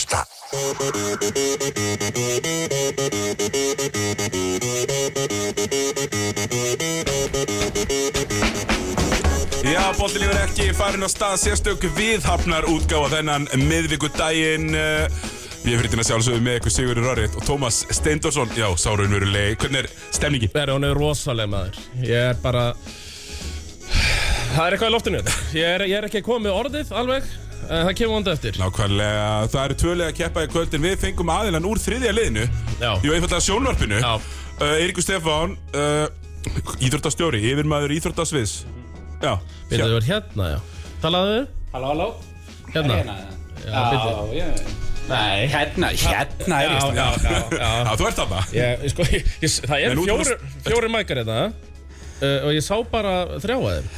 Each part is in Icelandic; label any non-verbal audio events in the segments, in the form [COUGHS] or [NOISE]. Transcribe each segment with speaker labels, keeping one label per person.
Speaker 1: þetta.
Speaker 2: Já, bóttilífur ekki farin á stað sérstök viðhafnar útgáfa þennan miðvíkudaginn eh, Ég fyrir þetta sjálfsögðu með ykkur Sigurður Raritt og Tómas Steindorsson Já, sárunveruleg, hvernig er stemningin?
Speaker 3: Það er, hún er rosaleg maður. Ég er bara... Það er eitthvað í loftinu. Ég er, ég er ekki komið með orðið alveg, en það kemur vonda eftir.
Speaker 2: Nákvæmlega, það eru tvölega að keppa í kvöldin Við fengum aðilann úr þriðja liðinu
Speaker 3: Já.
Speaker 2: Jú, einfallega sjónvarpinu
Speaker 3: Já.
Speaker 2: uh, Eiríkur Stefán, uh, íþróttastjóri, yfirmaður íþróttasviðs Já,
Speaker 3: Býttu, þú er hérna, já. Talaðu við?
Speaker 4: Halló, halló
Speaker 3: Hérna.
Speaker 4: Hérna Já,
Speaker 3: bíddu.
Speaker 4: já Nei, hérna, hérna er ég
Speaker 3: já, já, já.
Speaker 2: [LAUGHS] Já, þú ert þarna
Speaker 3: Ég, sko, ég, ég, það
Speaker 2: En
Speaker 3: eru
Speaker 2: út-
Speaker 3: fjóri, fjóri mækar hérna uh, og ég sá bara þrjá að þeim.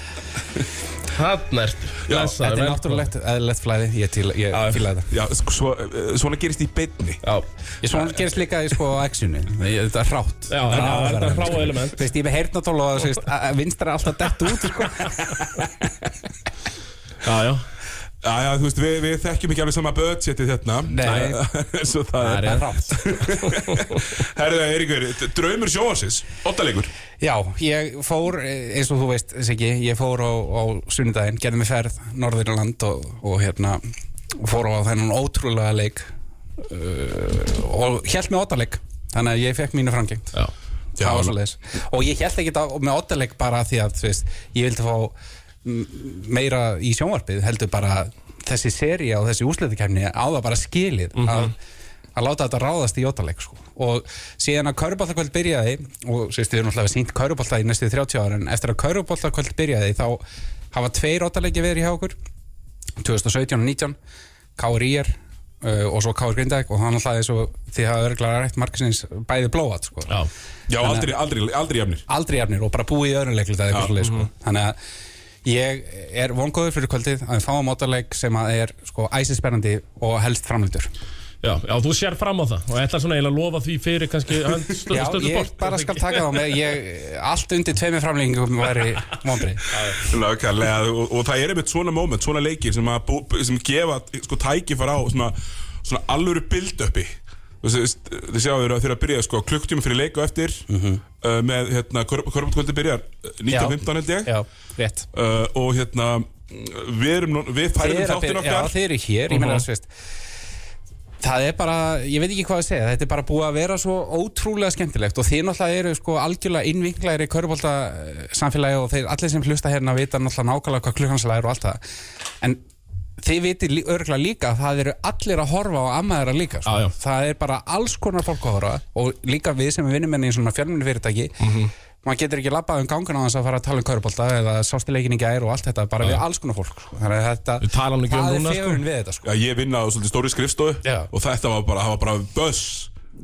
Speaker 3: Hann ertu.
Speaker 2: Já,
Speaker 3: blessaður,
Speaker 4: Þetta er
Speaker 3: velkominn.
Speaker 4: náttúrulegt, eðlilegt flæði Ég, til, ég fíla þetta
Speaker 2: Já, sko, svo, eh, svona gerist í beinni
Speaker 3: Já,
Speaker 4: Ég svona gerist líka í sko X-unni Þetta er hrátt
Speaker 3: Já, já,
Speaker 4: Hráverðan,
Speaker 3: þetta er hrá
Speaker 4: sko.
Speaker 3: element.
Speaker 4: Þú veist, ég er með heyrnatól og þú veist, að- að vinstra er alltaf dett út sko.
Speaker 3: já, já.
Speaker 2: Já, já, þú veist, við, við þekkjum ekki alveg sama budgetið hérna [LAUGHS]
Speaker 4: Nei.
Speaker 2: Svo það
Speaker 3: Það
Speaker 2: er
Speaker 3: er
Speaker 4: Það er hrátt
Speaker 2: Herðu, Eiríkur, d- draumur sjóarsins Ottalegur
Speaker 4: Já, ég fór, eh, eins og þú veist, Siggi, ég fór á, á sunnudaginn, gerði mig ferð Norðurland og, og hérna fór á þennan ótrúlega leik uh, og held með óttaleg, þannig að ég fekk mínu frangengt
Speaker 3: Já.
Speaker 2: Já,
Speaker 4: það
Speaker 2: nú-
Speaker 4: var svoleiðis og ég held ekki á, með óttaleg bara af því að, þú veist, ég vildi fá mm, meira í sjónvarpið, heldur bara þessi seri og þessi úsleitikefni á það bara skilið
Speaker 2: Mhm.
Speaker 4: að, að láta þetta ráðast í óttaleg sko. og síðan að Köruboltakvöld byrjaði og sérst, við erum alltaf sínt Körubolta í næstu 30 ára en eftir að Köruboltakvöld byrjaði þá hafa tveir óttalegi verið hjá okkur 2017 og 19 KRIR uh, og svo KR Grindæk og þannig að því hafa örglega rætt markisins bæði blóat sko
Speaker 3: Já.
Speaker 2: Já, aldrei, aldrei, aldrei jafnir
Speaker 4: aldrei jafnir og bara búið í öðrum leiklut eða eitthvað svoleiðis, sko. þannig að ég er vongóður fyrir kvöldið að við fáum mótarleik sem að er sko æsispennandi og helst framlýtur
Speaker 3: Já, já, þú sér fram á það og ætlar svona eiginlega að lofa því fyrir kannski hönd
Speaker 4: Já,
Speaker 3: stöðu stöðu
Speaker 4: ég
Speaker 3: bort.
Speaker 4: bara skal taka þá með ég, allt undir tveimur framlýningum væri vonbrið
Speaker 2: Lákalega, og, og það er einmitt svona moment, svona leikir sem, að bú, sem gefa sko, tækifar á svona, svona alvöru build-upi Þið sjáum við að þeirra að byrja sko, klukktíma fyrir leik og eftir
Speaker 4: Mhm.
Speaker 2: uh, með hérna, korfbóttkvöldi byrjar eh, 19.15 held ég
Speaker 4: Já, rétt
Speaker 2: uh, og hérna við, erum, nú- við færðum
Speaker 4: Þið eru að
Speaker 2: þáttin
Speaker 4: byrja-
Speaker 2: okkar
Speaker 4: Já, þeir eru hér, ég
Speaker 3: Mhm.
Speaker 4: meina þess veist Það er bara, ég veit ekki hvað að segja, þetta er bara búið að vera svo ótrúlega skemmtilegt og þið náttúrulega eru sko algjörlega innvinklaðir í körbólta samfélagi og þeir allir sem hlusta hérna vita náttúrulega nákvæmlega hvað klukkanslega er og allt það. En þið viti örgulega líka að það eru allir að horfa á ammaðara líka. Sko.
Speaker 3: Já, já.
Speaker 4: Það er bara alls konar fólk að horfa og líka við sem vinnum henni í svona fjölmunni fyrirtæki.
Speaker 3: Mhm.
Speaker 4: Maður getur ekki labbað um gangun á þess að fara að tala um körbólta eða sástileikinni gær og allt þetta, bara við alls konar fólk. Sko. Þannig að þetta,
Speaker 3: Við tala nú ekki um
Speaker 4: það
Speaker 3: núna,
Speaker 4: er
Speaker 3: sko.
Speaker 4: fegurinn við þetta. Sko.
Speaker 2: Já, ég vinna á svolítið stóri skrifstofu
Speaker 4: Já.
Speaker 2: og þetta var bara, það var bara buzz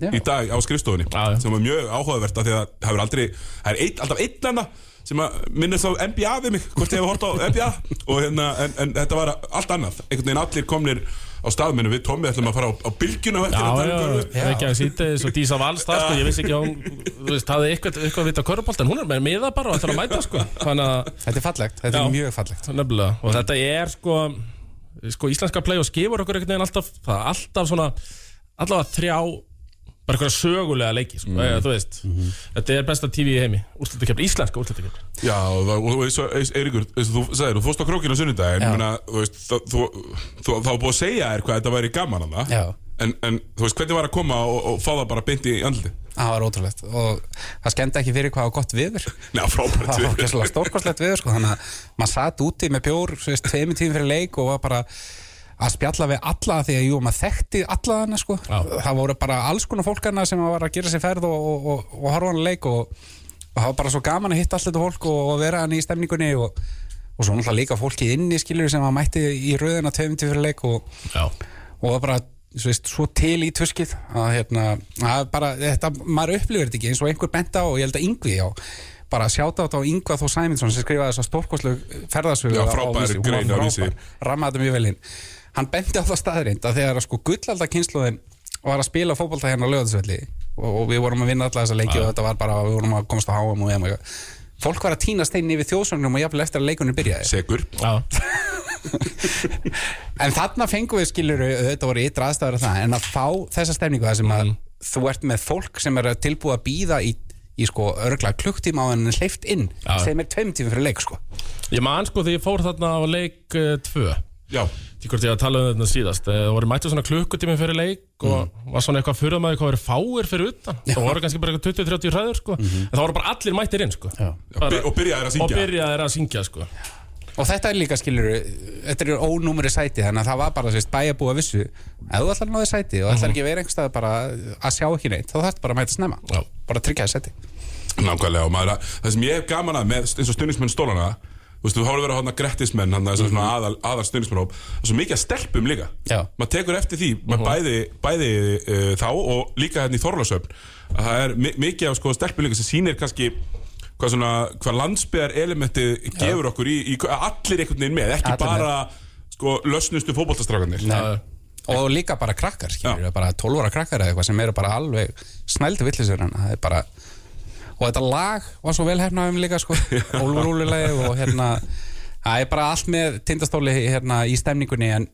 Speaker 4: Já.
Speaker 2: í dag á skrifstofunni
Speaker 3: Já, já.
Speaker 2: sem var mjög áhugavert af því að það hefur aldrei það er eitt, alltaf einn hana sem að minnist á NBA við mig, hvort ég hefur hort á
Speaker 3: [LAUGHS]
Speaker 2: NBA og hérna, en, en þetta var allt annað einhvern veginn allir komnir á staðmennu við Tommi ætlum að fara á, á bylgjuna á eftir
Speaker 3: Já,
Speaker 2: að tala um
Speaker 3: já,
Speaker 2: körfu.
Speaker 3: já, ekki að sýta þess og dísa vals það sko, ég vissi ekki að hún, þú veist, hafði eitthvað, eitthvað að vita körubolt en hún er með miða bara og ætlar að mæta sko, þannig að
Speaker 4: Þetta er fallegt, þetta
Speaker 3: Já.
Speaker 4: er mjög fallegt
Speaker 3: Nefnilega, og þetta er sko, sko íslenska play og skifur okkur einhvern veginn alltaf, það er alltaf svona, allavega þrjá, bara einhverja sögulega leiki, sko, mm. þú veist, þetta er besta TV í heimi, úrslutakefni, íslenska úrslutakefni.
Speaker 2: Já, og það- og eins og eins- Eiríkur, eins og þú sagðir, þú fórst á krókinu á sunnudag en
Speaker 4: Já.
Speaker 2: ég meina, þú veist, það- þú, þú, það var búið að segja þér hvað þetta væri gaman að
Speaker 4: Já.
Speaker 2: en, en þú veist, hvernig var að koma og, og fá það bara beint í andliti?
Speaker 4: Það var ótrúlegt og það skemmt ekki fyrir hvað á gott viður
Speaker 2: Já, frábært
Speaker 4: Það var
Speaker 2: veður.
Speaker 4: ekki stórkostlegt viður sko Þannig að maður satt úti með bjór svo veist, tveimur tímum fyrir leik og var bara að spjalla við alla því að jú, maður þekkti alla hana sko Það voru bara alls konar fólk hana sem var að gera sér ferð og, og, og, og horfa á hana leik og, og það var bara svo gaman að hitta allt þetta fólk og, og vera hann í stemningunni og, og svo náttúrulega líka fólkið inni skilur sem að mætti í röðina tveimur tímum fyrir leik og,
Speaker 3: Já.
Speaker 4: og það bara svo, veist, svo til í tuskið að hérna, að bara, þetta, maður upplifir þetta ekki eins og einhver benda á og ég held að yngvi á bara sjáta þetta á Yngva Þó Sæminsson sem skrifaði þess að stórkoslu ferðarsögu
Speaker 2: Já,
Speaker 4: á
Speaker 2: frábær
Speaker 4: Vísi. Hún var
Speaker 2: grein á
Speaker 4: frábær.
Speaker 2: Vísi.
Speaker 4: rammaði þetta mjög vel inn hann benti á það staðrind að þegar að sko gullalda kynsluðin var að spila fótbolta hérna á lögðarsvelli og, og við vorum að vinna alla þessa leiki og þetta var bara, við vorum að komast á háum og EM og eitthvað. fólk var að týna steinin yfir þjóðsögnum og jafnvel eftir að leikunni byrjaði
Speaker 2: Segur
Speaker 3: Já.
Speaker 4: en þarna fengum við skilur þetta voru ytra aðstæður að það en að fá þessa stemningu það sem að
Speaker 3: Mm.
Speaker 4: þú ert með fólk sem er tilbúið að býða í, í sko örgla klukktíma á hann hleyft inn
Speaker 3: Já.
Speaker 4: sem er tveim tíma fyrir leik sko
Speaker 3: Ég man sko þegar ég fór þarna á leik 2 uh,
Speaker 2: Já,
Speaker 3: Því hvort ég að tala um þetta síðast eh, Það voru mættið svona klukkutími fyrir leik og var svona eitthvað fyrir maður hvað verið fáir fyrir utan Það voru kannski bara eitthvað 20-30 hræður sko En það voru bara allir mættir inn sko
Speaker 2: Já, by- og byrjaðir að syngja.
Speaker 3: Og byrjaðir að syngja sko
Speaker 4: og þetta er líka skilur þetta er ónúmeri sæti þannig að það var bara þú veist, bæjarbúa vissu ef þú ætlar að náði sæti og
Speaker 3: Mhm.
Speaker 4: ætlar ekki að vera einhverstað bara að sjá ekki neitt þá þarf bara að mæta snemma
Speaker 3: Já.
Speaker 4: bara að tryggja þér sæti
Speaker 2: nákvæmlega og maður, að- það sem ég hef gaman að með eins og stundismenn stólana Þú veist, þú hafði verið að hana grettismenn, hann þessar svona aðal, aðal stundismennhóp Það er svo mikið að stelpum líka
Speaker 4: Já. Mhm.
Speaker 2: Maður tekur eftir því, maður bæði, bæði uh, þá og líka hérna í Þorlásöfn að Það er mi mikið af sko stelpum líka sem sýnir kannski hvað svona, hvað landsbyðar elementið gefur okkur í, í allir einhvern veginn með, ekki
Speaker 4: Allir með.
Speaker 2: bara sko lösnustu fótboltastrákanir
Speaker 4: Nei. og líka bara krakkar skilur, bara 12 ára krakkar eða eitthvað sem eru bara alveg snældu villisir hann það er bara og þetta lag var svo vel hefnað um líka sko Ólfur Úlfur lagið og hérna það er bara allt með tindastóli hérna í stemningunni en,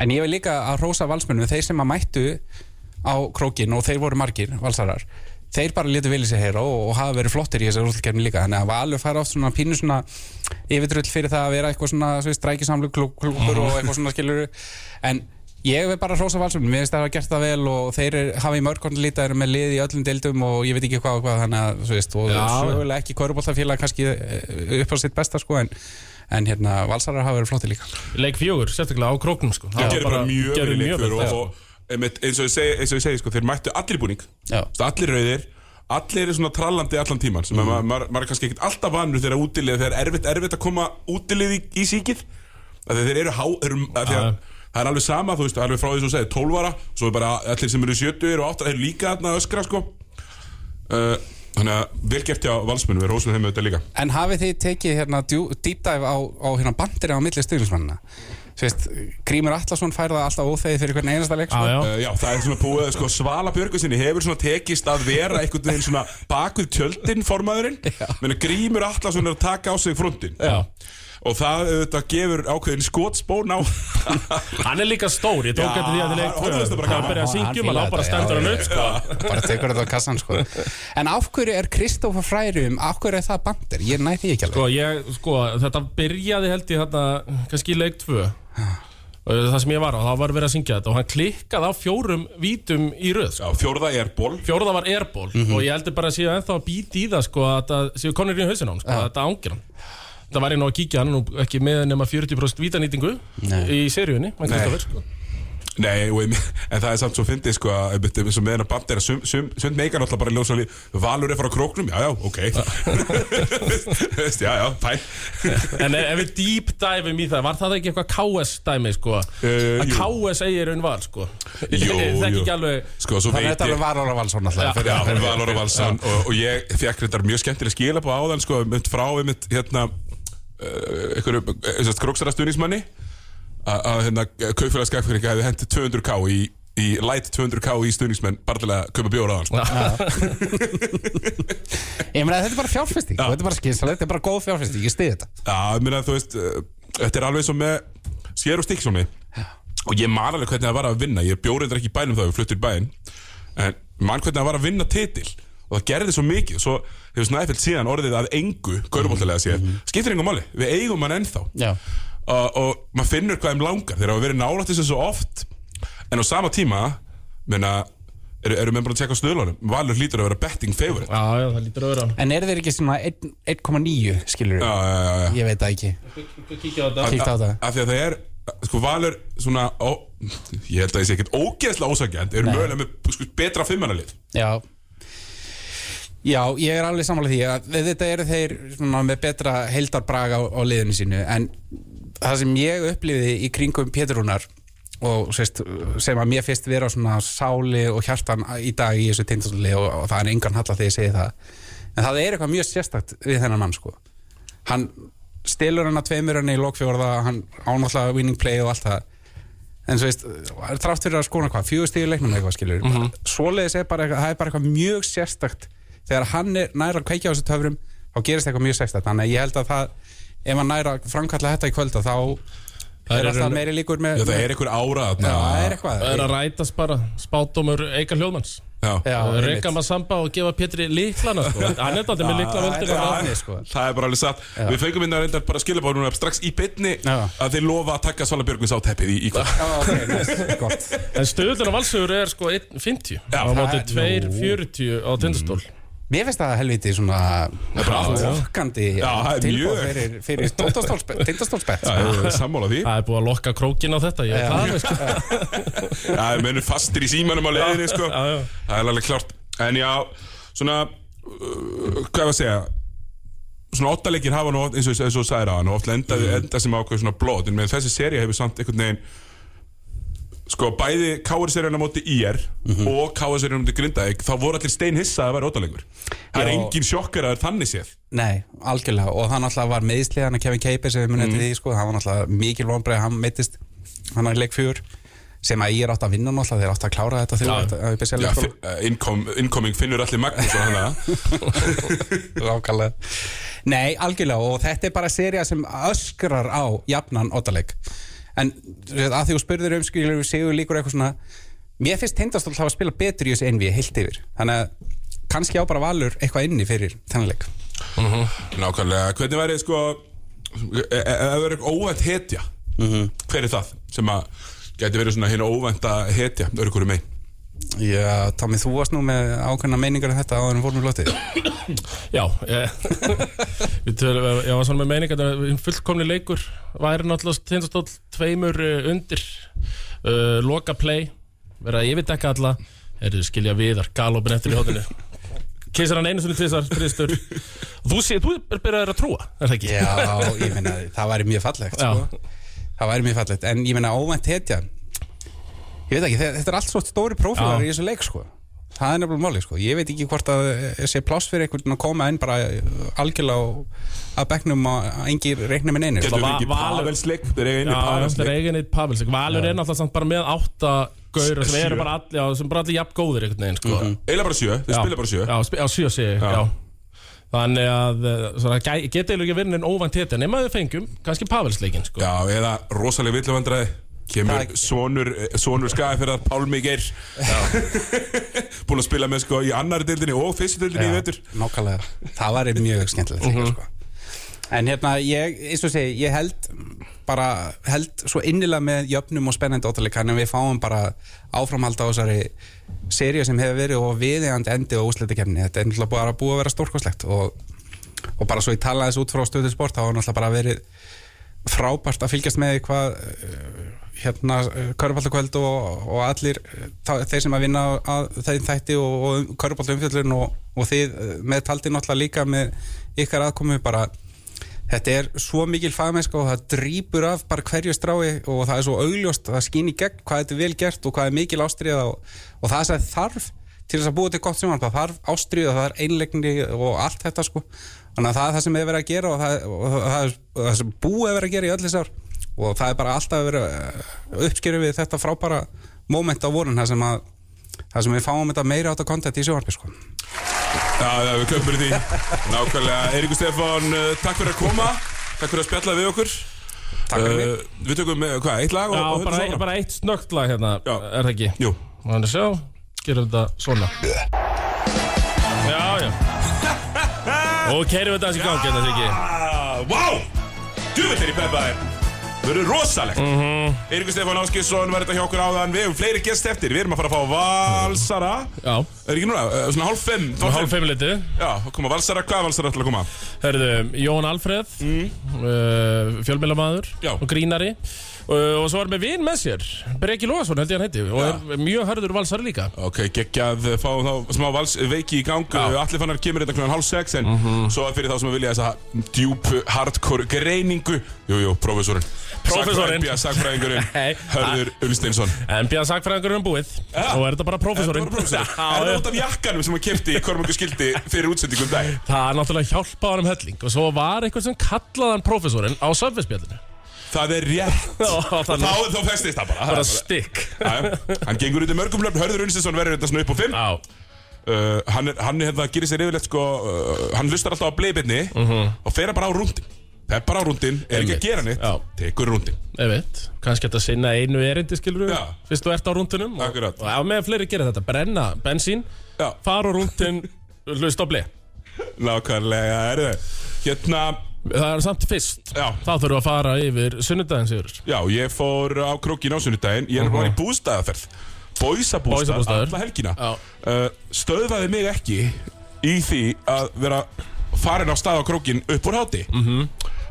Speaker 4: en ég vil líka að rósa valsmönnum þeir sem að mættu á krókin og þeir voru margir valsarar þeir bara letu vilja sér heyra og, og hafa verið flottir í þessari úrslutkerni líka þannig að Valur fær oft svona pínu svona yfirdrull fyrir það að vera eitthvað svona svo strækisamlu klúkur og eitthvað svona skilur en ég vil bara hrósa valsum mér finnst það hafa gert það vel og þeir er, hafa í mörgkorn lítið eru með lið í öllum deildum og ég veit ekki hvað og hvað þannig að þú veist og
Speaker 3: Já.
Speaker 4: sögulega ekki kvörubóltafélag kannski eh, upp á sitt besta sko en, en hérna valsarar hafa verið flottir líka
Speaker 3: Leik fjögur, sérstaklega á króknum sko
Speaker 2: Það gerir bara mjög
Speaker 3: gerðu
Speaker 2: verið leikur
Speaker 3: vel, sko.
Speaker 2: og,
Speaker 3: já.
Speaker 2: og einmitt, eins og ég segi, eins og ég segi sko, þeir mættu allir í búning
Speaker 4: Já.
Speaker 2: Þú veist, allir rauðir allir eru svona trallandi allan tíman sem mm. maður ma ma er kannski ekkert alltaf vanur þegar útilið þegar er erfitt, erfitt að koma útilið í, í síkið af því að þeir eru há er, að því að
Speaker 3: Já.
Speaker 2: það er alveg sama þú veist alveg frá því sem þú segir 12 ára svo er bara allir sem eru 70 og 8 eru líka þarna að öskra sko uh, þannig að vel gert hjá valsmennum við rósum þeim auðvitað líka
Speaker 4: En hafið þið tekið hérna djú- deep dive á, á hérna bandir á milli stuðnismannina? Þú veist, Grímur Atlasson fær það alltaf óþegið fyrir hvern einasta leik
Speaker 3: Já,
Speaker 4: sko.
Speaker 3: já.
Speaker 2: Uh, já, það er svona búið, sko, Svala Björgvinsinni hefur svona tekist að vera einhvern veginn svona bakuð tjöldin formaðurinn, menn grímur Atlasson er að taka á sig frontin
Speaker 3: Já.
Speaker 2: og það auðvitað gefur ákveðin skotspón á
Speaker 3: [LAUGHS] Hann er líka stór, ég
Speaker 2: Já,
Speaker 3: tók eftir því að þið leik
Speaker 2: hann-
Speaker 3: tvö.
Speaker 2: honum finnst það bara
Speaker 3: Hann
Speaker 2: gaman.
Speaker 3: byrjaði að
Speaker 4: Já, hann
Speaker 3: syngjum, hann á
Speaker 4: fílaði
Speaker 3: bara
Speaker 4: þetta,
Speaker 3: stendur
Speaker 4: já,
Speaker 3: hann upp sko
Speaker 4: Bara tekur þetta á kassan sko. En af hverju er Kristófa Frærum, af hverju er það bandir? Ég næ því ekki alveg
Speaker 3: Sko, ég, sko, þetta byrjaði held ég þarna, kannski í leik 2 Það sem ég var á, það var verið að syngja þetta Og hann klikkað á fjórum vítum í röð sko.
Speaker 2: Já, fjórða er ból
Speaker 3: Fjórða var airból
Speaker 2: Mhm.
Speaker 3: Og ég heldur bara að séu ennþá að býti í það sko, að Þetta séu konur í hausinn á hann, sko, að þetta ángir hann Það var ég nú að kíkja hann er nú ekki með nema 40% vítanýtingu Í seríunni, mann
Speaker 2: Nei.
Speaker 3: Kristoffer sko.
Speaker 2: Nei, og, einmitt- en það er samt svo fyndið sko að einmitt, eins og með hennar band er að sum- sum- sund meikar alltaf bara í ljósali Valur er frá króknum, já, já, ok
Speaker 3: [LAUGHS]
Speaker 2: [LAUGHS] Veist, Já, já, fæn
Speaker 3: En ef við deep diveum í það, var það ekki eitthvað KS dæmi sko?
Speaker 2: Eh,
Speaker 3: að
Speaker 2: jú.
Speaker 3: KS eigi raun val sko?
Speaker 2: Jú,
Speaker 3: Það
Speaker 2: jú.
Speaker 3: ekki alveg
Speaker 2: Sko, svo veit
Speaker 4: Þannig að þetta
Speaker 2: ég
Speaker 4: alveg var Óla Valsson alltaf fyrir-
Speaker 2: Já, hún var Lóra Valsson og, og ég fekk þetta mjög skemmtileg skila á áðan sko, mynd frá einmitt hérna uh, einhverju, einhverju króksarastunismanni að hérna kaupfélags skakfyringa hefði hendi 200k í, í light 200k í stunismenn bara til að kaupa bjóra á hann sko.
Speaker 3: [LAUGHS]
Speaker 4: Ég meina þetta er bara fjárfesting og Þetta er bara skynsalegt, þetta er bara góð fjárfesting, ég stiði þetta
Speaker 2: Já, ég meina þú veist uh, þetta er alveg svo með Sker og Stikksóni og ég man alveg hvernig það var að vinna ég bjóri þetta ekki í bænum þá við fluttir í bæinn en man hvernig það var að vinna titil og það gerði svo mikið og svo hefur Snæfell síðan orðið að engu gauruboltalega séð, skiptir engum máli við eigum hann ennþá
Speaker 4: Já.
Speaker 2: uh, og maður finnur hvað þeim langar þeir hafa verið nálægt þessu svo oft en á sama tíma menna, eru, eru menn bara að tjekka á stöðlunum Valur hlýtur að vera betting favorite
Speaker 3: Já, já, það lítur öðru á
Speaker 4: En eru þeir ekki svona 1 1,9 skilur
Speaker 2: Já, já, já, já.
Speaker 4: Ég veit það ekki
Speaker 3: Kíkja á þetta
Speaker 4: Kíktu á það
Speaker 2: af því að það er sko Valur svona ó, ég held að það sé ekkert ógeðslega ósakjönd eru mögulega með sko, betra fimmannalið
Speaker 4: Já Já, ég er alveg samanlega því að þetta eru þeir svona, með betra heildarbraga á, á liðinu sínu en það sem ég upplifiði í kringum Péturúnar og sést, sem að mér fyrst vera svona sáli og hjartan í dag í þessu tindastóli og, og það er engan halla þegar ég segi það en það er eitthvað mjög sérstakt við þennan mann sko hann stelur hann að tveimur hann í lokfjórða hann ánáttlega winning play og allt það en svo veist, trátt fyrir að skona hvað fjögur stíðu leiknum eða eitthvað skilur mm
Speaker 2: Mhm.
Speaker 4: svoleiðis er bara eitthvað, það er bara eitthvað mjög sérstakt þegar hann er næra að kveikja á þessu töfrum þá gerist eitthvað mjög sérstakt, þannig að ég held að það ef hann næra að framkalla þetta í kvölda þá
Speaker 3: Það
Speaker 4: er
Speaker 3: er
Speaker 4: alltaf
Speaker 3: raun-
Speaker 4: meiri líkur með
Speaker 2: Já, það er einhver ára þarna
Speaker 4: Já, það er eitthvað
Speaker 3: Það er að rætast bara spátumur Eika Hljóðmanns
Speaker 2: Já.
Speaker 4: Já,
Speaker 3: Reka maður samba og gefa Pétri líklana
Speaker 4: [LAUGHS]
Speaker 3: sko. Hann er þetta með
Speaker 4: þetta er
Speaker 3: líklavöldina
Speaker 4: aðeins sko
Speaker 2: Það er bara alveg satt Við fengum inn að reynda bara skilabáður núna strax í bytni
Speaker 4: Já.
Speaker 2: að þeir lofa að taka Svala Björgvins áteppið í, í kvöld
Speaker 4: Já, ok,
Speaker 2: [LAUGHS]
Speaker 4: næst, gott
Speaker 3: En stöðunar og valsugur er sko 1.50
Speaker 2: Já,
Speaker 3: á móti
Speaker 4: það-
Speaker 3: 2.40 á tindastól
Speaker 4: Mér finnst það helviti svona
Speaker 2: bara-
Speaker 4: Lokkandi
Speaker 2: það er
Speaker 4: tilboð
Speaker 2: mjög.
Speaker 4: fyrir, fyrir tindastólsbett Tindastólsbett
Speaker 2: Já, ég er sammála því
Speaker 3: Það er búið að lokka krókin á þetta Ég er það með sko
Speaker 2: Já, við mennum fastir í símanum á leiðinni sko.
Speaker 3: Já, já.
Speaker 2: Það er alveg klart En já, svona uh, Hvað var að segja Svona ottalegir hafa nú oft, eins og eins og þú sagðir á hann Oft enda,
Speaker 3: Mm.
Speaker 2: enda sem ákveð svona blót En með þessi seri hefur samt einhvern veginn Sko, bæði Káur-seríana móti IR
Speaker 3: Mhm.
Speaker 2: og Káur-seríana móti Grindavík Þá voru allir steinhissa að það væri ottalegur Það er
Speaker 4: Já.
Speaker 2: engin sjokkar að það er þannig séð
Speaker 4: Nei, algjörlega og það náttúrulega var meðislið hann að Kevin Keiper sem við munið til því sko, það var náttúrulega mikil vonbreið hann meittist hann er leik fjör sem að ég er átt að vinna náttúrulega þeir átt að klára þetta þegar þetta að við sko.
Speaker 2: Já,
Speaker 4: besjala [LAUGHS]
Speaker 2: fi- uh, incom, incoming finnur allir Magnús og hana
Speaker 3: [LAUGHS]
Speaker 4: Lákalega Nei, algjörlega og þetta er bara seria sem öskrar á jafnan ottaleg en þú veist, að því þú spurðir um skilur við segjum líkur eitthvað svona mér finnst tindastól þá að spila betur í þessu envi heilt yfir þannig að kannski á bara valur eitthvað inni fyrir þennanleik
Speaker 2: Nákvæmlega, hvernig væri sko e- e- ef það verður óvænt hetja hver er það sem að gæti verið svona hérna óvænta hetja um örgurum megin
Speaker 4: Já, Tommy, þú varst nú með ákveðna meiningar um þetta áður en fórum í lotið
Speaker 3: Já ég, [LAUGHS] Við tölum, ég var svona með meining að fullkomni leikur væri náttúrulega tindastól tveimur eh, undir uh, loka play vera að yfirdekka alla Erðu skilja viðar, galopin eftir í hóðinu Kissar hann einu sinni tvisar, þristur Þú sé, þú er byrjaður að trúa, er það ekki?
Speaker 4: Já, ég meina, það væri mjög fallegt
Speaker 3: Já.
Speaker 4: sko. Það væri mjög fallegt, en ég meina óvænt hetja Ég veit ekki, þe- þetta er allt svo stóri prófílar
Speaker 3: Já.
Speaker 4: í þessu leik sko. Það er nefnilega máli, sko. ég veit ekki hvort að eh, sé pláss fyrir einhvern að koma inn bara eh, algjörlega á- að bekknum að engir reikna með neinu
Speaker 2: Getur við
Speaker 3: va-
Speaker 2: ekki
Speaker 3: Valur-
Speaker 2: pavelsleik þeir eru einu
Speaker 3: Já, það er
Speaker 2: pavelsleik
Speaker 3: eigin eitt Pavelsik Valur er náttúrulega samt bara með átta gauður sem
Speaker 2: Sjö.
Speaker 3: eru bara allir, já, sem bara allir jafn góðir einhvern veginn, sko
Speaker 2: eila bara sjö, þeir
Speaker 3: Já.
Speaker 2: spila bara sjö
Speaker 3: Já, spi- já sjö sé ég, já Þannig að eh, svona, gæ- geta eiginlega ekki verið en óvænt hétt nema við fengjum, kannski Pavelsleikin, sko
Speaker 2: Já, eða rosalega villuvandræði kemur
Speaker 4: Það-
Speaker 2: sonur, sonur skaði fyrir að Pálmi Geir [LAUGHS] búin að spila með sko í annari deildinni og fyrstu deildinni í vetur
Speaker 4: Nákvæmlega, það væri mjög skemmtilegt líka, sko. En hérna, ég, eins og segi, ég held bara, held svo innilega með jöfnum og spennandi óttalega, en við fáum bara áframhald á þessari seríu sem hefur verið og viðeigandi endi og úsleitikefni, þetta er náttúrulega bara búið að vera stórkoslegt og, og bara svo ég talaði þessu út frá stöðu sport, þá er náttúrulega bara verið frábært að fylgjast með því hvað eh, hérna, körbáltakvöld og, og allir eh, þá- þeir sem að vinna að þeim þætti og, og körbáltumfjöldun og, og þið eh, með taldi náttúrulega líka með ykkar aðkomi bara þetta er svo mikil fagmennska og það drýpur af bara hverju strái og það er svo augljóst, það skín í gegn hvað þetta er vel gert og hvað er mikil ástriða og, og það sem þarf til þess að búa til gott sem það þarf ástriða, það er einlegni og allt þetta sko þannig að það er það sem er verið að gera og það, og það, það, er- það sem búið er verið að gera í öll þessi ár og það er bara alltaf verið uppskerið við þetta frábæra moment á vorun það sem, að, það sem við fáum þetta meira átt að kontent í sjónarbi sko.
Speaker 2: Já, já, við köpum því Nákvæmlega, Eiríkur Stefán, uh, takk fyrir að koma Takk fyrir að spjalla við okkur
Speaker 4: Takk fyrir mig.
Speaker 2: Við tökum, uh, hvað, eitt lag og,
Speaker 3: Já,
Speaker 2: og höldum
Speaker 3: bara,
Speaker 2: svo áfram?
Speaker 3: bara eitt snögt lag hérna,
Speaker 2: Já.
Speaker 3: er það ekki?
Speaker 2: Jú,
Speaker 3: Þannig að sjá, gerum þetta svona Já, já
Speaker 2: [LAUGHS]
Speaker 3: Og keirum þetta þessi gangi, þetta ekki
Speaker 2: Ah, Vá! Djúvill er í peppaðir Það verður rosalegt mm
Speaker 3: Mhm.
Speaker 2: Eiríkur Stefán Áskilsson var þetta hjá okkur áðan Við hefum fleiri gest eftir, við erum að fara að fá Valsara
Speaker 3: Já,
Speaker 2: Er ekki núna, uh, svona hálf fimm
Speaker 3: og hálf fimm litið
Speaker 2: Já, koma Valsara, hvað Valsara ætla að koma?
Speaker 3: Herðu, Jón Alfreð mm. fjölmjölamaður
Speaker 2: Já.
Speaker 3: og grínari uh, og svo er með vin með sér Breki Lóðarsson held ég hann heiti og er mjög hörður valsari líka
Speaker 2: Ok, geggjað, eh, fáum þá smá vals, eh, veiki í gang Allir fannar kemur þetta kljóðan hálf sex En
Speaker 3: Mhm.
Speaker 2: svo að fyrir þá sem að vilja þessa djúp hardcore greiningu Jú, jú, prófessorinn
Speaker 3: Prófessorinn. [LAUGHS] Ah.
Speaker 2: Sakfræðingurinn,
Speaker 3: Nei.
Speaker 2: Hörður Ulsteinsson
Speaker 3: en bíðan sagfræðingur um búið
Speaker 2: Ja.
Speaker 3: og er þetta bara
Speaker 2: Þetta
Speaker 3: prófessorinn
Speaker 2: var prófessorinn
Speaker 3: Já,
Speaker 2: Er það
Speaker 3: já.
Speaker 2: út af jakkanum sem að kipti í Kormungu skildi fyrir útsendingum dag?
Speaker 3: Það er náttúrulega hjálpað hann um helling og svo var eitthvað sem kallaði hann prófessorinn á söfvispjallinu
Speaker 2: Það er rétt
Speaker 3: og
Speaker 2: Þá,
Speaker 3: þannig
Speaker 2: þá festist það bara
Speaker 3: bara
Speaker 2: Það er
Speaker 3: stikk
Speaker 2: bara- Já, já. Hann gengur út í mörgum löfn Hörður Ulsteinsson verður þetta svona upp á fimm
Speaker 3: Já,
Speaker 2: uh, eh, hann, er, hann er hérna, gerir sér yfirleitt sko, uh, hann hlustar alltaf á bleibinni og fer bara á rúndi peppar á rúndin, er ekki
Speaker 3: Mhm. Einmitt.
Speaker 2: að gera neitt
Speaker 3: Já.
Speaker 2: tekur rúndin
Speaker 3: Ég veit, kannski þetta sinna einu erindi skilur við,
Speaker 2: Já.
Speaker 3: fyrst þú ert á rúndunum og,
Speaker 2: Akkurat.
Speaker 3: og ef meðan fleiri gera þetta, brenna bensín,
Speaker 2: Já.
Speaker 3: fara á rúndun hlust á blei.
Speaker 2: nákvæmlega er það hérna,
Speaker 3: Það er samt fyrst,
Speaker 2: Já.
Speaker 3: þá þurfum við að fara yfir sunnudagins yfir.
Speaker 2: já, ég fór á krókin á sunnudaginn, ég er
Speaker 3: Mhm.
Speaker 2: uh -huh. í bústæðaferð bóisabústæð,
Speaker 3: Bójsabústaður.
Speaker 2: alla helgina
Speaker 3: Já.
Speaker 2: uh, stöðvaði mig ekki í því að vera farin á stað á krókin upp úr háti -hmm.
Speaker 3: Mhm.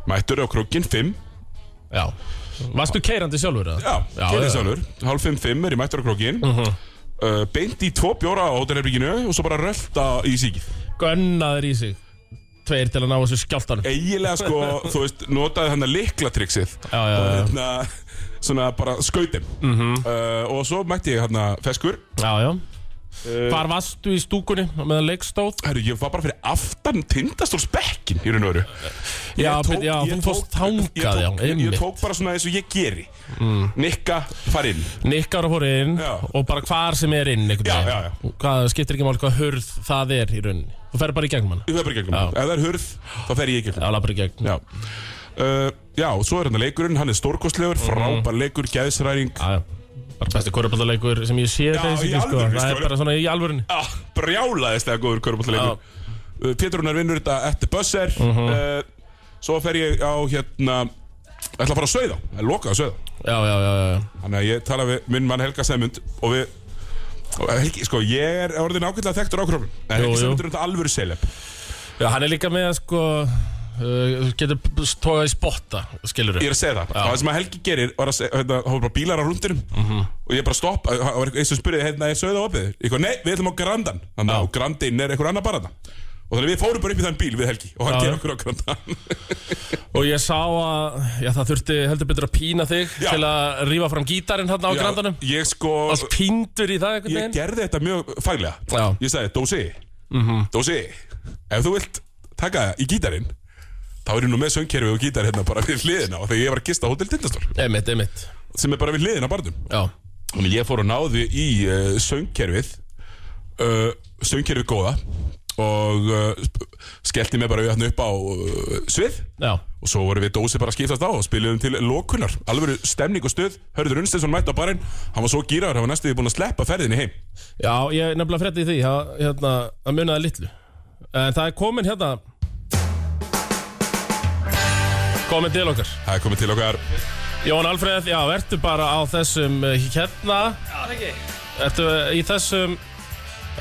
Speaker 2: mættur á krókin 5
Speaker 3: Já. Varstu keirandi sjálfur það?
Speaker 2: Já, kynni sjálfur, hálf 5-5 er ég mættur á krókin
Speaker 3: Mhm.
Speaker 2: uh, Beint í tvo bjóra á hótelherbygginu og svo bara rölda í síkið
Speaker 3: Gunnaður í sig, tveir til að ná þessu skjáltanum.
Speaker 2: Eiginlega
Speaker 3: [LAUGHS]
Speaker 2: sko, þú veist, notaði hann að likla triksið
Speaker 3: Já, já, já.
Speaker 2: Hérna, svona bara skautum
Speaker 3: Mhm.
Speaker 2: uh, Og svo mætti ég hérna feskur
Speaker 3: Já, já.
Speaker 2: Eh.
Speaker 3: Hvar varstu í stúkunni á meðan leikstóð?
Speaker 2: Herru, ég var bara fyrir aftan tindastólsbekkin í raun og veru Ég
Speaker 3: Já, byrju, já,
Speaker 2: ég
Speaker 3: þú fórst þangað,
Speaker 2: ég tók-
Speaker 3: já,
Speaker 2: Ég
Speaker 3: einmitt. Mm.
Speaker 2: tók bara svona eins og ég geri Nikka, far inn
Speaker 3: Nikkar að fóra inn
Speaker 2: Já.
Speaker 3: og bara hvar sem er inn einhvern
Speaker 2: Já,
Speaker 3: veginn.
Speaker 2: já, já.
Speaker 3: Hvað, skiptir ekki máli hvað hurð það er í rauninni. Þú fer bara í gegnum hann.
Speaker 2: Þú fer bara í gegnum
Speaker 3: Já.
Speaker 2: Ef það er hurð, þá fer ég í gegnum
Speaker 3: Já, labbar í gegn.
Speaker 2: Já Uh, já, og svo er hann leikurinn, hann er stórkostlegur, frábær leikur, gæðsræðing
Speaker 3: Já, já. Bara besti korrupallarleikur sem ég sé
Speaker 2: Já,
Speaker 3: þessi,
Speaker 2: í
Speaker 3: sko.
Speaker 2: alvörunni,
Speaker 3: Það
Speaker 2: sko.
Speaker 3: er bara svona í alvörunni.
Speaker 2: ah, brjálaðist eða góður
Speaker 3: Já.
Speaker 2: körbóltaleikur uh, Pétrunar vinnur þetta eftir bösser uh, Svo fer ég á hérna ætla að fara að sauða, að loka að sauða
Speaker 3: Já, já, já, já.
Speaker 2: Þannig að ég tala við minn mann Helga Sæmund og við og Helgi, sko, ég er orðin ágætlega þekktur á kröfum en
Speaker 3: Jú,
Speaker 2: Helgi
Speaker 3: jú.
Speaker 2: Sæmund er þetta alvöru seleb
Speaker 3: Já, hann er líka með, sko, uh, getur tókað í spotta, skilur
Speaker 2: Ég er að segja það, það sem að Helgi gerir var að segja, hérna, hann var bara bílar á rundinum
Speaker 3: Mhm.
Speaker 2: og ég bara stopp, og það var eitthvað- eins sem spurði hérna, er sauða opið? Ég kom, nei, við ætlum á Grandan þannig að á Grandin er eitthvað annar bara þarna og þannig að við fórum bara upp í þann bíl við Helgi og hann
Speaker 3: Já.
Speaker 2: gerir okkur á Grandan
Speaker 3: Og ég sá að, já, það þurfti heldur betur að pína þig
Speaker 2: Já.
Speaker 3: til að rífa fram gítarinn hann á
Speaker 2: Já,
Speaker 3: grandanum.
Speaker 2: Ég sko,
Speaker 3: Allt píndur í það einhvern
Speaker 2: ég
Speaker 3: veginn.
Speaker 2: gerði þetta mjög faglega
Speaker 3: Já. Mhm.
Speaker 2: Ég sagði, Dósi, Dósi Ef þú vilt taka í gítarinn Þá er ég nú með söngkerfi og gítar hérna bara við hliðina og þegar ég var að gista á Hotel Tindastól
Speaker 3: Emitt, emitt.
Speaker 2: sem er bara við hliðina á barnum
Speaker 3: Já.
Speaker 2: Þannig að ég fór og náði í uh, söngkerfið uh, söngkerfið góða og uh, skellti mig bara við hérna upp á uh, svið
Speaker 3: Já.
Speaker 2: og svo vorum við dósi bara að skiptast á og spiluðum til lokunar, alvöru stemning og stöð Hörður Unstensson mætti á barinn, hann var svo gíraður hann var næstuði búin að sleppa ferðinni heim
Speaker 3: Já, ég nefnilega freddi því að, hérna, að munaði litlu En það er komin hérna Komin til okkar
Speaker 2: Það er komið til okkar
Speaker 3: Jón Alfreð, já, ertu bara á þessum eh, hérna
Speaker 1: Já, Ah, það er ekki,
Speaker 3: Ertu eh, í þessum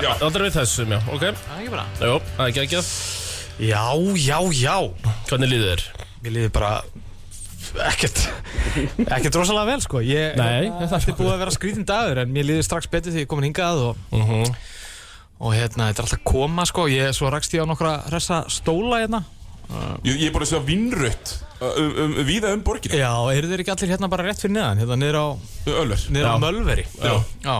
Speaker 2: Já.
Speaker 3: Það er við þessum, já, ok
Speaker 1: það er ekki bara
Speaker 3: Jó, það er geggjað
Speaker 1: Já, já, já
Speaker 3: Hvernig líður þér?
Speaker 1: Mér liði bara ekkert ekkert rosalega vel sko ég,
Speaker 3: Nei,
Speaker 1: hérna,
Speaker 3: þetta er
Speaker 1: Þetta er búið að vera skrítin dagur en mér liði strax betur því ég er komin hingað og, og hérna, þetta er alltaf koma sko ég svo rakst ég á nokkra hressa stóla hérna
Speaker 2: Ég, ég er búin að segja vinnrött um, um, Víða um borgina Eh,
Speaker 1: Já, eru þeir ekki allir hérna bara rétt fyrir neðan hérna niður á,
Speaker 2: Ölver
Speaker 1: niður á
Speaker 3: Já.
Speaker 1: Mölveri
Speaker 2: Já.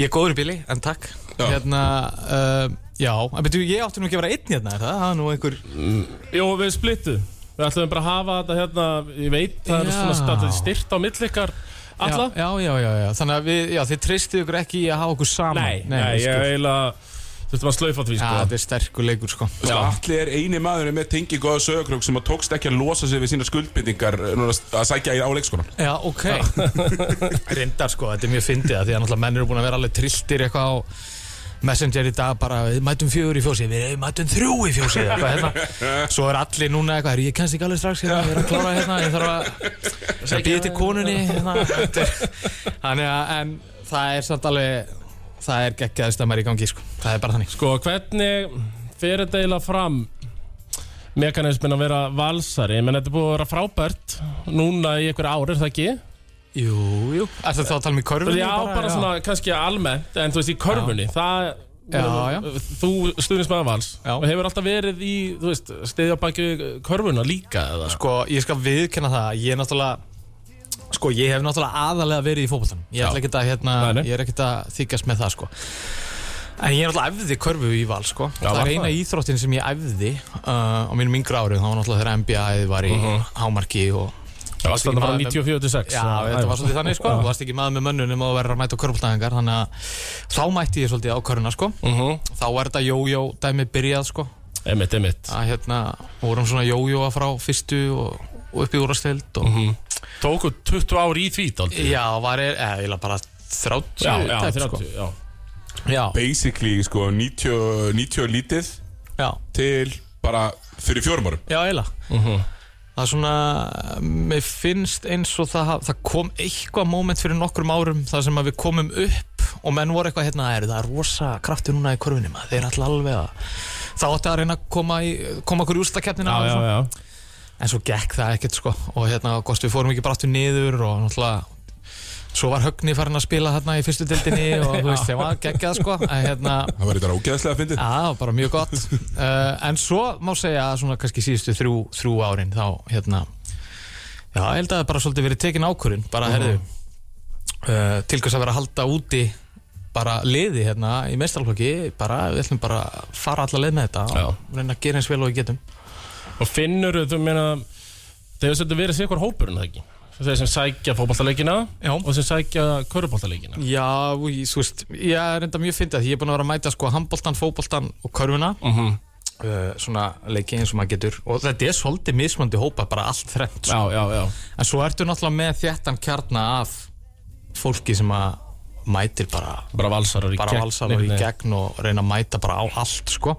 Speaker 1: Ég er góður í bíli, en takk
Speaker 2: Já.
Speaker 1: Hérna, uh, já, en betur ég átti nú ekki að vera einn hérna, er það? Það er nú einhver
Speaker 3: Jó, við splittu Við ætlum bara að hafa þetta hérna Ég veit, það er
Speaker 1: Já.
Speaker 3: svona statt styrt á milli ykkar Alla
Speaker 1: já, já, já, já, þannig að við, já, þið treystu ykkur ekki í að hafa okkur saman
Speaker 3: Nei, nei, ég
Speaker 1: sko.
Speaker 3: eiginlega Þurftum að slaufa því,
Speaker 1: Já,
Speaker 3: sko
Speaker 1: þetta er sterkur leikur, sko
Speaker 2: Sko, Allir er eini maðurinn með tengi góða sögurkrökk sem að tókst ekki að losa sig við sína skuldbyndingar núna að sækja í áleikskonan
Speaker 1: Já, ok [LAUGHS] Rindar, sko, þetta er mjög fyndið að því að náttúrulega menn eru búin að vera alveg trilltir eitthvað á Messenger í dag bara, við mætum fjögur í fjósið, við mætum þrjú í fjósið eitthvað, [LAUGHS] hérna. Svo er allir núna eitthvað, "Herri, ég kennst ekki alveg strax hérna, ég er að klára hérna, ég þarf að að býða til konunni hérna. Þetta er- Þannig að, en það er samt alveg, það er geggjaðist að maður í gangi, sko Það er bara þannig
Speaker 3: Sko, hvernig fer þetta eiginlega fram mekanismin að vera valsari? Ég menn, þetta er búið að vera frábært núna í einhver ár, er það ekki?
Speaker 1: Jú, jú Ertu þá að tala um í
Speaker 3: Já,
Speaker 1: körfunni?
Speaker 3: bara, svona, kannski almennt, en þú veist, í körfunni, það...
Speaker 1: Já, já.
Speaker 3: Þú stuðnist með vals
Speaker 1: Já.
Speaker 3: og hefur alltaf verið í, þú veist, stiðja baki körfuna líka eða?
Speaker 1: Sko, ég skal viðkenna það að Ég er náttúrulega Sko, ég hef náttúrulega aðalega verið í fótboltanum Ég ætla
Speaker 3: Já.
Speaker 1: ekkert að, hérna,
Speaker 3: Nei, nei.
Speaker 1: ég er ekkert að þykjast með það, sko En ég er náttúrulega æfði körfu í val, sko
Speaker 3: Já,
Speaker 1: Það
Speaker 3: var
Speaker 1: er eina
Speaker 3: það?
Speaker 1: íþróttin sem ég æfði uh, á mínum yngra árum Það var náttúrulega þegar NBA-ið var í
Speaker 3: Mhm.
Speaker 1: hámarki og
Speaker 3: Það var standa bara 94-46.
Speaker 1: Já, þetta var svolítið þannig, sko Þú varst ekki maður með mönnunum og verður að mæta á körfultæðingar Þannig að þá mætti ég svolítið á köruna, sko
Speaker 3: Mhm.
Speaker 1: Þá var þetta jójó dæmi byrjað, sko
Speaker 3: Emitt, emitt
Speaker 1: að hérna vorum svona jójóa frá fyrstu og, og upp í úrasteld og
Speaker 3: Mhm. Tóku 20 ár í því dálítið
Speaker 1: já, var er, eða eiginlega bara 30
Speaker 3: já, já,
Speaker 1: tæpt,
Speaker 3: 30 já.
Speaker 1: sko. já,
Speaker 2: Basically, sko, 90, 90 lítið
Speaker 1: já,
Speaker 2: til bara fyrir fjórum árum
Speaker 1: já, eiginlega
Speaker 3: Mhm.
Speaker 1: það er svona mér finnst eins og það, ha- það kom eitthvað moment fyrir nokkrum árum þar sem að við komum upp og menn voru eitthvað hérna er, það er rosa kraftur núna í korfunni maður, þeir er alltaf alveg að þá átti að reyna að koma, í, koma okkur í úrstakeppnina
Speaker 3: Já, já, já.
Speaker 1: en svo gekk það ekkert sko og hérna, kosti, við fórum ekki bara aftur niður og náttúrulega svo var Högni farin að spila hérna í fyrstu dildinni og þú veist, það var geggjað sko en hérna,
Speaker 2: Það var eitthvað ógeðslega að fyndið
Speaker 1: já, það var bara mjög gott uh, en svo má segja að svona kannski síðustu þrjú, þrjú árin þá hérna já, ég held að það bara svolítið verið tekin ákvörðin bara, herðu uh, til hvers að vera að halda úti bara liði hérna í mestralflokki bara, við ætlum bara að fara alla leið með þetta
Speaker 3: Já.
Speaker 1: og reyna að gera eins vel og við getum
Speaker 3: Og finnur, þú meina Það hefur svolítið verið sikkur hópurinn það ekki Þeir sem sækja fótballtaleikina
Speaker 1: Já.
Speaker 3: Og sem sækja köruballtaleikina
Speaker 1: Já, ég, þú veist, ég er enda mjög fyndið að ég er búin að vera að mæta sko handbóltan, fótbóltan og körfuna
Speaker 3: Mhm.
Speaker 1: uh, svona leiki eins og maður getur og þetta er svolítið mismöndi hópa bara allt þrennt sko.
Speaker 3: Já, já, já
Speaker 1: en svo ertu náttúrulega með þéttan kjarna af fólki sem að mætir bara,
Speaker 3: Bara valsarar í
Speaker 1: bara
Speaker 3: gegn,
Speaker 1: valsar og
Speaker 3: einhvern
Speaker 1: í
Speaker 3: veginn.
Speaker 1: gegn og reyna að mæta bara á allt sko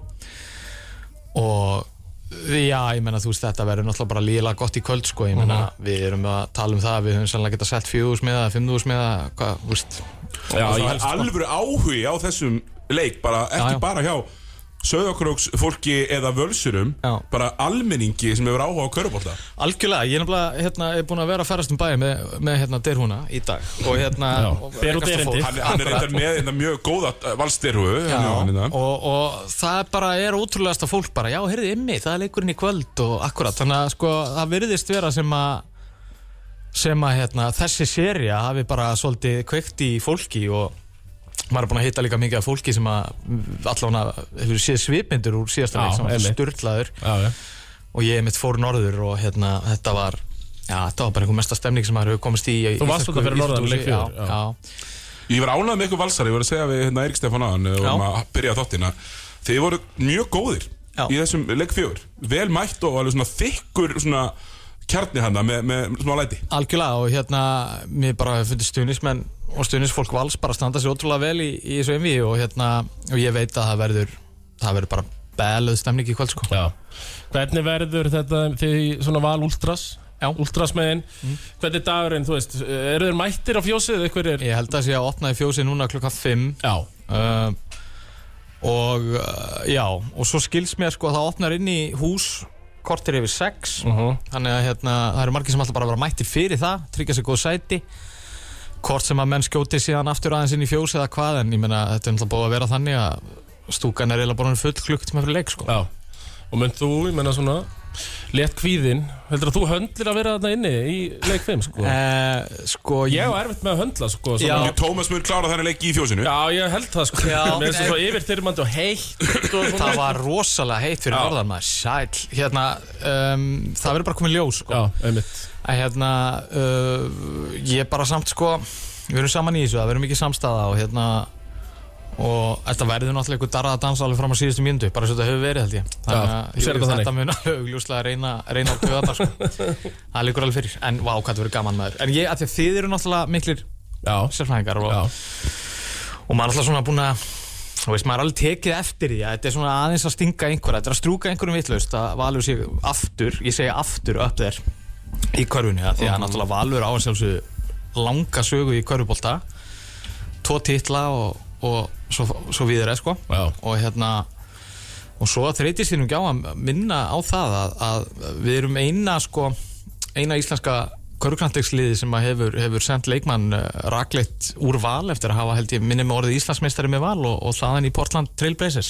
Speaker 1: og Já, ég menna þú veist þetta verður náttúrulega bara líla gott í kvöld sko, ég menna
Speaker 3: Mhm.
Speaker 1: við erum að tala um það, við höfum sannlega getað sett fjögúsmiða, fimmúsmiða, hvað, þú veist
Speaker 3: Já,
Speaker 2: Það
Speaker 3: ég
Speaker 2: er
Speaker 3: held sko
Speaker 2: alvöru áhugi á þessum leik bara ekki
Speaker 1: Já, já.
Speaker 2: bara hjá söðakróks fólki eða völsurum
Speaker 1: Já.
Speaker 2: bara almenningi sem hefur áhuga á körubólta
Speaker 1: Algjörlega, ég er nefnilega hérna, er búin að vera að ferast um bæði með, með hérna, derhúna í dag og hérna
Speaker 3: Já,
Speaker 1: og-
Speaker 3: ber út
Speaker 1: rekast á
Speaker 3: erindi.
Speaker 1: fólk.
Speaker 2: hann,
Speaker 1: [LAUGHS]
Speaker 2: hann er reyndar með hérna, mjög góða hérna, valstyrhu
Speaker 1: Já, og, og það er bara er ótrúlegasta fólk bara, já, heyrðu ymmi, það er leikurinn í kvöld og akkurat, þannig að sko, það virðist vera sem að sem að hérna, þessi seria hafi bara svolítið kveikt í fólki og maður er búin að hitta líka mikið af fólki sem að allavega hefur séð svipindur úr síðasta
Speaker 3: Já,
Speaker 1: leik sem var
Speaker 3: einmitt.
Speaker 1: styrlaður
Speaker 3: Já, já
Speaker 1: og ég mitt fór norður og hérna, þetta var já, þetta var bara einhver mesta stemning sem maður hefur komist í
Speaker 3: Þú varst þarna fyrir norðan, leik
Speaker 1: já,
Speaker 3: fjögur, já.
Speaker 1: já.
Speaker 2: Ég var ánægð með ykkur valsari, ég var að segja við hérna, Eirik Stefán aðan og um að byrja þáttina Þeir voru mjög góðir
Speaker 1: Já.
Speaker 2: í þessum leik fjögur Vel mætt og alveg svona þykkur svona kjarni hana með, með smá læti
Speaker 1: algjörlega og hérna mér bara hefur fundið stuðnismenn og stuðnisfólk vals bara standa sér ótrúlega vel í, í þessu envi og hérna og ég veit að það verður það verður bara beluð stemning í kvöld sko
Speaker 3: Já. Hvernig verður þetta þið svona val últras?
Speaker 1: Já. Mhm.
Speaker 3: Últras megin. Hvernig er dagurinn, þú veist, eru þeir mættir á fjósið eða hver er?
Speaker 1: ég held að sé að opnaði fjósi núna klukkan 5
Speaker 3: Já.
Speaker 1: uh, og uh, já og svo skils mér sko að það opnar inn í hús kortir yfir 6
Speaker 3: Mhm,
Speaker 1: Þannig að hérna, það eru margir sem alltaf bara að vera mættir fyrir það, tryggja sér góð sæti Hvort sem að menn skjóti síðan aftur aðeins inn í fjós eða hvað En ég meina, þetta er náttúrulega búið að vera þannig að stúkan er eiginlega bara full klukkutíma fyrir leik sko.
Speaker 3: Já. Og mynd þú, ég menna svona, létt kvíðinn, heldur að þú höndlir að vera þarna inni í leik 5, sko?
Speaker 1: Eh, sko
Speaker 3: Ég á erfitt með að höndla, sko.
Speaker 1: Já.
Speaker 3: Svona.
Speaker 2: Ég Tómas mun klára þannig leik í fjósinu
Speaker 3: Já, ég held það, sko.
Speaker 1: Já.
Speaker 3: Mér finnst það svo yfirþyrmandi og heitt og svona.
Speaker 1: Það var rosalega heitt fyrir
Speaker 3: Já.
Speaker 1: norðan maður, sæl Hérna, um, það verður bara komið ljós sko.
Speaker 3: Já, einmitt.
Speaker 1: að hérna uh, ég bara samt sko við erum saman í þessu, það verðum ekki samstaða og hérna og þetta verður náttúrulega einhver darraða dans alveg fram á síðustu mjöndu bara svo þetta hefur verið held ég þannig
Speaker 3: Já, þú
Speaker 1: að
Speaker 3: sérð
Speaker 1: jú,
Speaker 3: þetta
Speaker 1: þetta mun augljóslega reyna, reyna á kvöðarnar sko.
Speaker 3: [LAUGHS]
Speaker 1: það liggur alveg fyrir en vá, hvað þetta verður gaman maður en ég, að því að þið eru náttúrulega miklir
Speaker 3: Já.
Speaker 1: sérfræðingar og,
Speaker 3: Já.
Speaker 1: og maður er alltaf svona búin að þú veist, maður er alveg tekið eftir því að þetta er svona aðeins að stinga einhverja, þetta er að strúka einhverjum vitlaust að Valur sé aftur, ég segi aftur upp þér í körfunni það, því að náttúrulega Valur á að sjálfsögðu langa sögu í körfubólta tvo titla og, og svo, svo viður eða sko
Speaker 3: Já.
Speaker 1: og hérna og svo þreytist þínum gjá að minna á það að, að við erum eina sko, eina íslenska körknandegsliði sem að hefur, hefur sendt leikmann uh, rakleitt úr val eftir að hafa held ég minni með orðið Íslandsmeistari með val og, og þaðan í Portland Trailblazers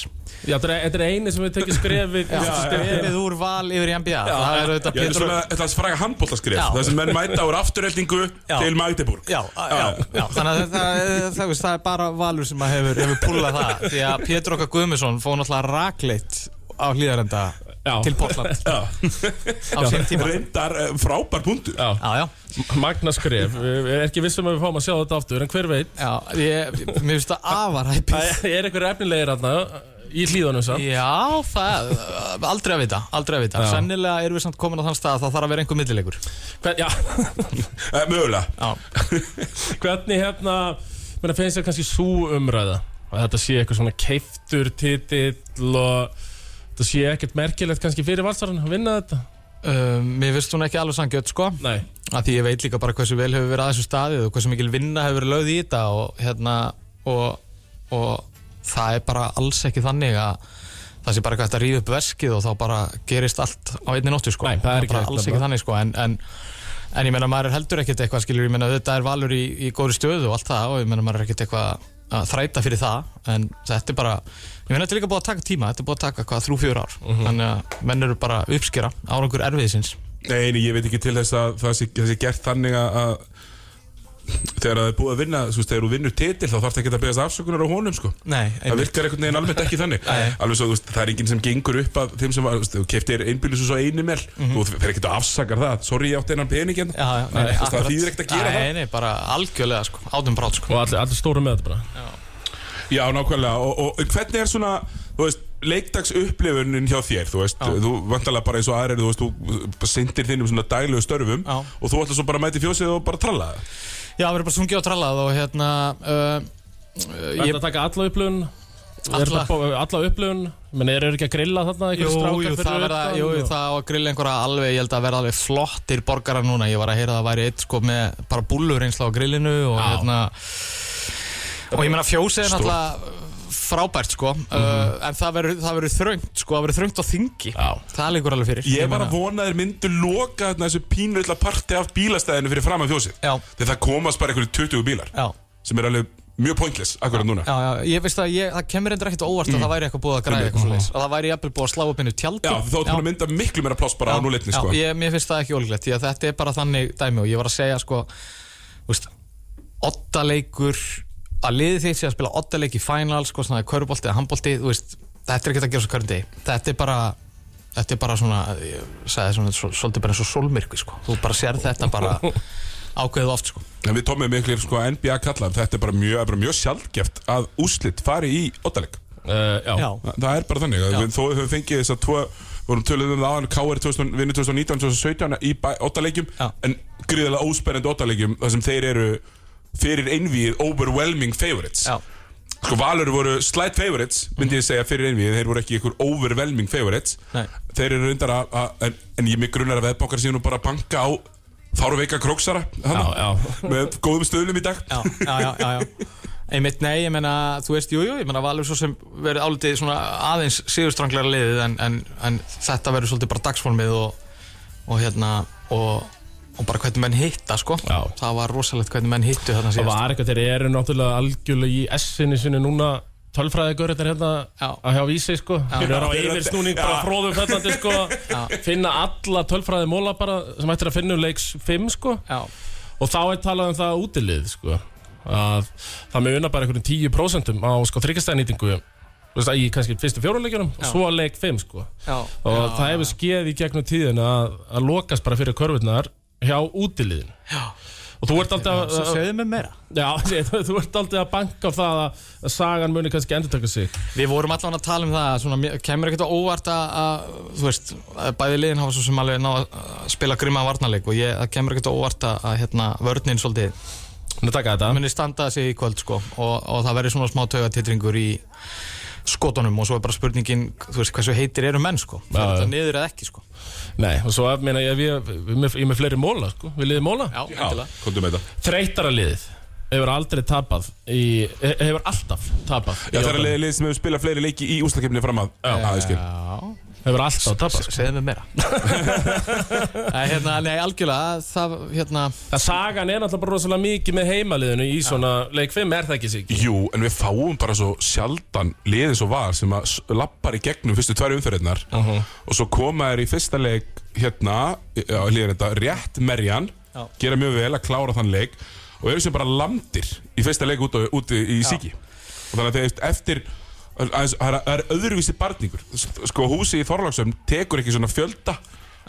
Speaker 3: Já, þetta er- þetta er eini sem við tekið skrefið. Já,
Speaker 1: Stefið úr val yfir í NBA það
Speaker 2: Já,
Speaker 1: er auðvitað
Speaker 2: þetta er
Speaker 1: Pétur
Speaker 2: svona þetta er fræga handbóltaskrif
Speaker 1: Já.
Speaker 2: Það sem menn mæta úr afturreldingu
Speaker 1: Já.
Speaker 2: til Magdeburg
Speaker 1: Já, já, já, þannig að það, það, það, það er bara Valur sem að hefur, hefur púlað það því að Pétur okkar Guðmundsson fóð náttúrulega rakleitt á hlýðarenda
Speaker 3: Já.
Speaker 1: til Portland
Speaker 2: Já.
Speaker 1: á sín tíma
Speaker 2: Reyndar eh, frábær punktur
Speaker 3: Já.
Speaker 1: Já, já,
Speaker 3: Magna skref, við við erum ekki vissum að við fáum að sjá þetta aftur, en hver veit
Speaker 1: Já, ég, mér finnst það afar hæpið
Speaker 3: Það er einhver efnilegir hérna í hlýðunum samt
Speaker 1: Já, það, aldrei að vita, aldrei að vita Sennilega erum við samt komin á þann stað að það þarf að vera einhver millilegur
Speaker 3: Hvern, já, [LAUGHS]
Speaker 2: Eh, Mögulega
Speaker 1: Já,
Speaker 3: hvernig hérna menn finnst þér kannski svo umræða að þetta sé eitthvað svona keiftur titill og þetta sé ekkert merkilegt kannski fyrir valsarinn að vinna þetta
Speaker 1: um, mér finnst hún ekki alveg sangjöld sko
Speaker 3: Nei,
Speaker 1: að Því ég veit líka bara hversu vel hefur verið að þessu staðið og hversu mikil vinna hefur verið lögð í þetta og, hérna, og, og það er bara alls ekki þannig að það sé bara hvað þetta ríð upp veskið og þá bara gerist allt á einni nóttu sko
Speaker 3: Nei, það er ekki
Speaker 1: bara
Speaker 3: hægt
Speaker 1: alls
Speaker 3: nefnilega.
Speaker 1: ekki þannig sko en, en, en ég meina maður er heldur ekkert eitthvað skilur ég meina þetta er valur í, í góðri stöðu og allt það og ég meina maður er ekkert eitthvað að þræta fyrir það en þetta er bara ég meina þetta er líka búið að taka tíma þetta er búið að taka hvað þrjú fjör ár
Speaker 3: Mhm.
Speaker 1: þannig að menn eru bara að uppskera árangur erfiðisins
Speaker 2: Nei, nei, ég veit ekki til þess að það sé, það sé gert þannig að að- Þegar það er búið að vinna, þú veist, þegar þú vinnur titil þá þarf það ekki að beðast afsökunar á honum, sko
Speaker 1: Nei,
Speaker 2: Það virkar einhvern veginn almennt ekki þannig Alveg svo, þú veist, það er enginn sem gengur upp að þeim sem var, þú veist, þú keftir einbýlis og svo einu mell Þú fer ekkert að afsakar það, sorry ég átti einan pening hérna
Speaker 1: Mhm. Já, já,
Speaker 2: Þú veist, Það þýðir ekkert að gera það
Speaker 1: Nei, nei, bara algjörlega sko, átum brát sko
Speaker 3: og allir, allir stóru með þetta bara
Speaker 2: Já, nákvæmlega, og, og en hvernig er svona, þú veist, leikdags upplifunin hjá þér, þú veist, þú vantarlega bara eins og aðrir, þú veist, þú sindir þínum svona daglegu störfum
Speaker 1: Já.
Speaker 2: og þú ætlar svo bara að mæta í fjósið og bara tralla það.
Speaker 1: Já, við erum bara sungið og trallað og hérna uh, uh,
Speaker 3: Þetta
Speaker 1: ég,
Speaker 3: að taka alla upplöfun
Speaker 1: Alla.
Speaker 3: Alla upplöfun Menn eru ekki að grilla þarna
Speaker 1: Jú,
Speaker 3: einhverjir strákar
Speaker 1: jú,
Speaker 3: fyrir
Speaker 1: það verða,
Speaker 3: utan
Speaker 1: jú,
Speaker 3: og-
Speaker 1: það á að grilla einhverja alveg, ég held að verða alveg flottir borgarar núna, ég var að heyra að það væri eitt sko með bara búllur einsla á grillinu og
Speaker 3: Já.
Speaker 1: hérna og ég meina fjósið er náttúrulega frábært sko,
Speaker 2: Mhm.
Speaker 1: uh, en það verður það verður þröngt sko, það verður þröngt á þingi
Speaker 3: Já.
Speaker 1: það liggur alveg fyrir
Speaker 2: Ég var
Speaker 1: meina-
Speaker 2: að vona að þeir myndu loka þarna þessu pínveitla parti af bílastæðinu fyrir fram að fjósið.
Speaker 1: Já.
Speaker 2: Þegar það komast bara einhverju 20 bílar
Speaker 1: Já,
Speaker 2: sem er alveg mjög pointless akkurat núna.
Speaker 1: Já, já, ég veist að ég, það kemur endur ekkert á óvart að það væri eitthvað búið að græða eitthvað svoleiðis að það væri jafnvel búið að slá upp einu tjaldi
Speaker 2: Mm. Já, þá ætlum við að mynda miklu meira pláss bara á núleitni, sko.
Speaker 1: Já, ég, mér finnst það ekki ólíklegt því að þetta er bara þannig dæmi og ég var að segja sko, þú veist, ottaleikur að liði þitt sé að spila ottaleik í final, sko, svona körbolti eða handbolti, þú veist, þetta er ekki að gera svo körndi þetta er bara þetta er bara svona, ég sagði svona svo- svolítið bara eins og sólmyrkvi, sko, þú bara sér
Speaker 2: [LAUGHS]
Speaker 1: þetta bara ákveðið oft, sko
Speaker 2: En við tómum ykkur sko, NBA kallar, þetta er bara mjög, bara mjög sjálfgeft að úslit fari í ottaleg.
Speaker 3: Eh, Já,
Speaker 1: Já,
Speaker 2: Þa- Það er bara þannig að við- þó við höfum fengið þess að tvo við vorum töluðum um það aðan KR 2000 vinnu 2019 2017 í óttalegjum
Speaker 1: Já.
Speaker 2: en gríðarlega ósperrandi óttalegjum þar sem þeir eru fyrir einvíð overwhelming favorites
Speaker 1: já,
Speaker 2: sko Valur voru slight favorites myndi ég segja fyrir einvíð þeir voru ekki ykkur overwhelming favorites
Speaker 1: Nei.
Speaker 2: þeir eru reyndar að, að en, en ég mig grunar að veðbókar síðan og bara að banka á Þárveika Króksara hana,
Speaker 3: já, já.
Speaker 2: með góðum stöðlum í dag
Speaker 1: já, já, já, já, já. Einmitt nei, ég meina, þú veist, jú, jú, ég meina Valur svo sem verið álitið svona aðeins síðustranglega liðið en, en, en þetta verður svolítið bara dagsformið og, og hérna og, og bara hvernig menn hitta, sko
Speaker 3: Já.
Speaker 1: það var rosalegt hvernig menn hittu þarna
Speaker 3: Það
Speaker 1: síðast
Speaker 3: var eitthvað, þeir eru náttúrulega algjörlega í S-inni sinni núna tölfræðigur þetta er hérna
Speaker 1: Já.
Speaker 3: að hjá vísi sko þeir eru á yfirsnúning bara fróðum fællandi sko finna alla tölfræði móla bara sem ættir að finna um leiks 5 sko
Speaker 1: Já,
Speaker 3: og þá er talað um það útilið sko að það með unna bara einhverjum 10% á sko þryggastæðnýtingu í kannski fyrstu fjóruleikjunum og svo að leik 5 sko
Speaker 1: já,
Speaker 3: og
Speaker 1: já,
Speaker 3: það hefur skeið í gegnum tíðin að, að lokast bara fyrir körfurnar hjá útiliðin
Speaker 1: Já.
Speaker 3: og þú ert alltaf
Speaker 1: Svo segðu mig meira
Speaker 3: Já, [LAUGHS] ég- þú, þú ert aldrei að banka á það að að sagan muni kannski endurtaka sig
Speaker 1: Við vorum allan að tala um það, svona, mér kemur ekkert á óvart að, að, þú veist, að bæði liðin hafa svo sem alveg ná að að spila grimma varnarleik og ég, það kemur ekkert á óvart að, að hérna, vörnin svolítið
Speaker 3: Nú taka
Speaker 1: Það
Speaker 3: þetta
Speaker 1: munir standa sig í kvöld sko og, og það verður svona smá taugatitringur í skotunum og svo er bara spurningin þú veist hversu heitir eru menn sko það er þetta niður eða ekki sko
Speaker 3: Nei, og svo meina ég að við, við, við, ég er með fleiri móla, sko, við liðið móla
Speaker 2: Já, komdu með þetta
Speaker 3: Þreytara liðið hefur aldrei tapað í, he- hefur alltaf tapað
Speaker 2: Já, það
Speaker 3: í
Speaker 2: er
Speaker 3: óttanum.
Speaker 2: alveg lið sem hefur spilað fleiri leiki í úslakefni fram að aðeins skil
Speaker 1: Já,
Speaker 3: Hefur alltaf tapað, sko
Speaker 1: segðu mig meira [LAUGHS] Nei, hérna, nei, algjörlega það, hérna,
Speaker 3: Það sagan er náttúrulega bara rosalega mikið með heimaliðinu í svona leik 5 er það ekki sig
Speaker 2: Jú, en við fáum bara svo sjaldan liðið svo var sem að s- lappar í gegnum fyrstu tvær umferðirnar og svo koma þær í fyrsta leik hérna, já, liðin þetta, rétt merjan
Speaker 1: Já.
Speaker 2: gera mjög vel að klára þann leik og eru sem bara landir í fyrsta leik út, á- úti í Siki og þannig að þegar eftir aðeins- það er- það er öðruvísi barningur sko húsið í Þorláksöfn tekur ekki svona fjölda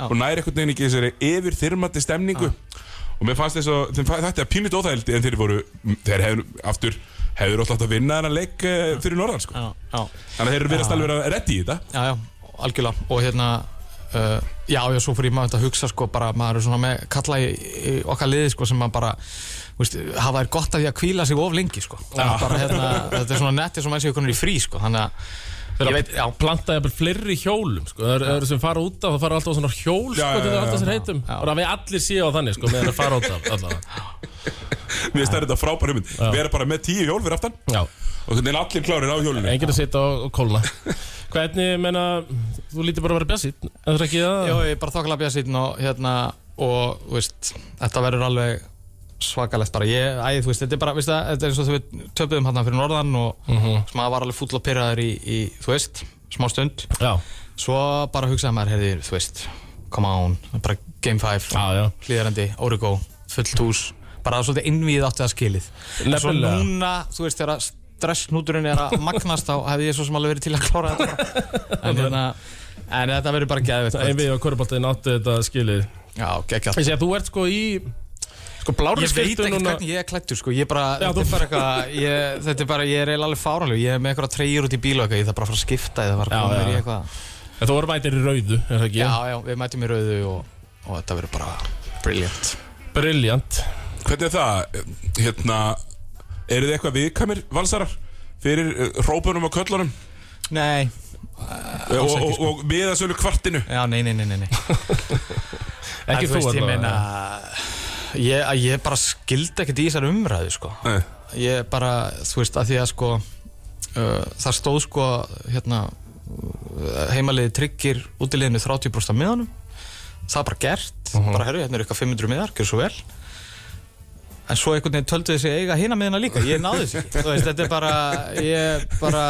Speaker 2: og næri einhvern veginn ekki þessari yfir þyrmandi stemningu og mér fannst þess að þeim fa- þetta er pínut óþældi en þeir voru, þeir hefðu aftur hefur alltaf átt að vinna þennan leik eh, fyrir norðan sko.
Speaker 1: já, já,
Speaker 2: Þannig að þeir eru verið alveg að reddi í þetta
Speaker 1: já, já, algjörlega og hérna uh, já, já, svo fyrir maður að hugsa sko bara, maður er svona með kalla í, í okkar liði sko sem maður bara veist, hafa þær gott af því að kvíla sig of lengi sko bara, hérna, þetta er svona netti sem maður sé ykkur í frí sko, þannig að ég veit, já,
Speaker 3: planta jafnvel fleiri hjólum sko. það eru- það eru sem fara út af, það fara alltaf á svona hjól
Speaker 2: Já,
Speaker 3: sko,
Speaker 2: já,
Speaker 3: til
Speaker 2: já,
Speaker 3: það alltaf
Speaker 2: já.
Speaker 3: sér heitum og það við allir séu á þannig sko, meðan það fara út af allavega.
Speaker 2: Mér stærði þetta frábær hugmynd Við erum bara með tíu hjól fyrir aftan
Speaker 3: já,
Speaker 2: Og þannig er allir klárir á hjólinu
Speaker 3: enginn að sitja og, og kólna hvernig, menna, þú lítið bara að vera bjassið en það er ekki það
Speaker 1: já, ég er bara þokkala bjað sín og hérna og, þú veist, þetta verður alveg svakalegt bara, ég, æ, þú veist, þetta er bara veist það, þetta er eins og þegar við töpuðum hann fyrir norðan og mm
Speaker 3: Mhm.
Speaker 1: maður var alveg fúll og pyrraður í, í, þú veist, smá stund
Speaker 3: já,
Speaker 1: Svo bara hugsaði maður, heyrði, þú veist, come on, bara game 5,
Speaker 3: Já, já.
Speaker 1: hlýðarandi, Origo, fullt hús, bara það svolítið innvíð átti að skilið. En Svo
Speaker 3: Nefnilega.
Speaker 1: núna, þú veist, þegar stressnúturinn er að magnast þá hefði ég svo sem alveg verið til að klára þetta.
Speaker 3: [LAUGHS]
Speaker 1: bara. En, hérna, en þetta verður bara geðveitt.
Speaker 3: það er
Speaker 1: kvöld.
Speaker 3: við og korfbóltaðin áttu þetta skilið
Speaker 1: Já, geggjað.
Speaker 3: ég sé að þú ert sko í sko blári
Speaker 1: Ég veit
Speaker 3: skiltu
Speaker 1: ekkert
Speaker 3: núna
Speaker 1: hvernig ég er klættur, sko, ég bara,
Speaker 3: Já,
Speaker 1: þetta
Speaker 3: þú-
Speaker 1: er bara eitthvað, ég, þetta er bara, ég er eiginlega alveg fáranlegu, ég er með eitthvað treyjur út í bíl og eitthvað, ég þarf bara að fara að skipta eða
Speaker 3: Já,
Speaker 1: fara að koma
Speaker 3: já.
Speaker 1: mér í eitthvað.
Speaker 3: en þú voru mætir í rauðu, er það ekki
Speaker 1: Já, já, við mætum í rauðu og, og þetta verður bara brilliant.
Speaker 3: briljant
Speaker 2: Hvernig er það? Hérna, eru þið eitthvað viðkamir valsarar? Fyrir eh, hrópunum og köllunum
Speaker 1: Nei,
Speaker 2: og, og,
Speaker 1: sko.
Speaker 2: og miðasölu kvartinu
Speaker 1: já, nei, nei, nei, nei. nei.
Speaker 3: ekki
Speaker 1: En
Speaker 3: þú
Speaker 1: veist, ég
Speaker 3: allavega.
Speaker 1: meina, ég, að ég bara skildi ekkert í þessar umræðu, sko.
Speaker 2: Nei.
Speaker 1: Ég bara, þú veist, að því að sko, uh, það stóð sko, hérna, uh, heimaliði tryggir útileginu 30% af miðanum. Það er bara gert,
Speaker 2: Mhm.
Speaker 1: bara herru, hérna er eitthvað 500 miðar, gjör svo vel. En svo einhvern veginn töldu þessi eiga hina miðina líka, ég náði
Speaker 2: [LAUGHS]
Speaker 1: þessi. Þú veist, þetta er bara, ég bara,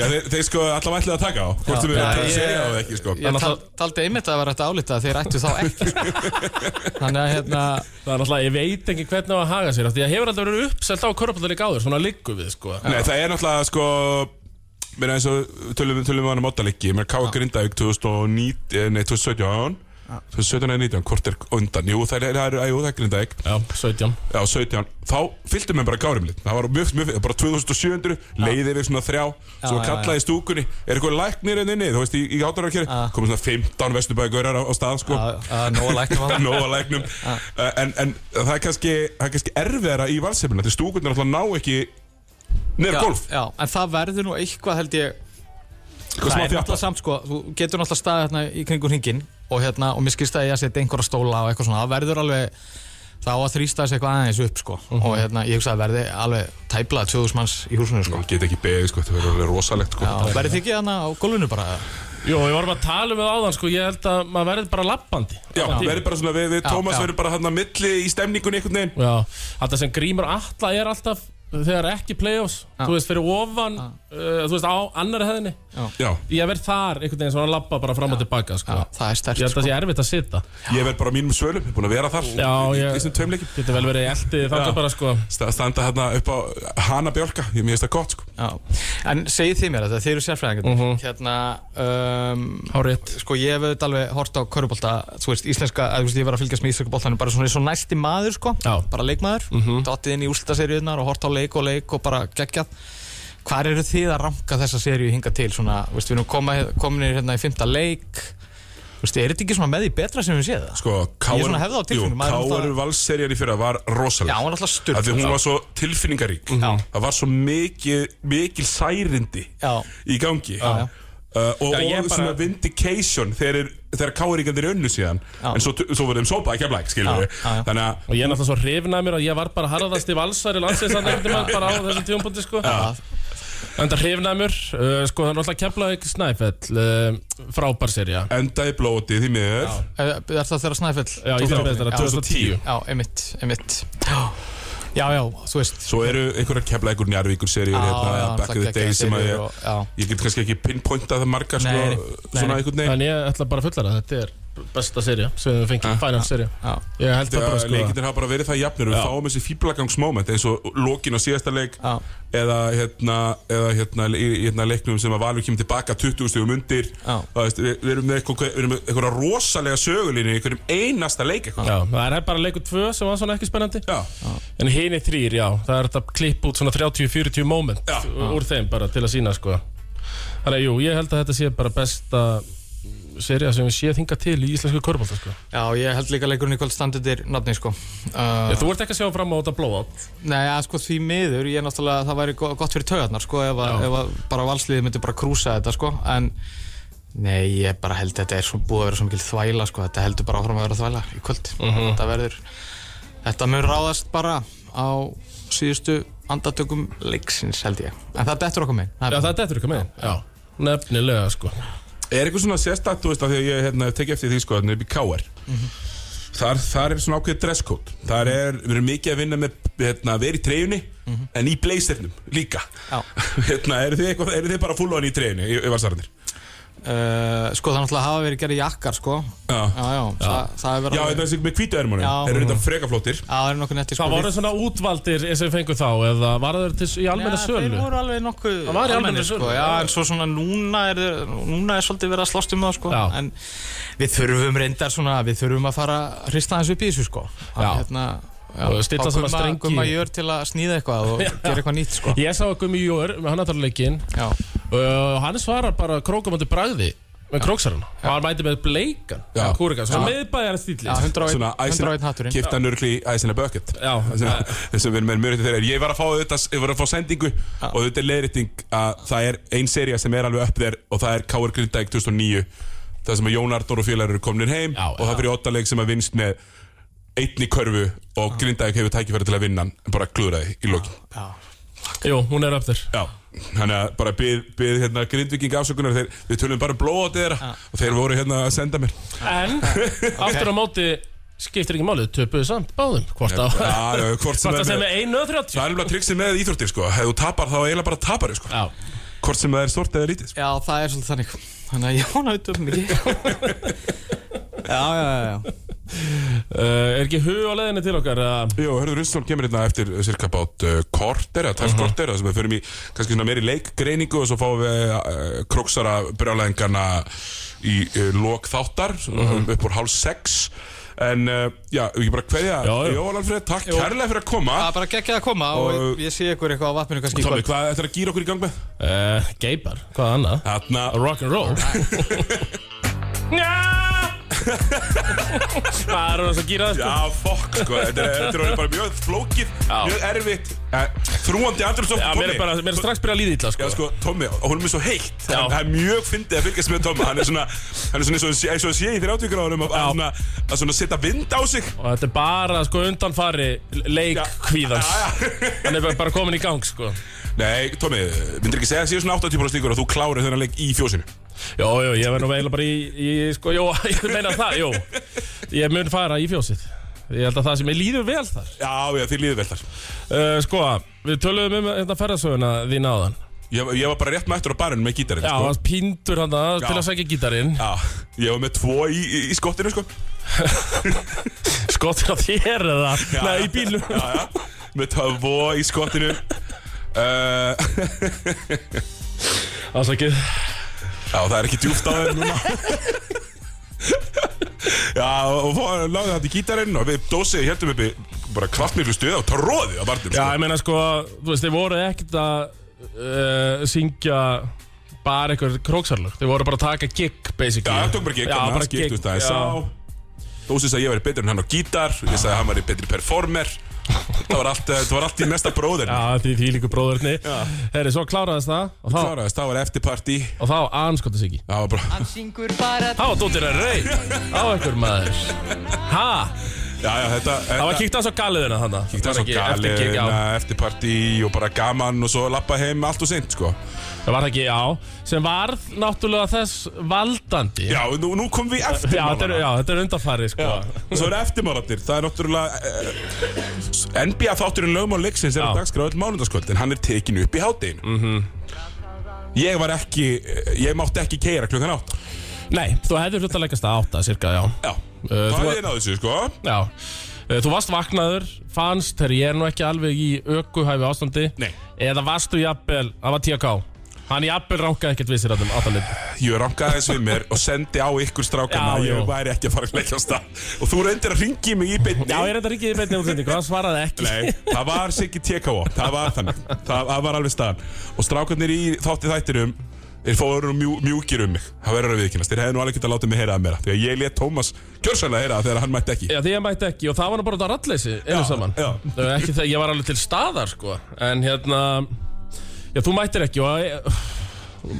Speaker 2: Já, þeir, þeir sko allavega ætlaði að taka á Hvort
Speaker 1: Já.
Speaker 2: sem við
Speaker 1: Já,
Speaker 2: erum að
Speaker 1: ég-
Speaker 2: segja á það ekki sko
Speaker 1: Ég tal, taldi einmitt að það var hægt að álita að þeir ættu þá ekki sko.
Speaker 2: [LAUGHS]
Speaker 1: Þannig að hérna
Speaker 3: Það er náttúrulega, ég veit ekki hvernig á að haga sér af Því að hefur alltaf verið uppselt á körpallalik áður Svona liggu við, sko
Speaker 2: Nei, það er náttúrulega sko Mér eins og tölum tölum við hann um ottaleggi Mér káði Grindavík 2009 eh, Nei, 2017 2017 eða 19, hvort er undan Jú, það er, það er, jú, það er Grindavík
Speaker 3: Já, 17
Speaker 2: Já, 17 Þá fylltum við bara gárum lit Það var mjög, mjög, bara 2700 Leiði við svona þrjá Svo
Speaker 1: já,
Speaker 2: kallaði í stúkunni Er eitthvað læknir enn inni Þú veist, í, í átararkeri Komum svona 15 vesturbæðgörar á, á stað sko
Speaker 1: að, að Nóa læknum hann
Speaker 2: Nóa læknum uh, en, en það er kannski, það er kannski erfiðara í valsefnina Því stúkunni alltaf ná ekki Nefn
Speaker 1: já,
Speaker 2: golf
Speaker 1: já, en það verður nú eitthvað held ég
Speaker 2: Hvað
Speaker 1: Það
Speaker 2: sem að
Speaker 1: er náttúrulega
Speaker 2: þjáta
Speaker 1: samt sko, þú getur náttúrulega staðið hérna í kringum hringin og hérna, og mér skilst að ég að setja einhverja stóla og eitthvað svona, það verður alveg það á að þrýsta þessi eitthvað aðeins upp sko og hérna, ég hugsa að verði alveg tæplað 2000 manns í húsinu sko
Speaker 2: Ég get ekki beðið sko Það verður alveg rosalegt sko
Speaker 1: Já, verði þið ekki hérna á gólfinu bara
Speaker 3: Jú, við vorum að tala um það áðan, sko Ég held að maður verði bara lappandi
Speaker 2: Já, verður bara svona Við, við
Speaker 1: Já,
Speaker 2: Tómas
Speaker 1: já.
Speaker 2: verður bara hann að milli í stemningunni einhvern veginn
Speaker 3: Já, þetta sem grímur alla er alltaf Þegar ekki play-offs Þú veist, fyrir ofan, uh, þú veist, á annari hefðinni
Speaker 2: Já,
Speaker 3: Ég verð þar, einhvern veginn svona að lappa bara fram og tilbaka, sko
Speaker 1: Já, það er
Speaker 3: Ég
Speaker 1: stert
Speaker 3: held
Speaker 1: sko
Speaker 3: að sé erfitt að sitja
Speaker 2: ég verð bara á mínum svölum Ég er búin að vera þar
Speaker 3: Já,
Speaker 2: í- Í
Speaker 3: ég-
Speaker 2: þessum tveim leikjum
Speaker 3: Getur vel verið eldið
Speaker 2: Já.
Speaker 3: þannig bara, sko
Speaker 2: Sta- standa hérna upp á hana bjálka ég mér finnst það gott sko
Speaker 1: Já. En segið þið mér þetta, þið eru sérfræðingar Hérna um,
Speaker 3: Hárétt
Speaker 1: Sko ég hef auðvitað alveg hort á körubólta Þú veist, íslenska, að, þú veist, ég var að fylgjast með íslenska bóltanum Bara svona eins og næsti maður, sko
Speaker 3: Já.
Speaker 1: Bara leikmaður,
Speaker 2: Mhm.
Speaker 1: dottið inn í úrslitaseríunar Og hort á leik og leik og bara geggjað Hvar eru þið að ranka þessa seríu hinga til? Svona, þú veist, við erum koma, kominir hérna í fymta leik Þú veist, er þetta ekki svona með því betra sem við séð það?
Speaker 2: sko
Speaker 1: Ég er svona hefði á tilfinningu, maður er
Speaker 2: Káur
Speaker 1: náttúrulega-
Speaker 2: valsserjan í fyrra var rosaleg
Speaker 1: Já, hún var alltaf sturluð.
Speaker 2: Af því hún var svo tilfinningarík
Speaker 1: Já.
Speaker 2: það var svo mikil, mikil særindi
Speaker 1: Já.
Speaker 2: í gangi
Speaker 1: já.
Speaker 2: Uh, og,
Speaker 3: Já, ég
Speaker 2: og
Speaker 3: bara-
Speaker 2: svona vindication þegar, er- þegar káuríkandir önnu síðan
Speaker 1: Já.
Speaker 2: en svo, svo verðum sópa ekki að blæk skilur
Speaker 1: Já,
Speaker 2: við
Speaker 1: já, já.
Speaker 2: þannig að
Speaker 3: Og ég er náttúrulega svo hrifin af mér að ég var bara harðast í valsar í landsins að nefndum bara á þessum tíumpunkti sko
Speaker 1: Já.
Speaker 3: Enda hrifnæmur, uh, sko það er náttúrulega Keflavík Snæfell, uh, frábær serja
Speaker 2: endaði blótið því miður
Speaker 1: Er, er það þeirra Snæfell?
Speaker 3: Já, í
Speaker 1: Tók-
Speaker 3: þeirra bestara,
Speaker 1: Já.
Speaker 3: 2010
Speaker 1: Já, einmitt, einmitt Já, já, já þú veist
Speaker 2: svo eru einhverja kemla einhver njárvíkur serjur hérna,
Speaker 1: já,
Speaker 2: back in
Speaker 1: það
Speaker 2: the day
Speaker 1: geggjaðar
Speaker 2: sem að
Speaker 1: seríur
Speaker 2: ég,
Speaker 1: og- já.
Speaker 2: ég get kannski ekki pinpointað það margar sko,
Speaker 1: Nei, nei.
Speaker 2: svona einhvern veginn
Speaker 3: En ég ætla bara að fulla það, þetta er besta serja sem við fengið, final serja ég held það
Speaker 2: Þegar
Speaker 3: bara sko að-
Speaker 2: leikindir hafa bara verið það jafnir og við fáum þessi fíblagangsmoment eins og lokin á síðasta leik
Speaker 1: Já.
Speaker 2: eða hérna, eða hérna, í, í hérna leiknum sem að Valur kemur tilbaka 20 stugum undir
Speaker 1: Já.
Speaker 2: Það veist, við, við erum með eitthvað, við erum með eitthvað rosalega sögulínu í einhverjum einasta leik eitthvað
Speaker 3: Já, það er bara leikur tvö sem var svona ekki spennandi
Speaker 2: Já.
Speaker 3: En hini þrýr, já, það er þetta klipp út svona 30-40 moment
Speaker 2: Já.
Speaker 3: úr þeim bara til að sína sko Þannig að jú, ég held að þetta sé bara besta serja sem við séð hinga til í íslensku körbólta sko
Speaker 1: Já, ég held líka leikurinn í kvöld standið er nafni, sko. Uh,
Speaker 3: Já, Þú ert ekki að sjá fram á þetta blóðátt
Speaker 1: nei, ja, sko, því miður, ég náttúrulega, það væri go- gott fyrir taugarnar, sko, ef, að,
Speaker 3: Já.
Speaker 1: ef að bara valsliðið myndi bara krúsa þetta, sko, en nei, ég bara held þetta er svo búið að vera svo mikil þvæla, sko, þetta heldur bara áfram að vera þvæla í kvöld.
Speaker 3: Mhm.
Speaker 1: Þetta verður, þetta mun ráðast bara á síðustu andatökum leiksins, held ég. En það dettur okkur meginn.
Speaker 3: Já, það er þetta ekki með Já, nefnilega sko
Speaker 2: Er eitthvað svona sérstakt, þú veist, að því að ég hérna, hef tekið eftir því sko, þannig upp í KR
Speaker 3: Mhm.
Speaker 2: þar, þar er svona ákveðið dresscode Þar er, við erum mikið að vinna með hérna, að vera í treyjunni,
Speaker 3: Mhm.
Speaker 2: en í blazernum líka
Speaker 1: Já.
Speaker 2: [LAUGHS] hérna, eru, þið eitthvað, eru þið bara full on í treyjunni, í, í valsararnir?
Speaker 1: Uh, sko, það náttúrulega hafa verið gerði jakkar, sko.
Speaker 2: Já.
Speaker 1: Já, já, Það, það er verið...
Speaker 2: Já, þetta er þessi með hvítu ermunum
Speaker 1: Já.
Speaker 2: Þeir eru þetta frekaflóttir
Speaker 1: Já, það er nokkuð netti, sko.
Speaker 3: Það voru svona útvaldir eins og við fengum þá eða var það til í almenna
Speaker 1: Já,
Speaker 3: sölu
Speaker 1: þeir voru alveg nokkuð
Speaker 3: Það var í almennri
Speaker 1: almennir,
Speaker 3: sölu.
Speaker 1: sko, Já, en svo svona núna er, þeir- núna er svolítið verið að slást um það sko.
Speaker 3: Já.
Speaker 1: En við þurfum reyndar svona Við þurfum að fara að hrista þessu upp í þessu sko. Að,
Speaker 3: Já.
Speaker 1: hérna,
Speaker 3: Og stilla saman strengi.
Speaker 1: Gumma jör til að snýða
Speaker 3: [LAUGHS]
Speaker 1: eitthvað og gera eitthvað nýtt sko.
Speaker 3: Ég sá að Gumi Jór, hann að tala leikinn
Speaker 1: Já,
Speaker 3: og hann svarar bara krókamöndu bragði með króksarana og hann mæti með bleikan
Speaker 2: Já.
Speaker 3: kúrikan, svona meðbæjar stíli
Speaker 1: já 101,
Speaker 2: Svona æsina,
Speaker 1: 101 hatturinn
Speaker 2: kipta nörgli í æsina bucket
Speaker 3: Já.
Speaker 2: Þessum við erum með mjög til þeirra Ég var að fá þetta, ég var að fá sendingu Og þetta er leiðrýting að það er ein serja sem er alveg upp þér Og það er K.R. Grindæk 2009 Það sem að Jón Ardór og félagur eru komnir heim
Speaker 3: Já,
Speaker 2: Og það fyrir óttaleg sem að vinst með einni körfu Og Grindæk hefur tækifæri til að vinna hann En bara klúðraði í lokin
Speaker 1: Já.
Speaker 3: Jú, hún er upp þér
Speaker 2: Já, þannig að bara byð, byð hérna, grindviking afsökunar þeir, Við tölum bara blóð á þeirra Og þeir voru hérna að senda mér
Speaker 3: En, aftur á móti skiptir ekki málið, töpuðu samt báðum hvort á
Speaker 2: Já, já, hvort sem
Speaker 3: hvort það
Speaker 2: er
Speaker 3: sem
Speaker 2: með
Speaker 3: er 1.30
Speaker 2: Það er nefnilega triksin með íþróttir sko Ef þú tapar þá eiginlega bara tapar sko
Speaker 3: Já,
Speaker 2: Hvort sem það er stort eða lítið sko.
Speaker 1: Já, það er svolítið þannig Þannig að ég vona auðvitað um mikið Já, já, já, já
Speaker 3: uh, er ekki hug á leiðinni til okkar að
Speaker 2: Jó, hörður Runnstól kemur hérna eftir cirka bát uh, korter eða
Speaker 3: Mhm.
Speaker 2: tærs korter þar sem við förum í kannski svona meiri leikgreiningu og svo fáum við uh, króksara brjálæðingarna í uh, lok þáttar
Speaker 3: Mhm.
Speaker 2: svona upp úr hálf sex en uh, já, við ekki bara hverja
Speaker 3: Já, já.
Speaker 2: Jóval Alfred, takk kærlega fyrir að koma
Speaker 1: Það er bara geggjað að koma og,
Speaker 2: Og-
Speaker 1: ég sé ykkur eitthvað á vatninu kannski í
Speaker 2: Tommi,
Speaker 1: kvöld.
Speaker 2: hvað ætlar að gýra okkur í gang með?
Speaker 3: uh, geipar, hvað annað
Speaker 2: Þarna, [LAUGHS]
Speaker 3: Rock'n'roll Njá Það er hún að gýra það sko
Speaker 2: já, fokk sko Þetta er, þetta er orðið bara mjög flókið,
Speaker 3: Já.
Speaker 2: mjög erfitt eh, Þrúandi Andrússon,
Speaker 3: Já, mér er bara, mér er strax byrjað að líða
Speaker 2: Já
Speaker 3: illa sko
Speaker 2: sko, Tommi, honum er svo heitt
Speaker 3: Já.
Speaker 2: Það er mjög fyndið að fylgjast með Tommi Hann er svona, hann er svona eins og- eins og að sé í 30 gráðunum að, að, svona, að svona setja vind á sig
Speaker 3: Og þetta er bara sko undanfari leik kvíðans
Speaker 2: Já, já.
Speaker 3: Hann er bara- bara komin í gang sko
Speaker 2: Nei, Tommi, myndir ekki segja að séu svona 80 típar slíkur að þú klárir þennan leik í fjósinu
Speaker 3: Jó, jó, ég verð nú eiginlega bara í, í sko, jó, [LAUGHS] ég meina það, jó Ég mun fara í fjósið Ég held að það sem ég líður vel þar
Speaker 2: Já, já, þið líður vel þar
Speaker 3: uh, Sko, við töluðum um þetta ferðasöguna þín áðan
Speaker 2: Ég, ég var bara rétt mættur á barinn með gítarinn
Speaker 3: Já,
Speaker 2: sko.
Speaker 3: hann píndur hann að
Speaker 2: Já.
Speaker 3: til að sækja gítarinn
Speaker 2: Já, ég var með tvo í, í, í skottinu sko
Speaker 3: Skotir á Sko, þér eða, nei, í bílum
Speaker 2: Já, já, með tvo í
Speaker 3: [LAUGHS]
Speaker 2: skottinu Uh,
Speaker 3: Ásakið
Speaker 2: já, það er ekki djúft á þeim
Speaker 3: [LAUGHS]
Speaker 2: núna Já, og fór láði þetta í gítarinn og við dósið heldum uppi bara kraftmiklu stuð og tróði á barnum
Speaker 3: Já, ég meina sko, þú veist, þeir voru ekkert að uh, syngja bara einhver króksarlög Þeir voru bara að taka gig, basically
Speaker 2: Já, hann tók bara gig,
Speaker 3: Já,
Speaker 2: hann
Speaker 3: bara
Speaker 2: skipt
Speaker 3: gig,
Speaker 2: út aðeins
Speaker 3: já.
Speaker 2: á Dósi sagði ég væri betur en hann á gítar Ég sagði hann væri betri performer Það var allt, eh, þetta var allt í mesta bróðir
Speaker 3: Já, því því líku bróðurni Herri, svo kláraðist það og þá,
Speaker 2: Kláraðist, það var eftirparti
Speaker 3: og þá anskotast ekki
Speaker 2: Það var bara,
Speaker 5: Hann syngur bara
Speaker 3: Há, dóttir er reyð Á einhver maður Ha,
Speaker 2: já, já, þetta
Speaker 3: það var kíkt aðeins á galiðina þannig
Speaker 2: Kíkt að svo gali, eftirparti og bara gaman og svo lappa heim allt og seint, sko
Speaker 3: Það var það ekki, já Sem varð náttúrulega þess valdandi
Speaker 2: Já, nú, nú kom við eftir
Speaker 3: já, þetta, er, já þetta er undanfari, sko
Speaker 2: Og svo eru eftirmálarnir, það er náttúrulega eh, NBA þátturinn lögmál leiksins er
Speaker 3: Já. Mhm.
Speaker 2: að dagskrá öll mánundaskvöld en hann er tekinu upp í hádeginu Ég var ekki, eh, ég mátti ekki keira klukkan átt
Speaker 3: Nei, þú hefðir hlut að leggast að átta, cirka, já
Speaker 2: Já,
Speaker 3: Eh, þú
Speaker 2: það
Speaker 3: var-
Speaker 2: er einn á þessu, sko
Speaker 3: Já Eh, Þú varst vaknaður, fannst, herri, ég er nú ekki alveg í ökuhæfi ástandi
Speaker 2: Nei.
Speaker 3: Eða varstu jafnvel, það var TK Hann jafnvel ránkaði ekkert við sér að þeim áttalit
Speaker 2: Ég rankaði þessu við mér og sendi á ykkur strákana
Speaker 3: Já,
Speaker 2: að
Speaker 3: já.
Speaker 2: ég væri ekki að fara að leggja á stað Og þú reyndir að ringi mig í beinni
Speaker 3: Já, ég reyndar ekki í beinni útsendingu, hann svaraði ekki
Speaker 2: Nei, það var Siggi TKO Það var þannig, það, það var alveg staðan Og strákarnir í þátti þættinum Þeir fóru mjú, mjúkir um mig Það verður að viðkynast, þeir hefði nú alveg getað að láta mig heyra að mér Því að ég let Tómas kjörsanlega heyra það þegar hann mætti ekki
Speaker 3: Já, því ég mætti ekki og það var nú bara út af rattleysi einu
Speaker 2: Já,
Speaker 3: saman
Speaker 2: já.
Speaker 3: Það var Ekki það, ég var alveg til staðar sko En hérna Já, þú mættir ekki og eh,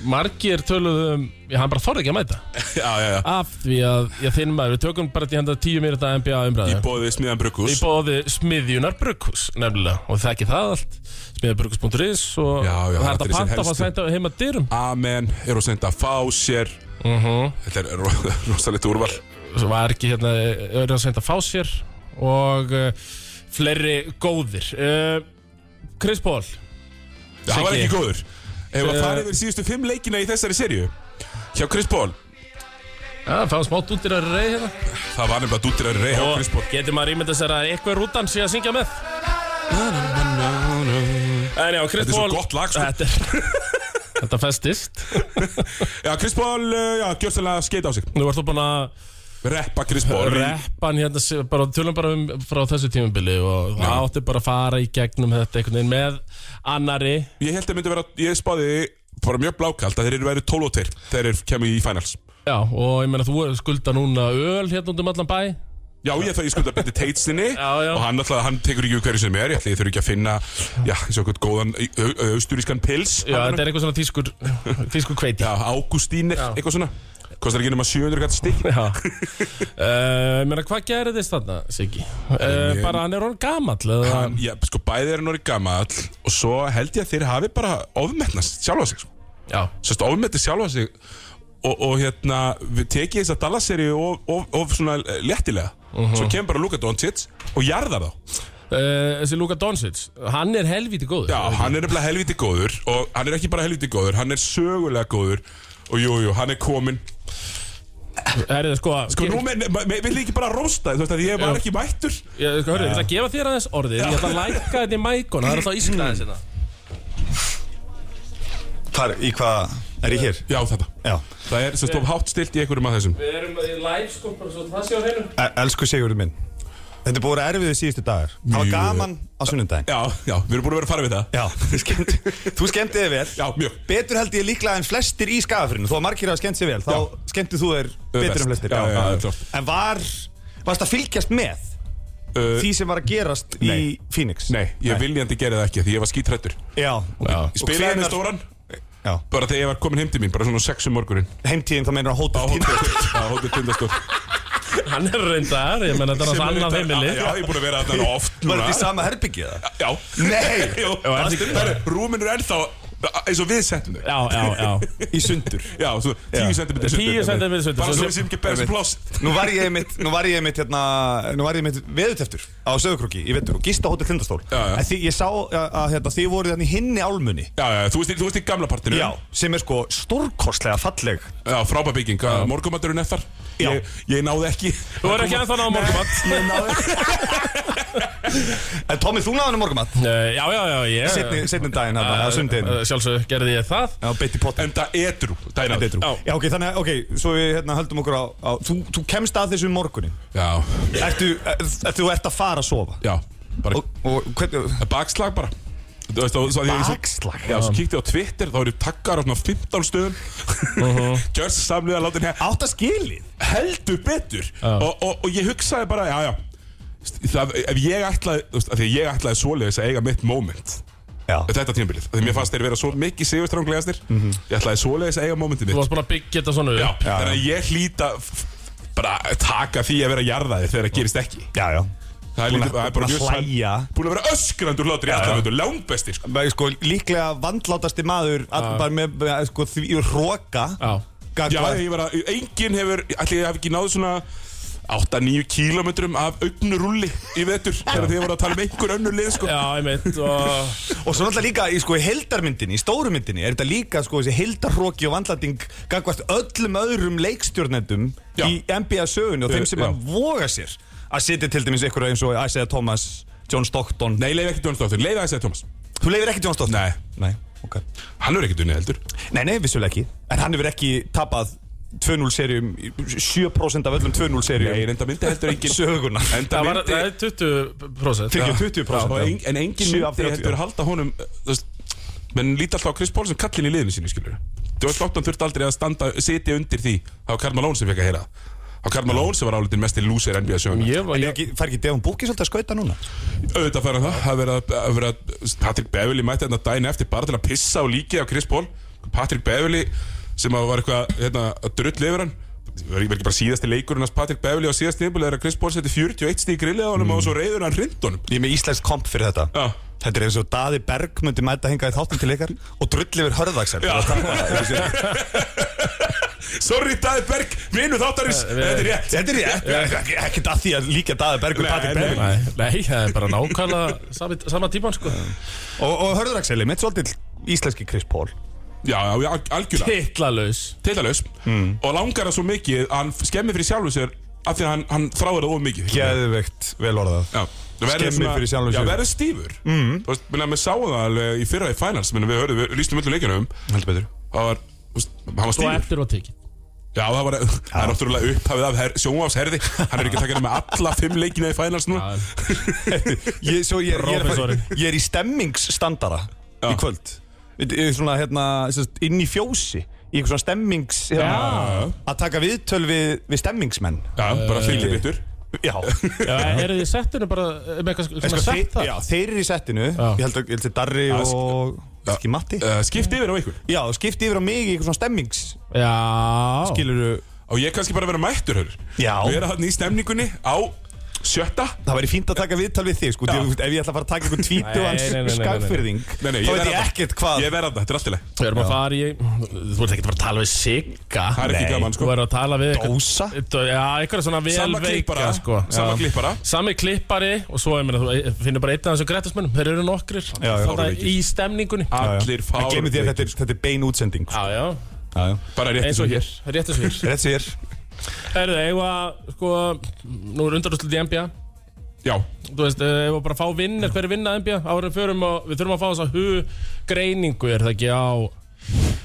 Speaker 3: Margir töluðum Já, hann bara þorði ekki að mæta
Speaker 2: Já, já, já
Speaker 3: Af því að, já, þinn maður Við tökum bara til handa tíu mér þetta NBA
Speaker 2: Í
Speaker 3: umræðu
Speaker 2: bóði smiðan
Speaker 3: Í
Speaker 2: Brukus
Speaker 3: bóði smiðjunar brugghús nefnilega og það ekki það allt smiðjubrugghús.is og
Speaker 2: Já, já,
Speaker 3: það
Speaker 2: þetta er
Speaker 3: er þetta
Speaker 2: sem
Speaker 3: panta og fá
Speaker 2: helstu.
Speaker 3: sænta heima dyrum
Speaker 2: Amen, er hún senda að fá sér
Speaker 3: Mhm.
Speaker 2: Þetta er ro [LAUGHS] rosalegt úrval
Speaker 3: sem var ekki hérna öðru að senda fá sér og uh, fleiri góðir uh, Chris Paul
Speaker 2: Það var
Speaker 3: Siggi.
Speaker 2: ekki góður Ef að
Speaker 3: Eh.
Speaker 2: fara yfir síðustu fimm leikina í þessari serju Hjá Chris Paul
Speaker 3: Já, fáum smátt út í ræði reyð hérna
Speaker 2: Það var nefnilega dúttir að reyja hjá Chris Paul
Speaker 3: Og getur maður ímynda sér að eitthvað rútan sé að syngja með En já,
Speaker 2: Þetta
Speaker 3: Chris
Speaker 2: er svo
Speaker 3: Paul
Speaker 2: gott lag, sko.
Speaker 3: Þetta, er- [LAUGHS] þetta festist
Speaker 2: Já, Chris Paul, eh, já, gjörsanlega skeita á sig
Speaker 3: Nú ert þú búin að
Speaker 2: Reppa Chris Paul í-
Speaker 3: Reppan hérna, sé- bara, tölum bara um, frá þessu tímabili og það
Speaker 2: Já.
Speaker 3: átti bara að fara í gegnum þetta einhvern veginn með annari
Speaker 2: Ég held að myndi vera, ég spáði bara mjög blákald að þeir eru verið 12 og 2 þegar þeir kemur í finals.
Speaker 3: Já, og ég meina þú er skulda núna öl hérna út um allan bæ
Speaker 2: Já, ég þarf ég skulda betur teitstinni
Speaker 3: Já, já.
Speaker 2: og hann alltaf, hann tekur ekki við hverju sem er, ég ætla ég þurfi ekki að finna, já, eins og eitthvað góðan au- au- austurískan pils.
Speaker 3: Já, þetta er eitthvað svona tískur, tískur kveiti
Speaker 2: Já, Ágústínir, eitthvað svona. Kostar ekki nema 700 gæti stikk.
Speaker 3: [LAUGHS] Já Eh, Ég meina, hvað gerir þess þarna, Siggi? Uh,
Speaker 2: ég-
Speaker 3: bara hann er orðin gamall eða
Speaker 2: Hann, já, sko, bæði er hann orðið gamall og svo held ég að þeir hafi bara ofmetnast sjálfa sig, sko.
Speaker 3: Já,
Speaker 2: Sérst, ofmetnast sjálfa sig og, og hérna, við tekið þess að Dallas-seri of, of, of svona eh, léttilega. Svo kemur bara Luka Doncic og jarðar þá.
Speaker 3: Eh, þessi Luka Doncic Hann er helvíti góður
Speaker 2: Já, hann er nefnilega helviti góður og hann er ekki bara helviti góður, hann er sögulega góður og jú, jú, hann er kominn
Speaker 3: Er það sko
Speaker 2: Sko, nú með, með, með, vil ég ekki bara rósta þið, þú veist að ég var
Speaker 3: Já.
Speaker 2: ekki mættur
Speaker 3: Ég, sko, hörru, ég ætla að gefa þér aðeins orðið Ég ætla að læka þetta í mækon Það er alltaf ískraðið sinna
Speaker 5: Hvar, í hvað, er ég hér?
Speaker 2: Já, þetta
Speaker 5: Já,
Speaker 2: Það er sem stóf hátt stilt í einhverjum af þessum
Speaker 3: Við erum í live sko, bara svo það sé á hreinu
Speaker 5: E- elsku Sigurður minn Þetta er búið að vera erfiðu síðustu dagar Það var
Speaker 2: Mjög.
Speaker 5: gaman á sunnundaginn
Speaker 2: Já, já, við erum búin að vera að fara við það [LAUGHS]
Speaker 5: Já, skemmt, þú skemmti þig vel
Speaker 2: Já, mjög
Speaker 5: Betur held ég líklega en flestir í skagafrinu Þó að margir hafa skemmt sig vel Þá
Speaker 2: Já.
Speaker 5: skemmti þú þér betur
Speaker 2: best.
Speaker 5: en flestir
Speaker 2: Já, já, já, klárt.
Speaker 5: En var, varst að fylgjast með
Speaker 2: Uh,
Speaker 5: Því sem var að gerast
Speaker 2: nei.
Speaker 5: í Phoenix
Speaker 2: Nei, ég viljandi gerði það ekki því ég var skítrættur
Speaker 5: Já, okay.
Speaker 3: Já.
Speaker 2: Ég spilaði
Speaker 5: hvenær-
Speaker 2: með stóran
Speaker 5: Já.
Speaker 2: bara þegar ég var komin heim til mín, bara svona 6 um morgunin
Speaker 5: Heimtíðin þá meinar að hóta
Speaker 2: Á hótið,
Speaker 5: [LAUGHS]
Speaker 2: á hótið tindastótt
Speaker 3: Hann er reyndar, ég menn þetta er hans annað heimili
Speaker 2: Já, ég er búin að vera þarna oft
Speaker 5: Var
Speaker 2: núna
Speaker 5: þetta í sama herbyggið það?
Speaker 2: Já
Speaker 5: Nei.
Speaker 2: [LAUGHS] Jú,
Speaker 3: er þetta ekki-
Speaker 2: það er- Rúmin er ennþá eins og við settum þau
Speaker 3: Já, já, já
Speaker 5: Í sundur
Speaker 2: Já, svo 10 cm sundur
Speaker 3: 10 cm sundur.
Speaker 2: Bara
Speaker 3: Svo
Speaker 2: svo við séum ekki að bera sem plást
Speaker 5: Nú var ég mitt, nú var ég mitt, hérna, nú var ég mitt veðuteftur á Söðukrúki í vettur og gista hótið Lindastól.
Speaker 2: Já, já.
Speaker 5: En því ég sá að, að hérna, þið voruð hérna í hinni álmunni.
Speaker 2: Já, já, þú veist, í- þú veist í gamla partinu
Speaker 5: Sem er sko stórkostlega falleg.
Speaker 2: Já, frábæð bygging, morgumaturinn eftir
Speaker 5: Já.
Speaker 2: ég, ég náði ekki
Speaker 3: Þú er ekki ennþá náða morgumat
Speaker 5: En Tommi, þú náðu henni morgumat.
Speaker 3: Eh, Já, já, já, ég
Speaker 5: Setni, setni daginn hérna, eða sundin.
Speaker 3: Eh, Sjálfsög gerði ég það
Speaker 5: Já, beitt í potin.
Speaker 2: En það edru, dæna
Speaker 5: Já, já, ok, þannig að, ok, svo við hérna höldum okkur á, á þú, þú kemst að þessu um morgunin.
Speaker 2: Já,
Speaker 5: Ertu, er, þú ert að fara að sofa.
Speaker 2: já, bara
Speaker 5: Og, og hvernig,
Speaker 2: Bakslag bara Þú veist, þá- svo að ég- svo-
Speaker 5: Bakslag?
Speaker 2: Já, svo kíkti ég á Twitter, þá eru takkar á svona 15 stöðum [LAUGHS] Gjörst samlega látin hér
Speaker 5: átt að skilið?
Speaker 2: heldur betur og, og, og ég hugsaði bara, já, já það, ef ég ætlaði, þú veist, af því að ég ætlaði svoleiðis að eiga mitt moment
Speaker 5: Já.
Speaker 2: þetta tímabilið, af því mér fannst þeir vera svo mikið sigurstranglegastir,
Speaker 5: Mhm.
Speaker 2: ég ætlaði svoleiðis að eiga momentið
Speaker 3: Þú
Speaker 2: mitt,
Speaker 3: varst búin að byggja þetta svona
Speaker 2: já,
Speaker 3: upp
Speaker 2: þannig að ég hlýta bara taka því að vera jarðaði þegar það gerist ekki
Speaker 5: Já, já.
Speaker 2: það er,
Speaker 5: Búin að-
Speaker 2: lítið, það er bara
Speaker 5: búin að
Speaker 2: mjög sann-
Speaker 5: hlæja.
Speaker 2: búin að vera öskrandur hlátri í alltaf veitur, langbestir sko.
Speaker 5: Bara, sko, líklega vandlátasti maður all, bara með, með sko, því roka
Speaker 3: Já.
Speaker 2: já,
Speaker 5: gagvað
Speaker 2: ég var að, enginn hefur, allir ég hef ekki náð svona 8-9 kílometrum af augnurulli í vetur þegar þið voru að tala um einhver önnur lið sko.
Speaker 3: Já, ég meitt og
Speaker 5: Og svo náttúrulega líka í, sko, í heldarmyndinni, í stóru myndinni Er þetta líka sko, þessi heldarhróki og vandlanding Gagvart öllum öðrum leikstjórnendum
Speaker 2: Já.
Speaker 5: Í NBA sögunni og
Speaker 2: Eh,
Speaker 5: þeim sem
Speaker 2: já.
Speaker 5: að voga sér Að setja til dæmis ykkur eins og Isaiah Thomas, John Stockton
Speaker 2: Nei, leif ekki John Stockton, leif aðeins eða Thomas
Speaker 5: Þú leifir ekki John Stockton?
Speaker 2: Nei.
Speaker 5: Nei, ok
Speaker 2: Hann er ekkert unnið heldur
Speaker 5: Nei, nei, vissulega ekki En hann hefur ekki tapað 2-0 serjum 7% af öllum 2-0 serjum
Speaker 2: Nei, reynda myndi heldur engin
Speaker 5: sögunar
Speaker 2: [LAUGHS] Enda
Speaker 3: það var
Speaker 2: myndi
Speaker 3: það er 20%
Speaker 5: Fyrir
Speaker 3: Já.
Speaker 5: ekki 20%
Speaker 2: og en, en engin
Speaker 5: Sjö af
Speaker 2: myndi
Speaker 5: 30,
Speaker 2: heldur
Speaker 5: já.
Speaker 2: halda honum uh, þú veist, menn líti alltaf á Chris Paul sem kallin í liðinu sínu skilur John Stockton þurfti aldrei að standa, sitja undir því það var Karl Malone sem fekk að heyra það. það var Karl Malone sem var álitin mest í lúsir NBA sjöfum
Speaker 3: Ég var,
Speaker 5: En
Speaker 3: ég,
Speaker 5: ekki, fær ekki Devon Búki svolítið að skauta núna?
Speaker 2: auðvitað færa það það verið að- að vera Patrick Beverly mætti hérna dæin eftir bara til að pissa á líkið á Chris Paul Patrick Beverly sem að var eitthvað hérna, að drull yfir hann var ekki bara síðasti leikurinn hans Patrick Beverly á síðast nýmbul er að Chris Paul seti 41 stík grillið á honum og svo reyður hann rindunum
Speaker 5: Ég er með íslensk komp fyrir þetta
Speaker 2: Já.
Speaker 5: Þetta er eins og Daði Berg myndi mæta hingað í þáttum til ykkar og drulli yfir hörðaksar Þetta
Speaker 2: [LAUGHS] Sorry Daði Berg, minu þáttarins Þetta er rétt
Speaker 5: er ég, ekki, ekki að því að líka Daði Berg og Patti
Speaker 2: nei.
Speaker 5: Berg
Speaker 3: nei, nei, það er bara nákvæmlega sami, sama típan sko
Speaker 5: og, og hörðaksar, mitt svolítið íslenski Chris Paul
Speaker 2: Já, já, já, alg- algjörlega
Speaker 3: Titlalaus
Speaker 2: Tilalaus Og langar það svo mikið að hann skemmi fyrir sjálfu sér Af því að hann, hann þráir það of mikið
Speaker 5: Geðveikt vel orðað
Speaker 2: Já það verður
Speaker 5: Skemmir
Speaker 2: svona-
Speaker 5: fyrir sjálfum sér.
Speaker 2: Já, verður stífur mm. Þú veist, minna, við sáum það alveg í fyrra í finals Minna, við höfum, við lýstum öllu leikunum
Speaker 5: Heldur betur
Speaker 2: Það var, þú veist, hann var
Speaker 3: og
Speaker 2: stífur
Speaker 3: eftir og tekið
Speaker 2: Já, það var, það er náttúrulega upphafið af her, sjónvafsherði Hann er ekki takkað með alla fimm leikina í finals nú
Speaker 3: Já.
Speaker 5: ég, svo, ég, er- ég, er,
Speaker 3: Prófessorinn.
Speaker 5: ég er í stemmingsstandara í kvöld Ég- ég er svona, hérna, sem sagt, inn í fjósi í einhver svona stemmings hérna, að taka viðtöl við, við stemmingsmenn
Speaker 2: Já,
Speaker 5: eh,
Speaker 2: bara fylgir bitur
Speaker 5: Já,
Speaker 3: Já, eru þið settinu bara eh, með eitthvað
Speaker 5: Sko,
Speaker 3: svona
Speaker 5: þeir,
Speaker 3: sett það?
Speaker 5: já, þeir eru í settinu Ég held að, ég held að Darri
Speaker 2: sk-
Speaker 5: og Ekki Matti
Speaker 2: uh, Skipt yfir á ykkur
Speaker 5: Já, skipti yfir á mig í eitthvað svona stemmings
Speaker 3: Já
Speaker 5: Giluru
Speaker 2: Og ég kannski bara að vera mættur, hör
Speaker 5: Já,
Speaker 2: vera hann í stemningunni á sjötta
Speaker 5: það væri fínt að taka viðtal við þig sko, því að, þú veist, Ef ég ætla að fara að taka einhvern tvítu
Speaker 3: Nei,
Speaker 5: hans
Speaker 3: nei, nei, nei, nei.
Speaker 5: skagfyrðing Þá
Speaker 2: Nei, nei, ég
Speaker 5: veit
Speaker 2: verð
Speaker 5: ég
Speaker 2: að-
Speaker 5: ekkert hvað
Speaker 2: Ég verð að það, þetta er allt í leið
Speaker 3: Við erum að fara í Þú ert ekki að fara að tala við Sigga
Speaker 2: Það er ekki
Speaker 5: Nei.
Speaker 2: gaman,
Speaker 3: Þú
Speaker 2: sko
Speaker 3: erum að tala við eitthvað-
Speaker 5: Dósa?
Speaker 3: Já, eitthvað svona vel
Speaker 2: Sama klippara,
Speaker 3: veika sko.
Speaker 2: sama
Speaker 3: Já.
Speaker 2: klippara.
Speaker 3: Sami klippari Og svo, ég meina, þú finnur bara einn af þessu grættismönnum Þeir eru nokkrir
Speaker 5: já.
Speaker 3: Þarna Í stemningunni
Speaker 2: Allir
Speaker 5: En
Speaker 2: fár
Speaker 5: glemir því að þetta er, þetta er bein útsending sko.
Speaker 3: Já, já
Speaker 5: Já, já.
Speaker 2: Bara rétt
Speaker 3: Eins og hér Rétt eins og hér
Speaker 5: Rétt sér
Speaker 3: Herðu, eigum að Sko Nú er undarústlið í NBA
Speaker 2: Já,
Speaker 3: Þú veist, eh, eigum við bara að fá vinn Hver er vinn að NBA? Árum förum og Við þurfum að fá þess að hugreiningu Er það ekki á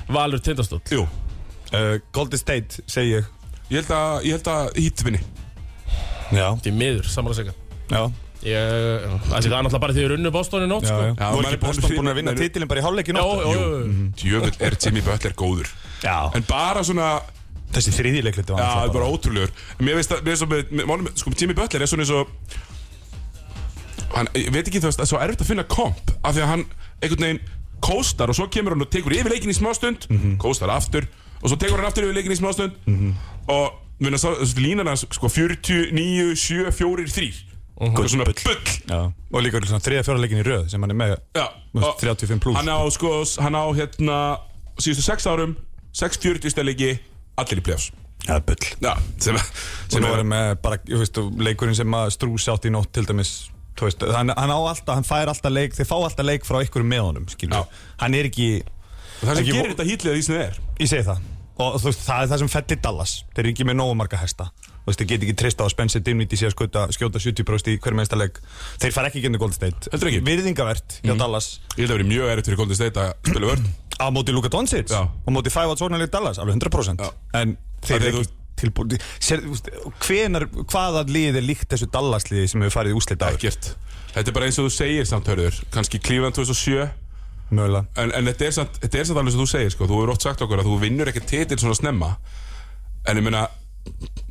Speaker 3: Valur Tindastóll
Speaker 2: jú
Speaker 5: uh, Golden State, segi ég
Speaker 2: Ég held að, ég held að hítvinni
Speaker 5: Já,
Speaker 3: Því miður, samar að segja
Speaker 5: já,
Speaker 3: Ég, ætli, það er náttúrulega bara því við runnu Boston í nótt
Speaker 5: já,
Speaker 3: sko.
Speaker 5: já.
Speaker 2: Já,
Speaker 5: Voru
Speaker 2: maður er
Speaker 5: ekki Boston
Speaker 2: búinn-
Speaker 5: búin að vinna
Speaker 2: maður er-
Speaker 5: titilin bara í hálfleikin
Speaker 3: Jó,
Speaker 5: átta?
Speaker 3: jó, jó.
Speaker 2: Djöfull er Jimmy Butler góður
Speaker 5: Já,
Speaker 2: En bara svona,
Speaker 5: þessi þriðileiklit
Speaker 2: já, það er bara ótrúlegur En Mér veist að, mér veist að, með- með- málum- sko Jimmy Butler er svona eins og Hann, ég veit ekki þú veist, það er svo erfitt að finna komp Af því að hann, einhvern veginn, kóstar Og svo kemur hann og tekur yfir leikin í smástund Kóstar aftur, og svo tekur hann aftur yfir leikin í smástund Og, við veist, þessu línan hans, sko, 40, 9, 7, 4, 3 Svona Mhm. bull
Speaker 5: Já, og líka svona þriða fjóraleikin í röð sem hann er með
Speaker 2: Já,
Speaker 5: Þú veist,
Speaker 2: og
Speaker 5: 35 plús,
Speaker 2: Hann á sko, hann á hérna Síðustu sex árum, 6-40 stelegi Allir í plefs
Speaker 5: Já, bull
Speaker 2: Já, sem,
Speaker 5: sem
Speaker 2: sem
Speaker 5: og nú
Speaker 2: er
Speaker 5: erum við bara, ég veist, og leikurinn sem að strús átt í nótt til dæmis þú veist, hann, hann á alltaf, hann fær alltaf leik þeir fá alltaf leik frá ykkur með honum skilur.
Speaker 2: Já.
Speaker 5: hann er ekki,
Speaker 2: Það sem
Speaker 5: Ekki
Speaker 2: gerir
Speaker 5: vo-
Speaker 2: þetta hýtlega því sem það er
Speaker 5: ég segi það og þú veist, það er það sem fellir Dallas þeir eru ekki með nógu marga hesta þú veist, þeir get ekki treysta á að Spencer Dimniti sé að skjóta, skjóta 70% í hverjum einsta leik þeir fara ekki genið Gold State
Speaker 2: Heldur ekki. Mhm.
Speaker 5: virðingavert hjá Dallas
Speaker 2: Ég held að verið mjög erfitt fyrir Golden State að spila vörn
Speaker 5: á móti Luka Doncic
Speaker 2: Já.
Speaker 5: á móti 5 out sóknarleik Dallas, alveg 100%
Speaker 2: Já.
Speaker 5: en þeir
Speaker 2: Það er
Speaker 5: eru
Speaker 2: þú-
Speaker 5: ekki tilbúin sér, þú veist, hvenar, hvaða lið er líkt þessu Dallas liði sem hefur farið í úslita
Speaker 2: Ekkert Þetta er bara eins og þú segir samt hörður kannski Cleveland 2007
Speaker 5: mögulega
Speaker 2: En, en þetta, er samt, þetta er samt alveg sem þú segir sko. Þú hefur oft sagt okkur að þú vinnur ekki titil svona snemma En ég meina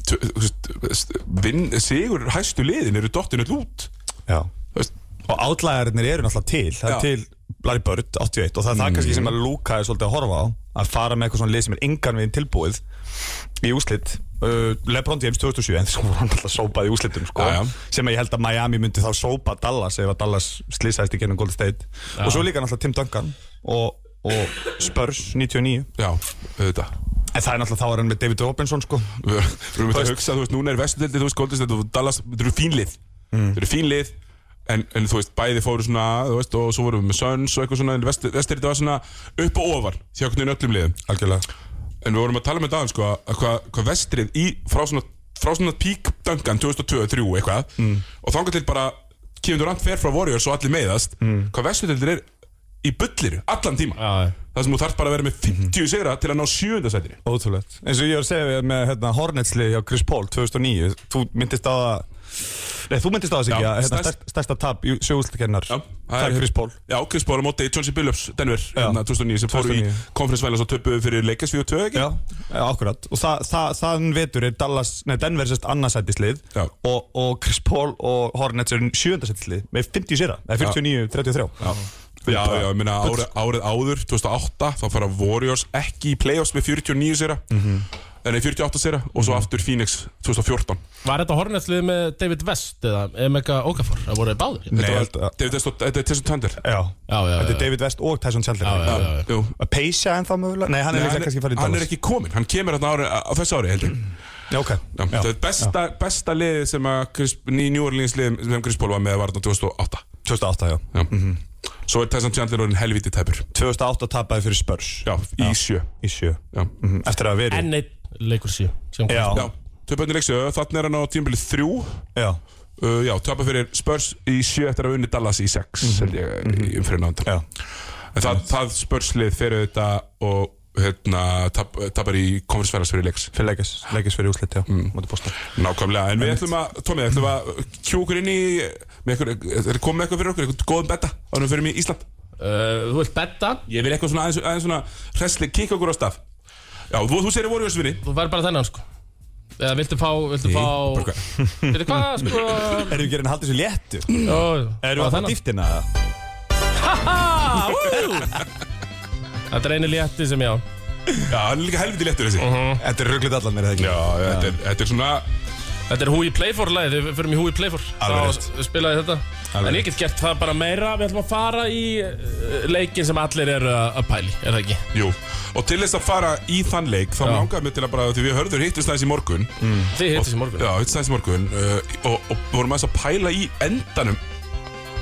Speaker 2: tu- þú veist, vinn, Sigur hæstu liðin eru dottinu lút
Speaker 5: Já.
Speaker 2: Þú veist,
Speaker 5: Og átlæðarinnir eru náttúrulega til Það er
Speaker 2: Já. Mm.
Speaker 5: til Larry Bird, 81 Og það er það kannski sem að Luka er svolítið að horfa á Að fara með eitthvað svona lið sem er engan við tilbúið Í úslit uh, Lebron James 2007 En [LAUGHS] svo var hann alltaf sópað í úslitum sko,
Speaker 2: Já, já.
Speaker 5: Sem að ég held að Miami myndi þá sópa Dallas Ef að Dallas slýsaðist í gennum Golden State Og svo líka náttúrulega Tim Duncan Og, og Spurs 99
Speaker 2: Já, auðvitað
Speaker 5: En það er náttúrulega þá er hann með David Robinson sko
Speaker 2: Við við erum að hugsa, þú veist, núna er vestudildi, þú veist, Goldenstedt og Dallas, þetta eru fín lið. Þetta eru fín lið, en, en þú veist, bæði fóru svona, þú veist, og svo vorum við með Suns og eitthvað svona, en vesturðið var svona upp og ofan, því okkur öllum liðum.
Speaker 5: Algjörlega
Speaker 2: En við vorum að tala með dagann, sko, að hvað hva vestrið í, frá svona, frá svona pík dangan 2002-2003 eitthvað, og þangar til bara, Kevin Durant fer frá Warriors og allir meiðast, hvað vesturðildir er í bullir allan tíma.
Speaker 3: Já, já.
Speaker 2: Það sem þú þarf bara að vera með 50 sigra til að ná sjöundasættinni.
Speaker 5: Ótrúlegt eins og ég var að segja við með hérna, Hornetsli hjá Chris Paul 2009 Þú myndist á það Nei, þú myndist á þess ekki
Speaker 2: Já,
Speaker 5: að hérna,
Speaker 2: stærst-
Speaker 5: stærst, stærsta tap í sjóðslekennar
Speaker 2: Já,
Speaker 5: Það er Chris Paul
Speaker 2: Já, Chris Paul á móti Chelsea Billups Denver hérna 2009 sem fóru í
Speaker 5: 2009.
Speaker 2: konferensvæla svo töpuðu fyrir Lakers 4-2 ekki?
Speaker 5: Já, akkurat Og það, það, þaðan vetur er Dallas, nei, Denver sérst annarsættislið
Speaker 2: Já.
Speaker 5: og, og Chris Paul og Hornets er sjöundarsættislið með 50 sýra, það er 49-33
Speaker 2: Já, já, ég meina árið, árið áður 2008 þá fara Warriors ekki í playoffs með 49 sýra Nei, 48 sýra og svo aftur Phoenix 2014
Speaker 3: Var þetta Hornetslið með David West eða Emeka Okafor? Það voru þeir báðir
Speaker 2: Þetta var-
Speaker 5: held að-
Speaker 2: David Testo- Þetta er Tyson Thunder
Speaker 5: Já,
Speaker 3: Já, já,
Speaker 5: þetta
Speaker 3: já.
Speaker 5: er David West og Tyson Chandler
Speaker 3: já, já.
Speaker 2: Jú.
Speaker 5: Að Peysa en það mögulega? Nei, hann
Speaker 2: Nei,
Speaker 5: er
Speaker 2: hann
Speaker 5: líklega kannski farið í
Speaker 2: hann er
Speaker 5: Dallas
Speaker 2: ekki kominn, hann kemur hérna ári, á þessu ári heldur
Speaker 5: Já, ok
Speaker 2: Já, þetta er besta, besta liðið sem að Chris, ný New Orleans liðið sem Chris Paul var með var þarna 2008
Speaker 5: 2008, já
Speaker 2: Já. Svo er Tyson Chandler orðin helvítið tæpur
Speaker 5: 2008 tapaði fyrir Spurs
Speaker 2: Já, í sjö
Speaker 5: Í sjö
Speaker 2: Já,
Speaker 5: Mhm, Eftir að hafa verið
Speaker 3: Enn einn leikur síu sem
Speaker 5: Já,
Speaker 2: já Tvö bönni leiksjö, þannig er hann á tímabilið þrjú
Speaker 5: já,
Speaker 2: uh, Já, töpa fyrir Spurs í sjö eftir að hafa unni Dallas í sex held ég, í umfyrir nándan
Speaker 5: já
Speaker 2: Mhm. En það, það Spurslið fyrir þetta og hérna, tap, tapar í konferensferðars fyrir leiks
Speaker 5: Fyrir leikis, leikis fyrir úslit, já
Speaker 2: Mhm.
Speaker 5: Móti bósta
Speaker 2: Nákvæmlega, en við ætlum að, Tómi, ætlum að kjúkur inn í með eitthvað, er komið eitthvað fyrir okkur, eitthvað góðum betta ánum fyrir mig í Ísland
Speaker 3: Uh, Þú vilt betta
Speaker 2: Ég vil eitthvað svona aðeins, aðeins svona hressli, kikka okkur á stað Já, þú, þú segir Warriorsvinni
Speaker 3: Þú verð bara þennan sko Eða viltu fá Viltu fá
Speaker 2: bara hvað?
Speaker 3: Viltu hvað sko
Speaker 5: Erum við gerðin að halda þessu léttu?
Speaker 3: Jó, fá
Speaker 5: Erum við að það
Speaker 3: þennan.
Speaker 5: dýftina?
Speaker 3: Ah, ú! Þetta er einu létti sem ég á
Speaker 2: Já, hann er líka helviti léttur þessi
Speaker 5: Þetta er rugglit allan, er það ekki?
Speaker 2: Já, þetta er, þetta er svona
Speaker 3: Þetta er Who You Play For lagið Við förum í Who You Play For
Speaker 5: Alveg
Speaker 3: Þá spilaði þetta
Speaker 5: Alveg
Speaker 3: En ég get gert það bara meira Við ætlum að fara í uh, leikin sem allir eru að að pæli Er það ekki?
Speaker 2: Jú, og til þess að fara í þann leik þá langaði mig til að bara, því við hörður hittist aðeins í morgun mm.
Speaker 3: Þið hittist í morgun
Speaker 2: Já, hittist aðeins í morgun uh, og, og vorum aðeins að pæla í endanum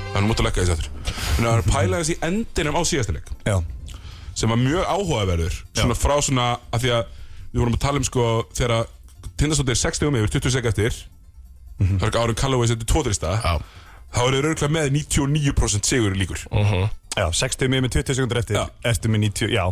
Speaker 2: Það er nú mútt að leggja þessi aftur Þannig að pæla aðeins í endinum á síðasta leik
Speaker 5: Já,
Speaker 2: sem var mjög áhugaverður svona frá svona, af því að við vorum að tala um sko þegar að Tindastóttir er 60 um yfir, 20 sek eftir það er ekki árið Callaway setur tóðrista
Speaker 3: Já. Mm.
Speaker 2: þá eru þeir örgulega með 99% sigur líkur
Speaker 3: Mhm.
Speaker 5: já 60 mjög með 20 sekundur eftir
Speaker 2: Já.
Speaker 5: Eftir með 90, já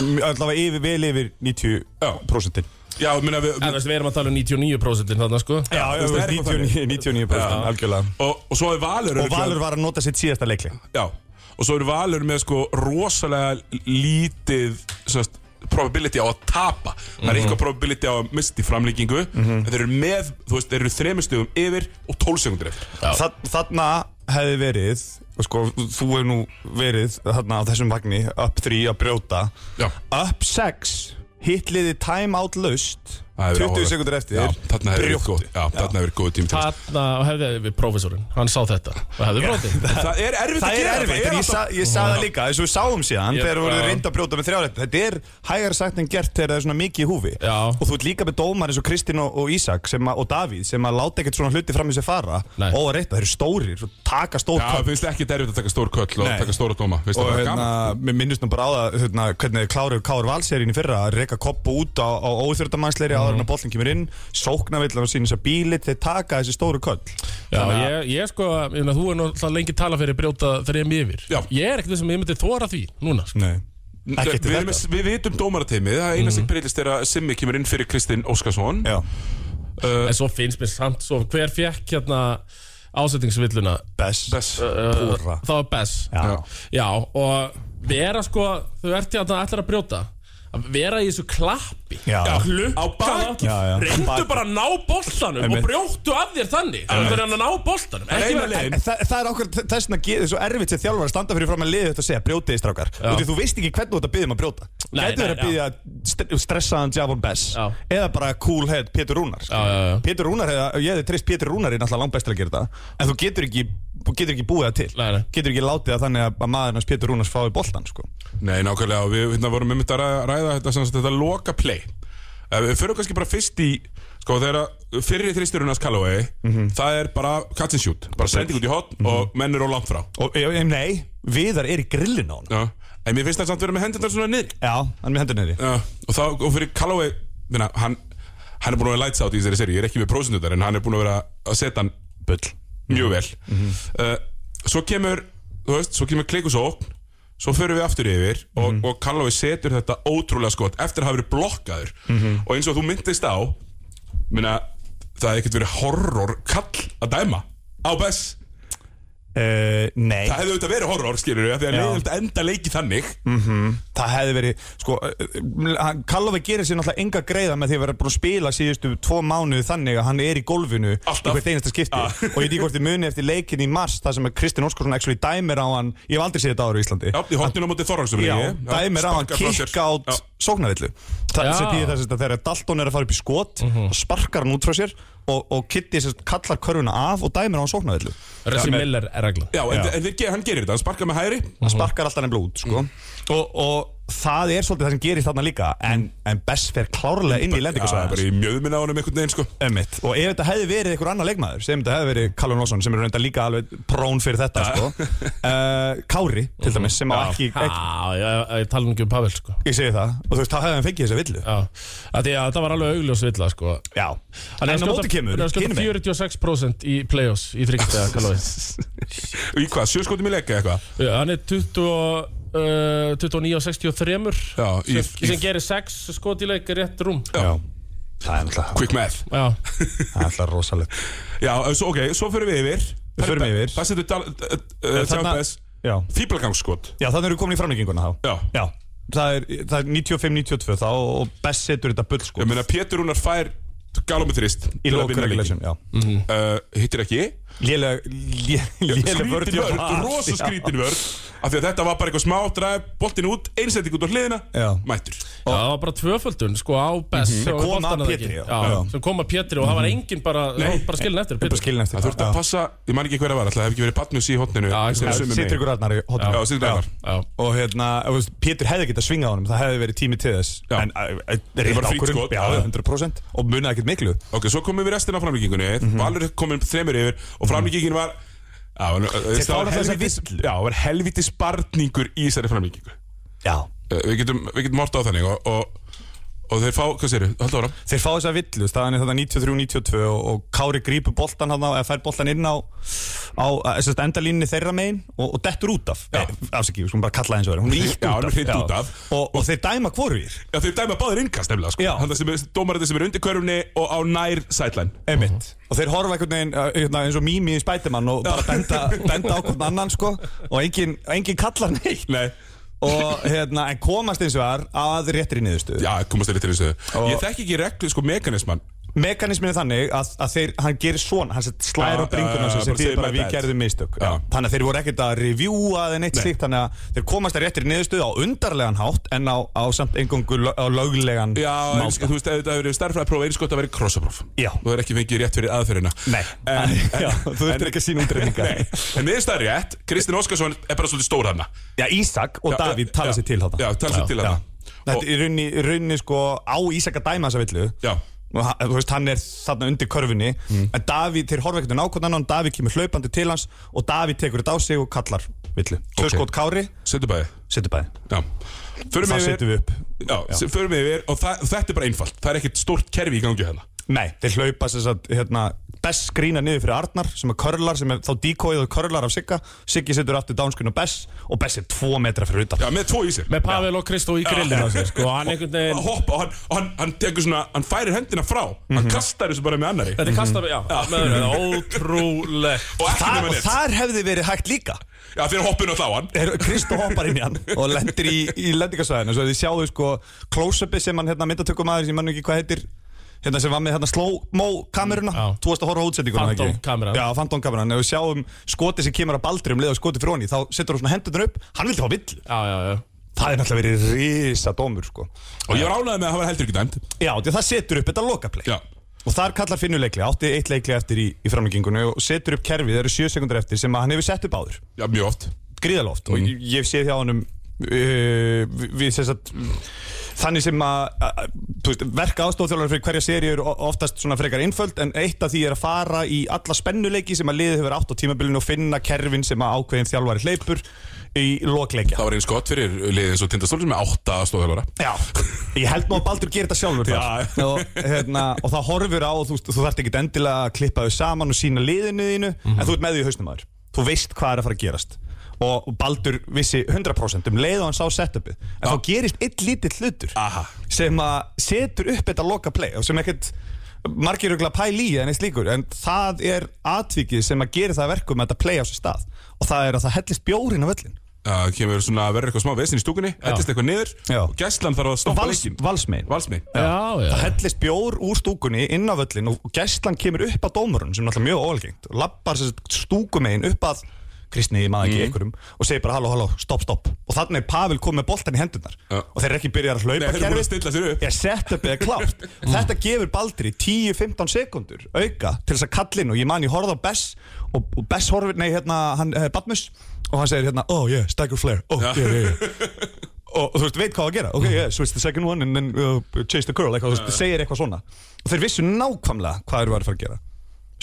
Speaker 5: Allavega yfir, vel yfir 90%
Speaker 2: Já, ég meina við,
Speaker 3: En þú veist, við erum að tala um 99% þarna sko
Speaker 5: Já, já,
Speaker 2: þú veist, það er eitthvað
Speaker 5: 99%, 99% algjörlega
Speaker 2: og, og svo er Valur
Speaker 5: Og
Speaker 2: örugglega-
Speaker 5: Valur var að nota sitt síðasta leikli
Speaker 2: Já, og svo eru Valur með sko rosalega lítið svona, probability á að tapa það
Speaker 5: Mhm.
Speaker 2: er eitthvað probability á að misti framlíkingu en þeir eru með, þú veist, þeir eru þremustugum yfir og 12 sekundur eftir
Speaker 5: Þa, Þarna hefði verið og sko, þú hefur nú verið þarna á þessum vagni, up 3 að brjóta
Speaker 2: Já.
Speaker 5: up 6 hitliði time out laust
Speaker 2: Það hefur
Speaker 5: 20
Speaker 2: áhugavert.
Speaker 5: sekundur eftir
Speaker 2: Já, þarna hefur verið
Speaker 5: brjóttu.
Speaker 2: góð- já, þarna hefur verið góð tími til þess.
Speaker 3: Þarna hefði við prófessorinn Hann sá þetta Og hefði brotið
Speaker 2: [LAUGHS] Það er erfitt að
Speaker 5: Það er
Speaker 2: gera
Speaker 5: erfitt, en ég, sa, ég sagði það líka, eins og við sáum síðan,
Speaker 3: Ég-
Speaker 5: þegar voru
Speaker 3: já.
Speaker 5: reynda að brjóta með þrjárætt, þetta er hægara sagt en gert þegar það er svona mikið í húfi.
Speaker 3: Já.
Speaker 5: Og þú ert líka með dómar eins og Kristinn og, og Ísak sem að, og Davíð sem að láta ekkert svona hluti fram í sig fara
Speaker 3: Nei.
Speaker 5: og að reyta, þeir eru stórir og taka stór
Speaker 2: Já,
Speaker 5: köp.
Speaker 2: finnst ekki erfitt að taka stór köll og
Speaker 5: Nei.
Speaker 2: taka stóra dóma Finnst
Speaker 5: Og
Speaker 2: það bara
Speaker 5: hérna,
Speaker 2: gaman
Speaker 5: mér minnist nú bara á það hérna, hvernig klárið Kár Valserín í fyrra að reyka koppu út á, á óþjördamannsleiri áður en að bollin kemur inn, sóknavill að sína þess að bílit, þeir taka þessi stóru köll.
Speaker 3: Já, ég, ég sko, ég meina, þú er náttúrulega lengi tala fyrir brjóta þrejum yfir
Speaker 2: Já.
Speaker 3: Ég er ekkert þessum ég myndi þóra því núna sko.
Speaker 5: Nei. Ekki
Speaker 2: Við,
Speaker 5: eftir
Speaker 2: erum-
Speaker 5: þetta. Mhm.
Speaker 2: við vitum dómarateimið, það er eina sem breytist er að Simmi kemur inn fyrir Kristinn Óskarsson
Speaker 5: Já.
Speaker 3: En svo finnst mér samt svo, Hver fekk hérna ásettingsvilluna
Speaker 5: Bess.
Speaker 2: Bess.
Speaker 5: Púra.
Speaker 3: Það var Bess
Speaker 5: Já.
Speaker 3: Já, og vera sko Þú ert hérna ætlar að brjóta Að vera í þessu klappi
Speaker 5: Já. Já,
Speaker 2: á baki.
Speaker 3: Klukka
Speaker 5: Já, já.
Speaker 3: Reyndu
Speaker 5: Baki.
Speaker 3: bara að ná boltanum
Speaker 5: Einmitt.
Speaker 3: Og brjóttu af þér þannig Það er að ná boltanum Ekki
Speaker 2: Eina
Speaker 3: vera
Speaker 2: leiðin
Speaker 5: En það, það er okkur þess vegna geðið svo erfitt sem þjálfar að standa fyrir fram að liða þetta og segja brjótiði strákar og því þú veist ekki hvernig þú ert að byggja um að brjóta
Speaker 3: Nei,
Speaker 5: Gæti
Speaker 3: nei,
Speaker 5: verið að byggja st stressaðan Javon Bess
Speaker 3: Já.
Speaker 5: eða bara cool head Pétur Rúnar já,
Speaker 3: já, já.
Speaker 5: Pétur Rúnar, hefða, ég hefði treyst Pétur Rúnar í náttúrulega langt best til að gera þetta en þú getur ekki, þú getur ekki búið það til
Speaker 3: Nei, nei.
Speaker 5: getur ekki látið það þannig að maðurinn hans Pétur Rúnars fái boltan sko.
Speaker 2: Nei, nákvæmlega, og við hérna, vorum einmitt að ræða, ræða þetta, sem sagt, þetta loka play Eh, Við förum kannski bara fyrst í Sko þegar að fyrri þristurinn hans Callaway Það er bara catch and shoot Bara sending út í hotn og menn eru á langt frá
Speaker 5: Og, ég, ég, nei, viðar er í grillin á hann
Speaker 2: Já. En mér finnst það samt vera með hendurnar svona niður
Speaker 5: Já, hann er með hendur niðri
Speaker 2: Já, og, þá, og fyrir Callaway minna, hann, hann er búin að vera lights out í þessari seri Ég er ekki með prósendutar en hann er búin að vera að setja hann
Speaker 5: Bull
Speaker 2: mjög
Speaker 5: Mhm.
Speaker 2: vel uh, Svo kemur þú veist, Svo kemur klikusókn Svo förum við aftur yfir og,
Speaker 5: Mhm.
Speaker 2: og Callaway setur þetta ótrúlega skot Eftir að hafa verið blokkaður
Speaker 5: Mhm.
Speaker 2: Og eins og þú myndist á minna, Það hefði ekkert verið horror kall að dæma Á Bess
Speaker 5: uh, Nei,
Speaker 2: Það hefði auðvitað verið horror skilur við Því að leiðild enda leiki þannig
Speaker 5: Mm. það hefði verið sko, eh, hann Kallafi gerir sér náttúrulega enga greiða með því að vera búin að spila síðustu tvo mánuði þannig að hann er í golfinu
Speaker 2: Alltaf.
Speaker 5: í hvert einasta skipti
Speaker 2: Ah.
Speaker 5: og ég díkvort í muni eftir leikin í mars þar sem að Kristinn Óskarsson actually dæmir á hann ég hef aldrei séð þetta áður í Íslandi
Speaker 2: Já, í hotninu á móti Þorvarsson
Speaker 5: Já, dæmir á hann kikk átt sóknarvillu Það
Speaker 3: Já.
Speaker 5: er sem tíði þess að þegar Dalton er að fara upp í skot og sparkar hann út frá sér og, og Kitty sem sagt kallar körfuna af og dæmir á hann sóknarvillu
Speaker 3: Ressi Miller er reglan
Speaker 2: Já, en,
Speaker 5: Já.
Speaker 2: en þeir, ge- hann gerir þetta, hann sparkar með hægri
Speaker 5: hann sparkar alltaf nefnilega út sko. og, og það er svolítið það sem gerist þarna líka en, en Bess fer klárlega inn í
Speaker 2: Já, bara
Speaker 5: lendingarsvæðan
Speaker 2: í mjöðminna á honum einhvern veginn sko
Speaker 5: Ömmitt. og ef þetta hefði verið einhver annar leikmaður sem þetta hefði verið Callum Lawson sem er reynda líka alveg prón fyrir þetta sko. uh, Kári til dæmis sem á ekki,
Speaker 3: Já,
Speaker 5: ekki
Speaker 3: ég, ég tala nú ekki um Pavel sko.
Speaker 5: ég segi það og þú veist það hefði hann fengið þessa villu
Speaker 3: Já, að því að það var alveg augljós villa sko.
Speaker 5: já
Speaker 3: Hann er
Speaker 5: en á
Speaker 3: að skjóta-
Speaker 5: móti kemur
Speaker 3: Hann er að skjóta
Speaker 5: hinum megin.
Speaker 3: 46% í play-offs í þryggstega kalói
Speaker 2: Í hvað, sjöskotum í leika eitthvað?
Speaker 3: Hann er 20, og, uh, 29 og 63
Speaker 2: Já, í,
Speaker 3: sem, sem gerir 6 skot í leik rétt rúm
Speaker 5: já það er alltaf
Speaker 2: quick math
Speaker 3: Já,
Speaker 5: það er alltaf rosalegt
Speaker 2: Já, svo, ok, svo förum við yfir
Speaker 5: Við förum yfir.
Speaker 2: Það setur Dal-
Speaker 5: þarna-
Speaker 2: Tjábæs
Speaker 5: já
Speaker 2: Fíblagangskot
Speaker 5: já þannig eru komin í framlegginguna þá
Speaker 2: Já
Speaker 5: já það er, það er 95-92 þá og Bess setur þetta bull sko
Speaker 2: Ég meina, Pétur Rúnar fær galometrist
Speaker 5: í lókur regulation já
Speaker 2: Mm. Eh, Hittir ekki
Speaker 5: Lélega Lélega
Speaker 2: Skrítin vörd, rosa skrítin vörd Af því að þetta var bara eitthvað smá dræf Boltin út, einsending út á hliðina
Speaker 5: Já.
Speaker 2: Mættur
Speaker 3: Já, það var bara tvöföldun sko á Bess mm
Speaker 5: Sem kom Mhm. að Pétri, já.
Speaker 3: já.
Speaker 5: Já. Mhm.
Speaker 3: Sem kom að Pétri og það var enginn bara, það var bara skilin eftir
Speaker 5: Bara
Speaker 3: Pétri.
Speaker 5: skilin eftir
Speaker 2: Það þurfti að passa, ég man ekki hverja var Alltaf það hef ekki verið Patnus í hotninu
Speaker 3: Já, ekki
Speaker 2: sem
Speaker 3: það.
Speaker 2: sumir megin.
Speaker 5: Sittur ykkur Arnar í hotnum
Speaker 2: Já, Sigtryggur Arnar.
Speaker 3: Já.
Speaker 5: Og hérna, þú veist, Pétur hefði getað svingað á honum Það hefði verið tími til þess
Speaker 2: Já.
Speaker 5: En uh, uh,
Speaker 2: er
Speaker 5: rétt
Speaker 2: bara frítt
Speaker 5: ákvörðun,
Speaker 2: skot,
Speaker 5: Já,
Speaker 2: já.
Speaker 5: 100% Og munaði ekkert miklu
Speaker 2: Ok, svo komum við restina af framlíkingunni
Speaker 5: Mhm.
Speaker 2: Valur komin þremur yfir og framlíkingin var Já, en, uh,
Speaker 5: fá
Speaker 2: það var
Speaker 5: alltaf þessa
Speaker 2: helvitis-
Speaker 5: villu.
Speaker 2: Já, var helvitis barningur í þessari framlíkingu
Speaker 5: Já
Speaker 2: uh, Við getum, við getum orta á þannig og, og, og þeir fá, hvað séru, halda ára
Speaker 5: Þeir fá þess að villu, staðan er þetta 93-92 og, og Kári grípur boltan hann á, eða fær boltan inn á, á sest, endalínni þeirra megin og, og dettur út af
Speaker 2: Já.
Speaker 5: eh, Afsaki, við skulum bara kalla það eins og verið Hún er ítt
Speaker 2: Já, hún
Speaker 5: út
Speaker 2: er
Speaker 5: af,
Speaker 2: hritt út af.
Speaker 5: Og, og þeir dæma hvorir
Speaker 2: Já, þeir dæma báðir innkast nefnilega sko.
Speaker 5: Já.
Speaker 2: Hann það sem er dómarandi sem er undir körfunni og á nær sætlæn
Speaker 5: Einmitt. Mhm. Og þeir horfa einhvern veginn uh, hérna, eins og mými í spætumann og bara benda, benda á hvern annan sko og enginn engin kallar neitt
Speaker 2: Nei,
Speaker 5: og hérna, en komast eins og var að réttri niðurstöðu.
Speaker 2: já, komast þeir til þessu
Speaker 5: Og-
Speaker 2: Ég þekki ekki reglu, sko, mekanisman
Speaker 5: Mekanismin er þannig að, að þeir, hann gerir svona, hann set- slæðir
Speaker 2: Já,
Speaker 5: á bringuna
Speaker 2: já,
Speaker 5: sem,
Speaker 2: já,
Speaker 5: sem
Speaker 2: bara
Speaker 5: þýðir
Speaker 2: segir
Speaker 5: bara
Speaker 2: my
Speaker 5: við
Speaker 2: bad.
Speaker 5: gerðum mistök.
Speaker 2: Já.
Speaker 5: Þannig að þeir voru ekkert að revjúa eða neitt slíkt, þannig að þeir komast að réttri niðurstöðu á undarlegan hátt en á, á samt engungu lög, á löglegan
Speaker 2: Já, en, sko,
Speaker 5: málstað.
Speaker 2: þú veist, ef þetta hefur verið starffræðapróf einskott að verið krossapróf
Speaker 5: Já.
Speaker 2: Þú er ekki fengið rétt fyrir aðferðina
Speaker 5: Nei,
Speaker 2: en,
Speaker 5: [LAUGHS] já, þú þurftir ekki að sína
Speaker 2: [LAUGHS]
Speaker 5: útreikninga.
Speaker 2: Nei, en miðurstað rétt, Kristinn Óskarsson er bara svolítið stór hana
Speaker 5: Já, Ísak og
Speaker 2: Já,
Speaker 5: Davíð
Speaker 2: já,
Speaker 5: tala sér til þetta
Speaker 2: já, tala sig til þarna.
Speaker 5: Þetta
Speaker 2: Og-
Speaker 5: er í rauninni, í rauninni sko á Ísak að dæma þessa villu
Speaker 2: Já. Mm.
Speaker 5: Og ha- Þú veist, hann er þarna undir körfunni En Davíð, þeir horfa ekkert um nákvæmd annan Davíð kemur hlaupandi til hans Og Davíð tekur þetta á sig og kallar villu Tvö
Speaker 2: Ok.
Speaker 5: skot Kári,
Speaker 2: Setur bæði
Speaker 5: setur bæði
Speaker 2: Já Förum
Speaker 5: Það
Speaker 2: yfir-
Speaker 5: setjum við upp.
Speaker 2: Já, já. förum við yfir Og það, þetta er bara einfalt Það er ekkert stórt kerfi í gangi hérna
Speaker 5: Nei, þeir hlaupa sér satt, hérna Bess skrína niður fyrir Arnar sem er körlar sem er þá díkóið og körlar af Sigga Siggi setur aftur dánskun og Bess og Bess er tvo metra fyrir utan
Speaker 2: Já, með tvo í sér
Speaker 3: Með Pavel og Kristó í grillin á sér sko, og hann einhvern
Speaker 2: Og
Speaker 3: veginn
Speaker 2: hoppa og hann, og hann, hann tekur svona Hann færir hendina frá
Speaker 5: Mhm.
Speaker 2: Hann kastar þessu bara með annari
Speaker 3: Þetta er kastað, já, með þetta, ótrúlegt
Speaker 2: Og ekki
Speaker 5: Þar,
Speaker 2: nema
Speaker 5: og
Speaker 2: neitt
Speaker 5: þar hefði verið hægt líka
Speaker 2: Já, þeir hoppinu á hann
Speaker 5: er Kristó hoppar inn í hann og lendir í, í lendingasvæðinu svo þið sjáðu sko close-upi sem hann hérna myndatökum aðeins, ég mann ekki hvað heitir hérna sem var með hérna slow-mo kameruna
Speaker 3: Já.
Speaker 5: þú varst að horfa á útsendinguna
Speaker 3: Phantom
Speaker 5: ekki?
Speaker 3: kameran.
Speaker 5: já, phantom kameran, ef við sjáum skoti sem kemur að baldri um leið og skoti frá hann þá setur hann svona hendurnar upp, hann vildi fá vill
Speaker 3: Já, já, já
Speaker 5: það er náttúrulega verið risa dómur sko
Speaker 2: Og ég var ánægð með að hafa heldur ekki dæmt
Speaker 5: já, því að það setur upp þetta lokapleik
Speaker 2: Já
Speaker 5: og þar kallar Finnur leikli, átti eitt leikli eftir í, í framlengingunni og setur upp kerfið, það eru sjö sekundar eftir sem að hann hefur sett upp áður
Speaker 2: Já, mjög oft
Speaker 5: gríðaloft og ég, ég sé því á honum uh, við, við sem sagt þannig sem að, að þú veist, verka aðstofþjálfari fyrir hverja seri eru o- oftast svona frekar einföld en eitt af því er að fara í alla spennuleiki sem að liðið hefur átt á tímabilinu og finna kerfin sem að ákveðin þjálfari hleypur í lokleikja
Speaker 2: Það var eins gott fyrir liðið eins og tindastólir með átta stóðhjálfara
Speaker 5: Já, [LAUGHS] ég held nú að Baldur gerir þetta sjálfur þar og, hérna, og það horfur á og þú, þú þarft ekki endilega að klippa þau saman og sína liðinu þínu en þú ert með því í hausnum aður þú veist hvað er að fara að gerast og Baldur vissi 100% um leið og hann sá setupið en þá gerist eitt lítill hlutur
Speaker 2: Aha.
Speaker 5: sem að setur upp þetta loka play og sem ekkert margir örugglega pæl í en eitt slíkur en það er atvikið sem að gera það að verkum að þetta play á sér stað og það er að það hellist bjórin á völlin
Speaker 2: Það kemur svona að vera eitthvað smá vesin í stúkunni Ættist eitthvað niður
Speaker 5: Já.
Speaker 2: og gæslan þarf að stoppa
Speaker 5: Vals,
Speaker 2: leikin
Speaker 5: valsmein
Speaker 2: Valsmi
Speaker 3: já, já.
Speaker 5: það hellist bjór úr stúkunni inn á völlin og gæstlan kemur upp að dómurun sem er náttúrulega mjög óalgengt og lappar stúkumegin upp að Kristni, ég maður
Speaker 2: Mhm.
Speaker 5: ekki, einhverjum og segir bara halló, halló, stopp, stopp og þannig er Pavel komið með boltan í hendunar
Speaker 2: Já.
Speaker 5: og þeir eru ekki byrjar að
Speaker 2: Nei,
Speaker 5: hlaupa
Speaker 2: þeir eru búin að stilla sér upp
Speaker 5: ég sett upp eða
Speaker 2: [LAUGHS]
Speaker 5: klárt þetta gefur Baldri 10-15 sekundur auka til þess að kallin og ég man ég horfði á Bess og, og Bess horfir, nei hérna hann, eh, Batmus og hann segir hérna oh yeah, Stagger Flare, oh yeah, yeah, yeah. og, og þú veist, veit hvað á að gera ok, yeah, switch the second one and then uh, chase the curl eitthvað, þú veist, segir eitthvað svona og þeir vissu nákvæmlega hvað þeir var að fara að gera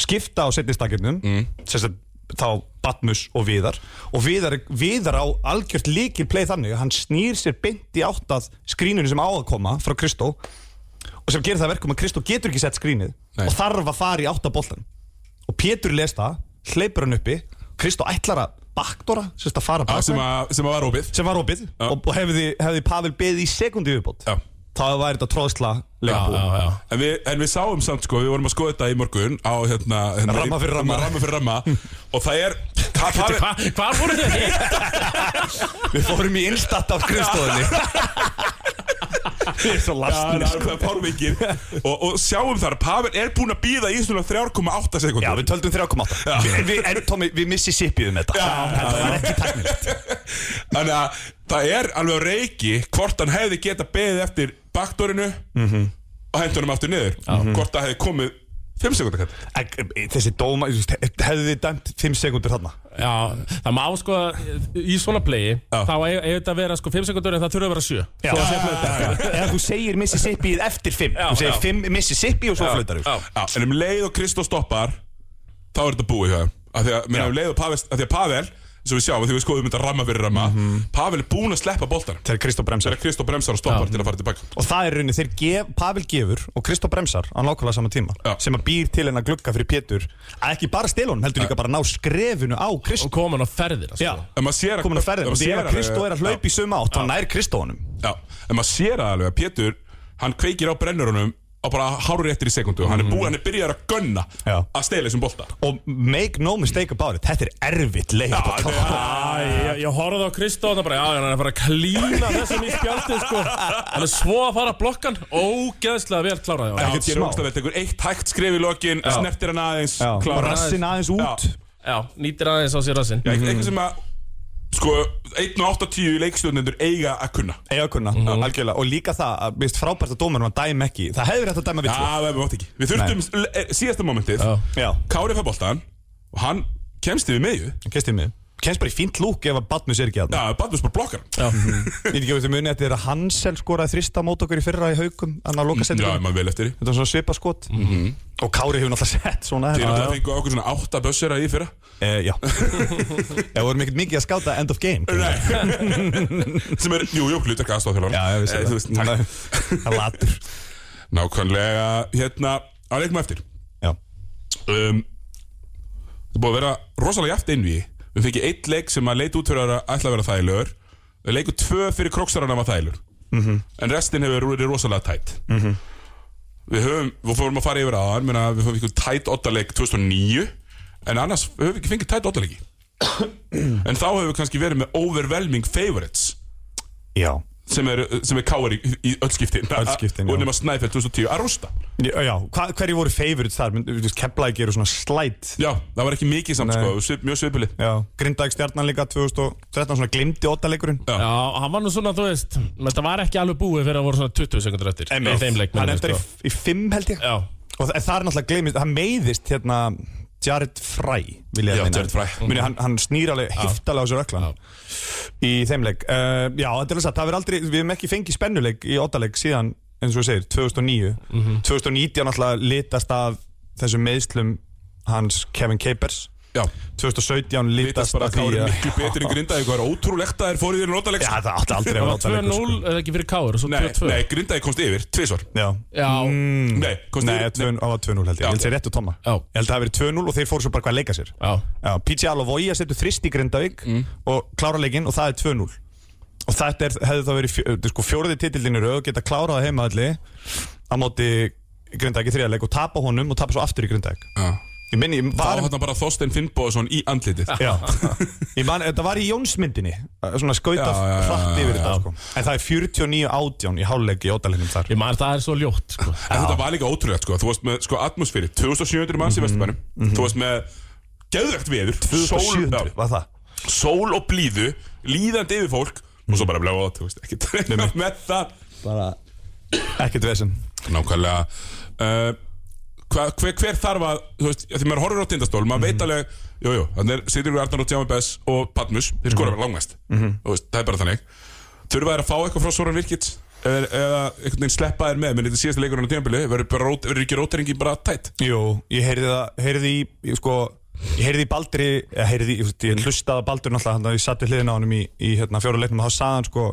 Speaker 5: skipta á setni stakirnum mm. sem sagt þá Batmus og Viðar og Viðar, Viðar á algjört líkil play þannig að hann snýr sér beint í átt að skrínunni sem á að koma frá Kristó og sem gerir það að verkum að Kristó getur ekki sett skrínið
Speaker 2: Nei.
Speaker 5: og þarf að fara í átt að boltan og Pétur les það, hleypur hann uppi Kristó ætlar að bakdóra sem sagt að fara
Speaker 2: Já,
Speaker 5: bakdóra
Speaker 2: sem, að, sem að var ópið
Speaker 5: sem var opið
Speaker 2: Já.
Speaker 5: og, og hefði, hefði Pavel beðið í sekundi viðbót
Speaker 2: Já.
Speaker 5: þá væri þetta tróðsla
Speaker 2: Já,
Speaker 5: leikabúð
Speaker 2: já. En, við, en við sáum samt sko, við vorum að skoða þetta í morgun á hérna, hérna
Speaker 5: Ramma fyrir ramma.
Speaker 2: ramma, fyrir
Speaker 5: [LAUGHS]
Speaker 2: ramma og það er hvað
Speaker 3: Hvað
Speaker 2: Pavel,
Speaker 3: hva voru þau hitt?
Speaker 5: við fórum í instatt á skrifstofunni [LAUGHS] við erum svo lastnir
Speaker 2: það er
Speaker 5: [LAUGHS]
Speaker 2: párvingir og, og sjáum þar, Pavel er búinn að býða í svona 3,8
Speaker 5: Já,
Speaker 2: sekundur
Speaker 5: við töldum 3,8 En við- En Tómi, við missi sipiðum þetta Þetta var ekki tæknilegt
Speaker 2: [LAUGHS] Þannig að það er alveg á reiki hvort hann hefði geta beðið eftir bakdórinu
Speaker 5: Mhm.
Speaker 2: og hendur hann aftur niður hvort það hefði komið 5 sekundar kall
Speaker 5: En e, Þessi dóma, þú veist, hefðu þið dæmt 5 sekundur þarna
Speaker 3: Já, það má sko í svona playi, þá eiga eiga þetta að vera sko 5 sekundur en það þurfa að vera 7
Speaker 5: Já, eða þú segir Mississippi eftir 5 Þú segir 5 Mississippi og svo flautar þú
Speaker 2: Já, en um leið og Kristó stoppar þá er þetta búið hjá þeim af því að, meina, um leið og Pavel, af því að Pavel eins og við sjáum, af því við skoðum þetta ramma fyrir ramma
Speaker 5: Mhm.
Speaker 2: Pavel er búinn að sleppa boltanum
Speaker 5: Þegar Kristó bremsar
Speaker 2: þegar Kristó bremsar og stoppar til að fara tilbaka
Speaker 5: Og það er í rauninni, þeir gef, Pavel gefur og Kristó bremsar á nákvæmlega sama tíma
Speaker 2: Já.
Speaker 5: sem að býr til hennar glugga fyrir Pétur að ekki bara stela honum, heldur líka bara að ná skrefinu á Kristó
Speaker 3: og koma hann á ferðir sko.
Speaker 5: Já,
Speaker 2: en maður sér að-
Speaker 5: komin að
Speaker 2: en
Speaker 5: ferðin og
Speaker 2: maður sér
Speaker 5: þegar
Speaker 2: alveg-
Speaker 5: Kristó er að hlaupa í suma átt þá nær Kristó honum
Speaker 2: Já, en maður sér það alveg að Pétur hann kveikir á brennurunum á bara hárur eftir í sekundu og hann er búið, hann er byrjar að gunna
Speaker 5: Mhm. Já.
Speaker 2: að stela þessum bolta
Speaker 5: og make no mistake about it þetta er erfitt leik að
Speaker 2: þetta
Speaker 5: klára.
Speaker 3: Æ, ég, ég horfði á Kristó og það bara, já, hann er að fara að klína þessum í spjaldið sko. Hann er svo að fara að blokkan, ógeðslega vel kláraði á
Speaker 2: Já,
Speaker 3: hann.
Speaker 5: ekkert
Speaker 2: hann gerir
Speaker 5: smá.
Speaker 2: ógst að tekur eitt hægt skref í lokin snertir hann aðeins
Speaker 5: Já, og
Speaker 2: klárar
Speaker 5: rassin aðeins
Speaker 2: Já.
Speaker 5: út
Speaker 3: Já, nýtir aðeins á sér
Speaker 5: Mhm.
Speaker 3: rassinn.
Speaker 2: Já, eitthvað sem að sko, 1 og 80 leikstjórnendur eiga að kunna
Speaker 5: eiga að
Speaker 2: Mhm.
Speaker 5: kunna, algjörlega og líka það að mist frábært að dómarum að dæma ekki það hefur þetta að dæma
Speaker 2: Já,
Speaker 5: villu
Speaker 2: það við mátt ekki Við þurftum le- eh, síðasta momentið
Speaker 3: Já.
Speaker 5: já,
Speaker 2: Kári fær boltan og hann kemst yfir meðu
Speaker 5: kemst í mig kemst bara í fínt lúk ef að Batmus er ekki að
Speaker 2: Já, Badmus bara blokkar hann.
Speaker 5: ég veit ekki að þú muni þetta er að Hansel skoraði þrista mót okkur í fyrra í haukum hann að loka
Speaker 2: Já, Mhm.
Speaker 5: sendingunum
Speaker 2: maður vel eftir því
Speaker 5: þetta var svona svipa skot og Kári hefur náttúrulega sett svona
Speaker 2: Þeir náttúrulega
Speaker 5: hérna.
Speaker 2: fengu okkur svona 8 bössera í fyrra
Speaker 5: Eh,
Speaker 2: [LAUGHS]
Speaker 5: já, það voru mikið mikið að skáta end of game
Speaker 2: sem er, jú, jú, hlutarka aðstofþjálfara
Speaker 5: já, ég vissi
Speaker 2: Eh, þú veist, takk.
Speaker 5: það það latur
Speaker 2: Nákvæmlega, hérna, að leikum eftir
Speaker 5: já,
Speaker 2: um, Það er búið að vera rosalega jaft einví Við fengið eitt leik sem að leit út fyrir að ætla að vera þægilegur Við leikum tvö fyrir kroksarana var þægilegur
Speaker 5: Mhm.
Speaker 2: -hmm. En restin hefur verið rosalega tætt -hmm. Við höfum, við fórum að fara yfir á hann menna, Við fórum tætt ottaleik 2009 En annars höfum við ekki fengið tætt ottaleiki
Speaker 5: [COUGHS]
Speaker 2: En þá höfum við kannski verið með overwhelming favorites
Speaker 5: já,
Speaker 2: sem er, sem er káar í, í öll skiptin
Speaker 5: Öll skiptin,
Speaker 2: og
Speaker 5: já.
Speaker 2: nema Snæfell 2010 að rústa
Speaker 5: já, já. Hva, hverju voru favorites þar kemlaði eru svona slætt
Speaker 2: já, það var ekki mikið samt
Speaker 5: Nei.
Speaker 2: sko, svip, mjög svipulið
Speaker 5: Já, Grindavík stjarnan líka 2013 svona glimti óttalegurinn
Speaker 2: Já.
Speaker 3: Já, hann var nú svona, þú veist, þetta var ekki alveg búið fyrir að voru svona 20 sekundur eftir. Í þeim leik,
Speaker 5: Hann
Speaker 3: minnum við,
Speaker 5: endar í,
Speaker 3: sko.
Speaker 5: í fimm held ég
Speaker 3: Já,
Speaker 5: Og það, það er náttúrulega glimist, hann meiðist hérna Jared Fry vil ég
Speaker 2: Já,
Speaker 5: að meina.
Speaker 2: Jared Fry.
Speaker 5: Muni, hann, hann snýr alveg heftalega á sér öklan í þeim leik uh, já, þetta er satt, það er aldrei, við hefum ekki fengið spennuleik í ottaleg síðan, eins og þú segir 2009,
Speaker 2: Mhm.
Speaker 5: 2019 alltaf litast af þessum meðslum hans Kevin Capers
Speaker 2: Já,
Speaker 5: 2017
Speaker 2: litast
Speaker 5: litast,
Speaker 2: bara að
Speaker 5: af
Speaker 2: það
Speaker 5: því
Speaker 2: voru
Speaker 5: að
Speaker 2: miklu betur en Grindavík Það er ótrúlegt að það er fórið þér notalegs
Speaker 5: já, það átti aldrei að
Speaker 3: Það
Speaker 5: vera sko.
Speaker 3: var
Speaker 5: ottaleg
Speaker 3: 2-0 eða ekki fyrir Káur og svo
Speaker 2: Nei,
Speaker 3: 2-2
Speaker 2: nei, Grindavík komst yfir, tvisvar
Speaker 5: já,
Speaker 3: Já,
Speaker 2: Nei, komst
Speaker 5: Mm. nei,
Speaker 2: yfir
Speaker 5: tvö- það var 2-0 held ég, ég held sér rétt og tóma
Speaker 3: Já.
Speaker 5: ég held að það hafi verið 2-0 og þeir fóru svo bara hvað að leika sér
Speaker 3: já,
Speaker 5: Já, PJ Alavoia setur þrist í Grindavík
Speaker 2: Mm.
Speaker 5: og klára leikinn og það er 2-0 og þetta er, hefði þá verið fjö, eh, sko, fjóriði titildinir og geta klárað heima allir á móti Grindavík í þriðarleik og tapa honum og tapa svo aftur í Grindavík
Speaker 2: Já.
Speaker 5: ég minni, ég
Speaker 2: Þá
Speaker 5: var,
Speaker 2: hann bara Þorstein Finnbóðsson í andlitið
Speaker 5: já, ég man, þetta var í Jónsmyndinni eh, svona skauta
Speaker 2: Já, já, já,
Speaker 5: hratt
Speaker 2: já,
Speaker 5: yfir
Speaker 2: já.
Speaker 5: þetta sko. en það er 49 átján í háluleik í ótalegnum þar
Speaker 3: ég man það er svo ljótt sko.
Speaker 2: En þetta var líka ótrúlegt sko, þú varst með sko atmosfæri 2700 manns
Speaker 5: Mhm,
Speaker 2: í Vesturbænum Þú varst með geðvegt veður sól,
Speaker 5: 2700
Speaker 2: já,
Speaker 5: var það
Speaker 2: sól og blíðu, líðandi yfir fólk Og svo bara bláða, þú veist, ekki treyna [LAUGHS] með það
Speaker 5: bara ekkert vesen
Speaker 2: Nákvæmlega uh, hva, hver, hver þarf að, þú veist, því maður horfir á tindastól Maður veit alveg, jújú, jú, þannig er Sigurður Arnar og Tjáma Bess og Patmus Þeir skora bara langmest, þú veist, það er bara þannig Þurfa þær að fá eitthvað frá Soran Virkits Eða, eða einhvern veginn sleppa þær með Menn þetta síðasta leikurinn á tímabili, verður bara rót- verður ekki róteringi bara tætt
Speaker 5: Jú, ég heyrði það, heyrði í, ég sko, ég heyrði í Baldri, ég heyrði, ég, veist, ég hlustaði á Baldur náttúrulega, þannig að ég satt í hliðin á honum í, í hérna, fjóra leiknum og þá sagði hann sko,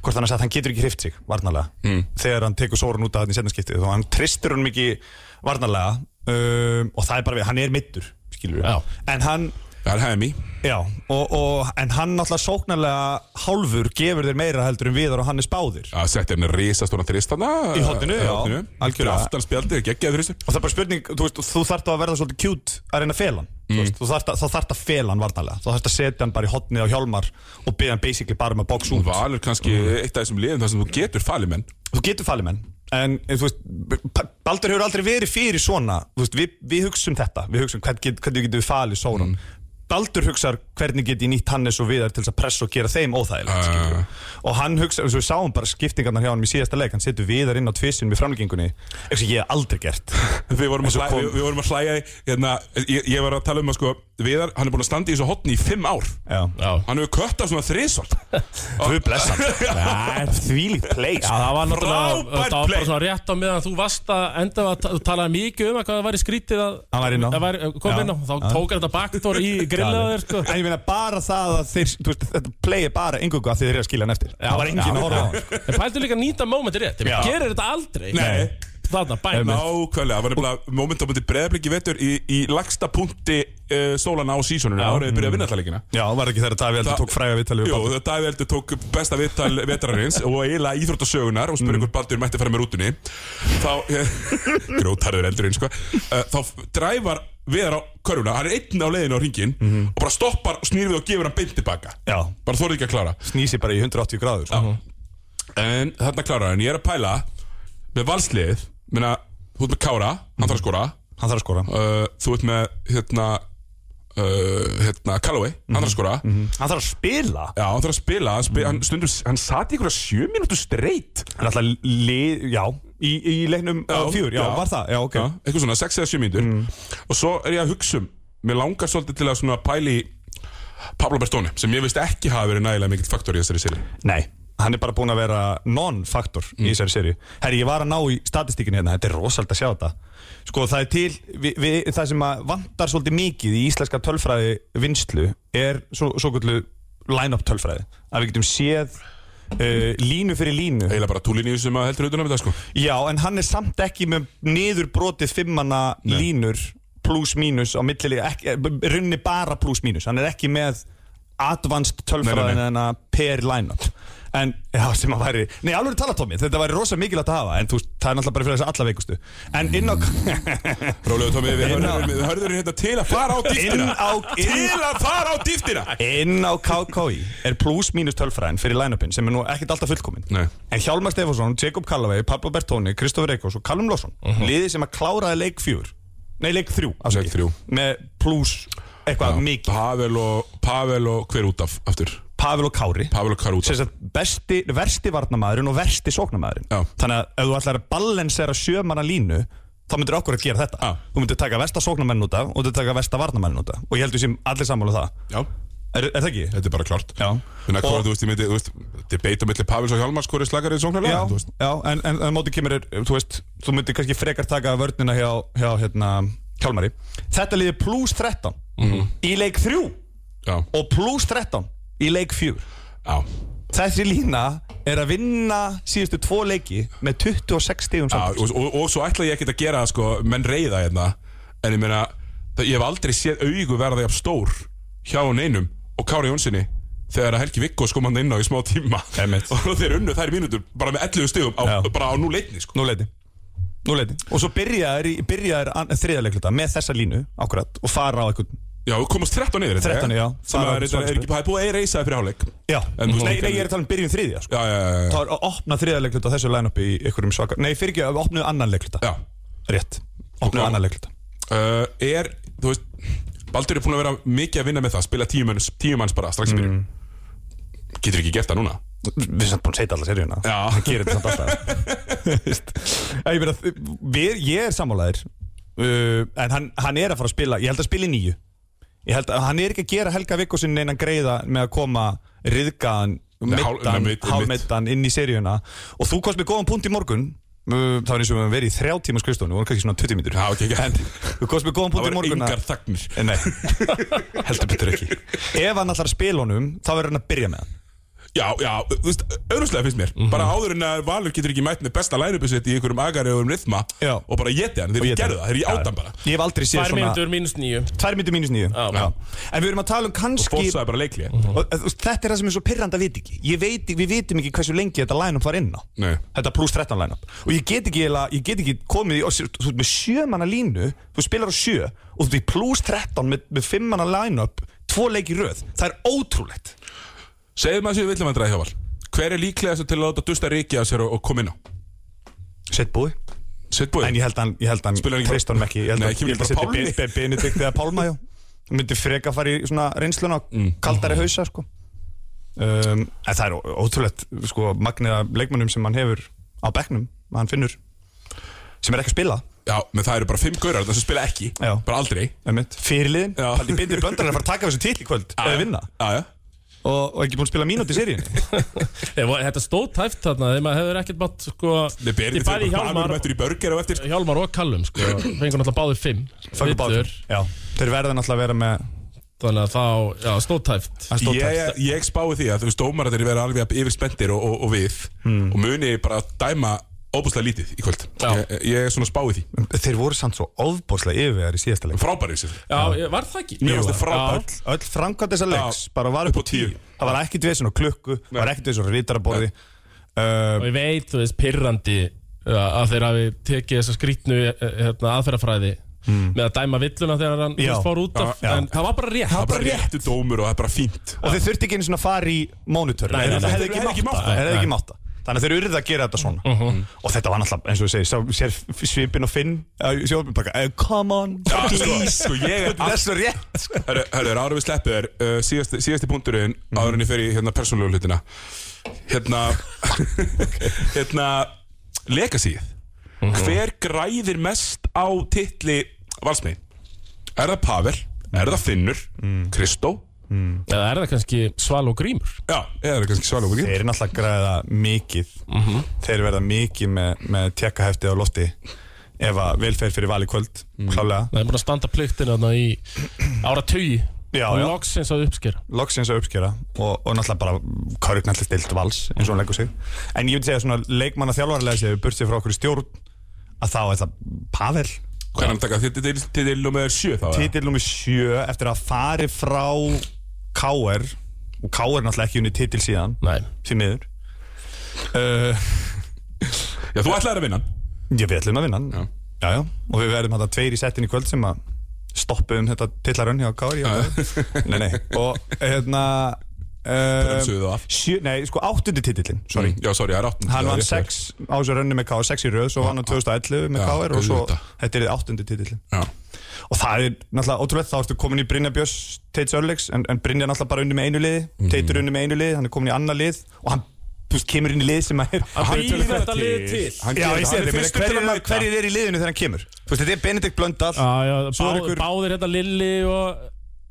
Speaker 5: hvort hann sagði að hann getur ekki hrift sig, varnalega, þegar hann tekur sórun út af þetta í setnaskiptið og hann tristur hann mikið varnalega um, og það er bara við, hann er middur, skilur við,
Speaker 3: Já.
Speaker 5: en hann,
Speaker 2: Það er hemi
Speaker 5: já, og, og, en hann náttúrulega sóknarlega hálfur gefur þér meira heldur en viðar og hann er spáðir.
Speaker 2: að setja henni risastóna þrist hana
Speaker 5: Í horninu, já,
Speaker 2: algjörlega
Speaker 5: algjörlega.
Speaker 2: aftan spjaldi, geggjaði þristur
Speaker 5: Og það er bara spurning, þú veist, þú þarft að verða svolítið kjút að reyna að fela hann Þú veist, þú þarft að, þá þarft að fela hann varnalega Þú þarft að setja hann bara í hotnið á hjálmar og beða hann basically bara um að box út
Speaker 2: Valur kannski eitt af þessum liðum þar sem þú getur falið menn
Speaker 5: Þú getur falið menn En eh, þú veist, B- Baldur hefur aldrei verið fyrir svona Þú veist, við, við hugsum þetta Við hugsum hvern get, hvernig getum við falið Sóran Baldur hugsar hvernig get ég nýtt Hannes og Viðar til þess að pressa og gera þeim óþægilegt skilurðu. Og hann hugsar, eins og við sáum bara skiptingarnar hjá hann í síðasta leik Hann setur Viðar inn á tvisinn með framlengingunni Eins og ég hef aldrei gert
Speaker 2: við vorum,
Speaker 5: En
Speaker 2: að
Speaker 5: svo
Speaker 2: hlæ,
Speaker 5: kom-
Speaker 2: við, við vorum að hlæja í, hérna, ég, ég var að tala um að sko Viðar, hann er búin að standa í þessu hotni í fimm ár
Speaker 5: Já
Speaker 3: já
Speaker 2: hann hefur kött af svona þrisvart
Speaker 5: Guð blessa hann Þvílíkt play sko.
Speaker 3: Já, það var náttúrulega,
Speaker 2: Frábær
Speaker 3: það var
Speaker 2: play.
Speaker 3: bara svona rétt á meðan þú varst að enda að ta- þú talaði mikið um að hvað það væri skrítið að
Speaker 5: Hann var inn á.
Speaker 3: að væri- eh, kom
Speaker 5: Já.
Speaker 3: inn á, þá tók þetta baktor í grillaður sko.
Speaker 5: En ég meina bara það að þeir þú veist, Þetta play er bara engungu að þeir eru að skilja hann eftir Það var enginn að horfa á hann sko.
Speaker 3: En pæltu líka að nýta mómentir rétt, við
Speaker 5: Já.
Speaker 3: gerir þetta aldrei
Speaker 2: Nei.
Speaker 3: Þarna, bæm
Speaker 2: nákvæmlega, það var nefnilega moment á myndi breðabliki vettur í, í lagsta punkti uh, sólana á sísoninu áriðið byrjaði að vinna alltaf leikina
Speaker 5: Já, var ekki þegar Davíð
Speaker 2: Það-
Speaker 5: heldur tók fræga viðtalið við
Speaker 2: Jú,
Speaker 5: Baldur.
Speaker 2: það Davíð Eldur tók besta viðtal vetararins og eiginlega íþróttasögunar og spurði hvort Baldur mætti fara með rútunni þá [LAUGHS] grótarður eldurinn sko. Uh, þá f- dræfar viðar á körfuna, hann er einn á leiðinu á ringin og bara stoppar, snýr við og gefur hann beint tilbaka
Speaker 5: Já.
Speaker 2: bara þorði ekki að klára
Speaker 5: Snýsi bara í 180 gráður sko.
Speaker 2: en þarna klárar hann, ég er að pæla með valsliðið, minna þú ert með Kára, hann þarf að skora
Speaker 5: Hann þarf að skora
Speaker 2: uh, þú ert með hérna uh, hérna Callaway, hann þarf að skora
Speaker 5: Mhm. Hann þarf að spila
Speaker 2: Já, hann þarf að spila, hann, spila, hann stundum, hann sat í einhverja sjö mínútu streitt
Speaker 5: Hann alltaf lið, já Í, í leiknum
Speaker 2: Já,
Speaker 5: á fjúr, já,
Speaker 2: já.
Speaker 5: var það, já, ok
Speaker 2: Já, eitthvað svona, 6 eða 7 mínútur og svo er ég að hugsa um mér langar svolítið til að svona pæli í Pablo Bertoni, sem ég veist ekki hafa verið nægilega mikill faktor í þessari sili
Speaker 5: Nei, hann er bara búin að vera non-faktor í þessari seri Herri, ég var að ná í statistíkinu hérna, þetta er rosald að sjá þetta Sko, það er til, vi, vi, það sem að vantar svolítið mikið í íslenska tölfræði vinslu er svo, svo kvöldu line-up tölfræði að við getum séð uh, línu fyrir línu
Speaker 2: eiginlega bara túlinni sem að heldur auðvitað með það sko
Speaker 5: Já, en hann er samt ekki með niður brotið fimmana línur pluss mínus á millilega eh, runni bara pluss mínus, hann er ekki með advanced tölfræðin en að per line-up en já, sem að væri, nei alveg tala Tómi þetta væri rosa mikilvægt að hafa, en þú, veist, það er náttúrulega bara fyrir þess að alla veikustu, en inn á
Speaker 2: Rólega Tómi, við
Speaker 5: Inn á-
Speaker 2: hörðum- við hörður hérna til að fara á
Speaker 5: inn
Speaker 2: dýftina
Speaker 5: á, inn,
Speaker 2: til að fara á dýftina
Speaker 5: inn á KKI er pluss mínus tölfræðin fyrir line-upin sem er nú ekkert alltaf fullkomin
Speaker 2: Nei.
Speaker 5: en Hjálmar Stefansson, Jacob Callaway, Pablo Bertoni Kristofur Eikos og Callum Lawson liði sem að kláraði leik fjúr nei leik þrjú,
Speaker 2: Mhm.
Speaker 5: afsakið.
Speaker 2: Leik þrjú.
Speaker 5: með pluss eitthvað mikið
Speaker 2: Pavel og, Pavel og hver út af aftur
Speaker 5: Pavel og Kári
Speaker 2: Pavel og hver út
Speaker 5: sem
Speaker 2: af
Speaker 5: sagt besti, versti varnamaðurinn og versti sóknamaðurinn
Speaker 2: Já.
Speaker 5: þannig að ef þú ætlar að balansera sjömanna línu þá myndir okkur að gera þetta
Speaker 2: Já.
Speaker 5: þú myndir taka vesta sóknarmenn út af og þú myndir taka vesta varnarmenn út af og ég heldur sem allir sammála um það
Speaker 2: Já,
Speaker 5: er, er það ekki?
Speaker 2: þetta er bara klart
Speaker 5: Já.
Speaker 2: Þannig að
Speaker 5: Og-
Speaker 2: hvað, þú veist, ég myndi, þú veist, debate á milli Pavils og Hjálmars, hvað er slagarið sóknarlega?
Speaker 5: Já, já en, en, en mótið kemur er, þú veist, þú myndir kannski frekar taka vörnina hjá, hjá hérna, Hjálmari Þetta liði pluss 13
Speaker 2: Mhm.
Speaker 5: í leik 3
Speaker 2: Já,
Speaker 5: og pluss 13 í leik 4
Speaker 2: já,
Speaker 5: Þessi lína er að vinna síðustu tvo leiki með 26 stífum
Speaker 2: já
Speaker 5: saman
Speaker 2: og, og, og svo ætla ég ekkert að gera það, sko, menn reyða hérna En ég meina, það- ég hef aldrei séð augu verða jafn stór hjá neinum og Kári Jónssoni Þegar að Helgi Vikkos kom hann inn á í smá tíma
Speaker 5: Einmitt.
Speaker 2: Og þeir unnu þær mínútur bara með 11 stegum á,
Speaker 5: Já.
Speaker 2: bara á núleitni, sko
Speaker 5: Nú leiti Nú leiti Og svo byrjaðir, í- byrjaðir an- þriðja leikluta með þessa línu akkurat og fara á einhvern
Speaker 2: Já, við komast 13 niður
Speaker 5: 13, já.
Speaker 2: eh? Sem
Speaker 5: Það
Speaker 2: að
Speaker 5: var
Speaker 2: reyndar er ekki, það er búið að reysa það fyrir hálfleik
Speaker 5: Já,
Speaker 2: En þú-
Speaker 5: nei, nei, ég er að tala um byrjun þriðja sko.
Speaker 2: Já, já, já, já,
Speaker 5: Það er að opna þriðja leikluta þessu line-up í einhverjum svakar Nei, fyrir ekki að opnuðu annan leikluta
Speaker 2: já.
Speaker 5: Rétt, opnuðu
Speaker 2: Já.
Speaker 5: annan leikluta
Speaker 2: Uh, Er, þú veist Baldur er búin að vera mikið að vinna með það Spila tíu manns, tíu manns bara strax í byrjun Getur ekki gert það núna
Speaker 5: Við erum samt búin að setja alla seríuna
Speaker 2: Já.
Speaker 5: Það gerir þetta samt
Speaker 2: [LAUGHS]
Speaker 5: alltaf Veist. En ég, meina, við, ég er sammálaðir uh, En hann, hann er að fara að spila Ég held að spila í nýju Ég held að hann er ekki að gera Helga Vikkosinn Einan greiða með að koma Riðgaðan,
Speaker 2: Nei, hál- nei,
Speaker 5: mittan,
Speaker 2: mitt-
Speaker 5: hálfmittan Inn í seríuna Og þú komst með góðan punkt í morgun Uh, Það var eins og við höfum verið í þrjá tíma skrifstofunni Við vorum kannski svona 20 mínútur
Speaker 2: Já, ok, ekki.
Speaker 5: En þú komst með góðan punkt
Speaker 2: Það
Speaker 5: í
Speaker 2: var
Speaker 5: morgun að-
Speaker 2: engar þagnir
Speaker 5: Eh, Nei, heldur betur ekki Ef hann ætlar að spila honum Þá verður hann að byrja með hann
Speaker 2: Já, já, þú veist, auðvitað finnst mér
Speaker 5: Mhm.
Speaker 2: Bara áður en að Valur getur ekki mætt með besta lænubu sitt Í einhverjum agari og um rithma
Speaker 5: Já.
Speaker 2: Og bara geti hann, þeir
Speaker 5: éti
Speaker 2: gerðu það, þeir ég átan bara
Speaker 5: Ég hef aldrei séð
Speaker 3: Tvær
Speaker 5: svona
Speaker 3: mínútur mínus níu
Speaker 5: Tvær myndir mínus nýju
Speaker 3: Já.
Speaker 5: En við erum að tala um kannski og,
Speaker 2: Fórsaði bara leikli
Speaker 5: og, og, Þetta er það sem er svo pirrandi að vita ekki Ég veit, Við vitum ekki hversu lengi þetta line-up var inn á
Speaker 2: Nei.
Speaker 5: Þetta pluss 13 line-up Og ég get ekki, eiginlega- ég get ekki komið í og, sér- Þú ert með sjö manna línu Þú spilar á sjö Og þú ert í pluss 13 með, með fimm manna line-up Tvo leik í röð Það er ótrúlegt
Speaker 2: Segðu maður sér villum að dræða hjá Val Hver er líklegast til að láta dusta reiki af sér og, og koma inn á?
Speaker 5: Sett búi
Speaker 2: Sitt búið
Speaker 5: En ég held að hann, ég held að
Speaker 2: Spilar hann
Speaker 5: hann
Speaker 2: ekki
Speaker 5: treyst honum ekki Ég held
Speaker 2: Nei,
Speaker 5: að
Speaker 2: kemur
Speaker 5: ég held
Speaker 2: ekki bara
Speaker 5: að setja
Speaker 2: Pálmi?
Speaker 5: Be- Be- Benedikt eða Pálma já Hún myndi freka fara í svona reynsluna og
Speaker 2: Mm.
Speaker 5: kaldari hausa sko um, En það er ó- ótrúlegt sko magniða leikmannum sem hann hefur á bekknum að hann finnur sem er ekki að spila
Speaker 2: Já, menn það eru bara fimm gaurar þarna sem spila ekki
Speaker 5: Já.
Speaker 2: Bara aldrei
Speaker 5: einmitt, fyrirliðin,
Speaker 2: Já.
Speaker 5: paldi bindir blöndarinn að fara að taka þessu til í kvöld eða vinna
Speaker 2: Já, já
Speaker 5: og, og ekki búin að spila mínúti í seríunni
Speaker 3: Nei, vo- Þetta stóð tæft þarna þegar maður hefur ekkert mátt sko
Speaker 2: Nei, berið
Speaker 3: Ég bæði
Speaker 2: Valur
Speaker 3: Hjálmar,
Speaker 2: mættur í börger og eftir sko.
Speaker 3: Hjálmar og Kallum sko Fengur náttúrulega báðir fimm
Speaker 5: Fengu báðir.
Speaker 3: Viddur,
Speaker 5: Já, þeir verða náttúrulega að vera með
Speaker 3: Þannig að þá, já, stóð tæft
Speaker 5: hann stóð
Speaker 2: ég,
Speaker 5: tæpt.
Speaker 2: ég spái því að þú veist dómaratir vera alveg yfir spendir og, og, og við og muni bara dæma óbúslega lítið í kvöld
Speaker 3: Já.
Speaker 2: ég, ég er svona spáið því
Speaker 5: Þeir voru samt svo ofbóðslega yfirvegar í síðasta leik
Speaker 2: frábærið sér
Speaker 3: Já, ég- var það ekki?
Speaker 2: Mér
Speaker 3: Jú,
Speaker 2: finnst þið
Speaker 3: já.
Speaker 2: frábært
Speaker 5: öll framkvæmt þessa leiks
Speaker 2: Já.
Speaker 5: bara var upp á tíu það var ekkert vesen á klukku það var ekkert vesen á rítaraborði uh,
Speaker 3: Og ég veit, þú veist, pirrandi uh, að þeir hafi tekið þessa skrítnu uh, hérna, aðferðafræði með að dæma villuna þegar hann þú
Speaker 5: Já.
Speaker 3: veist, fór út af
Speaker 5: Já.
Speaker 3: en það var bara rétt
Speaker 2: Það er bara réttu dómur og það er bara fínt
Speaker 5: og þeir þurfti ekki einu svona að fara í monitor
Speaker 3: Nei, nei,
Speaker 5: það
Speaker 3: nei.
Speaker 5: hefði
Speaker 2: Þeir hefðu
Speaker 5: ekki
Speaker 2: ekki mátt
Speaker 5: mátt það.
Speaker 2: það.
Speaker 5: Þeir hefði ekki mátt það. þannig að þeir urðið að gera þetta svona Mm. og þetta var náttúrulega eins og ég segi sér svipin og finn eh, sjónvarpinu bara, eh, come on please
Speaker 2: Sko ég er
Speaker 5: [LAUGHS] þetta er svo rétt sko.
Speaker 2: Hörru, hörru, áður en við sleppið er uh, síðasti, síðasti punkturinn áður en ég fer í hérna persónulegu hlutina hérna [LAUGHS] hérna legasíð hver græðir mest á titli valsmið er það Pavel, er það Finnur Kristó,
Speaker 3: Eða er það kannski Sval og Grímur?
Speaker 2: já, eða er það kannski Svalur
Speaker 5: þeir eru náttúrulega græða mikið þeir verða mikið með, með tjekkahefti á lofti ef að velferð fyrir val í kvöld klálega
Speaker 3: Það er búin að standa pliktin þarna í ára tugi
Speaker 5: Já, já.
Speaker 3: Loksins að uppskera
Speaker 5: loksins að uppskera og, og náttúrulega bara kauriknalli stilt vals eins og hann leggur sig en ég myndi segja svona leikmanna þjálfarlega séu burt sér frá okkur í stjórn að þá er það Pavel
Speaker 2: hvað er hann að taka titil, titil nummer 7 þá eða?
Speaker 5: titill nummer 7 eftir að fari frá KR og KR náttúrulega ekki unni titill síðan
Speaker 3: Nei
Speaker 5: því miður uh,
Speaker 2: já, þú ætlaðir að vinna hann.
Speaker 5: ég við ætlum að vinna hann.
Speaker 2: Já.
Speaker 5: já, já. og við verðum þetta tveir í settin í kvöld sem að stoppu um þetta tillarönn hjá KR já. nei, nei og hérna
Speaker 2: Bremsuðu
Speaker 5: uh,
Speaker 2: það af.
Speaker 5: sjö, nei, sko áttundi titillin sorry
Speaker 2: já, sorry, það er 8
Speaker 5: Hann vann 6 á þessu rönni með KR, 6 í röð, svo vann hann 2011 með
Speaker 2: Já,
Speaker 5: KR og svo
Speaker 2: auðvitað.
Speaker 5: þetta er þið áttundi titillin.
Speaker 2: já,
Speaker 5: Og það er náttúrulega ótrúlegt, þá ertu komin í Brynja Björns,
Speaker 2: Mhm.
Speaker 5: Teits Örleiks, en, en Brynja er náttúrulega bara unni með einu liði, Teitur unni með einu liði, hann er komin í annað lið og hann þú veist, kemur inn í lið sem að er
Speaker 3: Hann
Speaker 2: Hann
Speaker 3: býr
Speaker 2: telur
Speaker 3: þetta
Speaker 2: það
Speaker 3: lið
Speaker 2: til.
Speaker 3: til
Speaker 2: Hann
Speaker 5: Já,
Speaker 2: gerir það.
Speaker 5: ég sé
Speaker 2: Hann er
Speaker 5: þetta,
Speaker 2: fyrstur til að
Speaker 5: hverjir
Speaker 2: mæta.
Speaker 5: hverjir er í liðinu þegar hann kemur Þú veist, þetta er Benedikt Blöndal
Speaker 3: Já, já,
Speaker 5: Svo
Speaker 3: báð,
Speaker 5: er ykkur-
Speaker 3: báðir hérna Lilli og,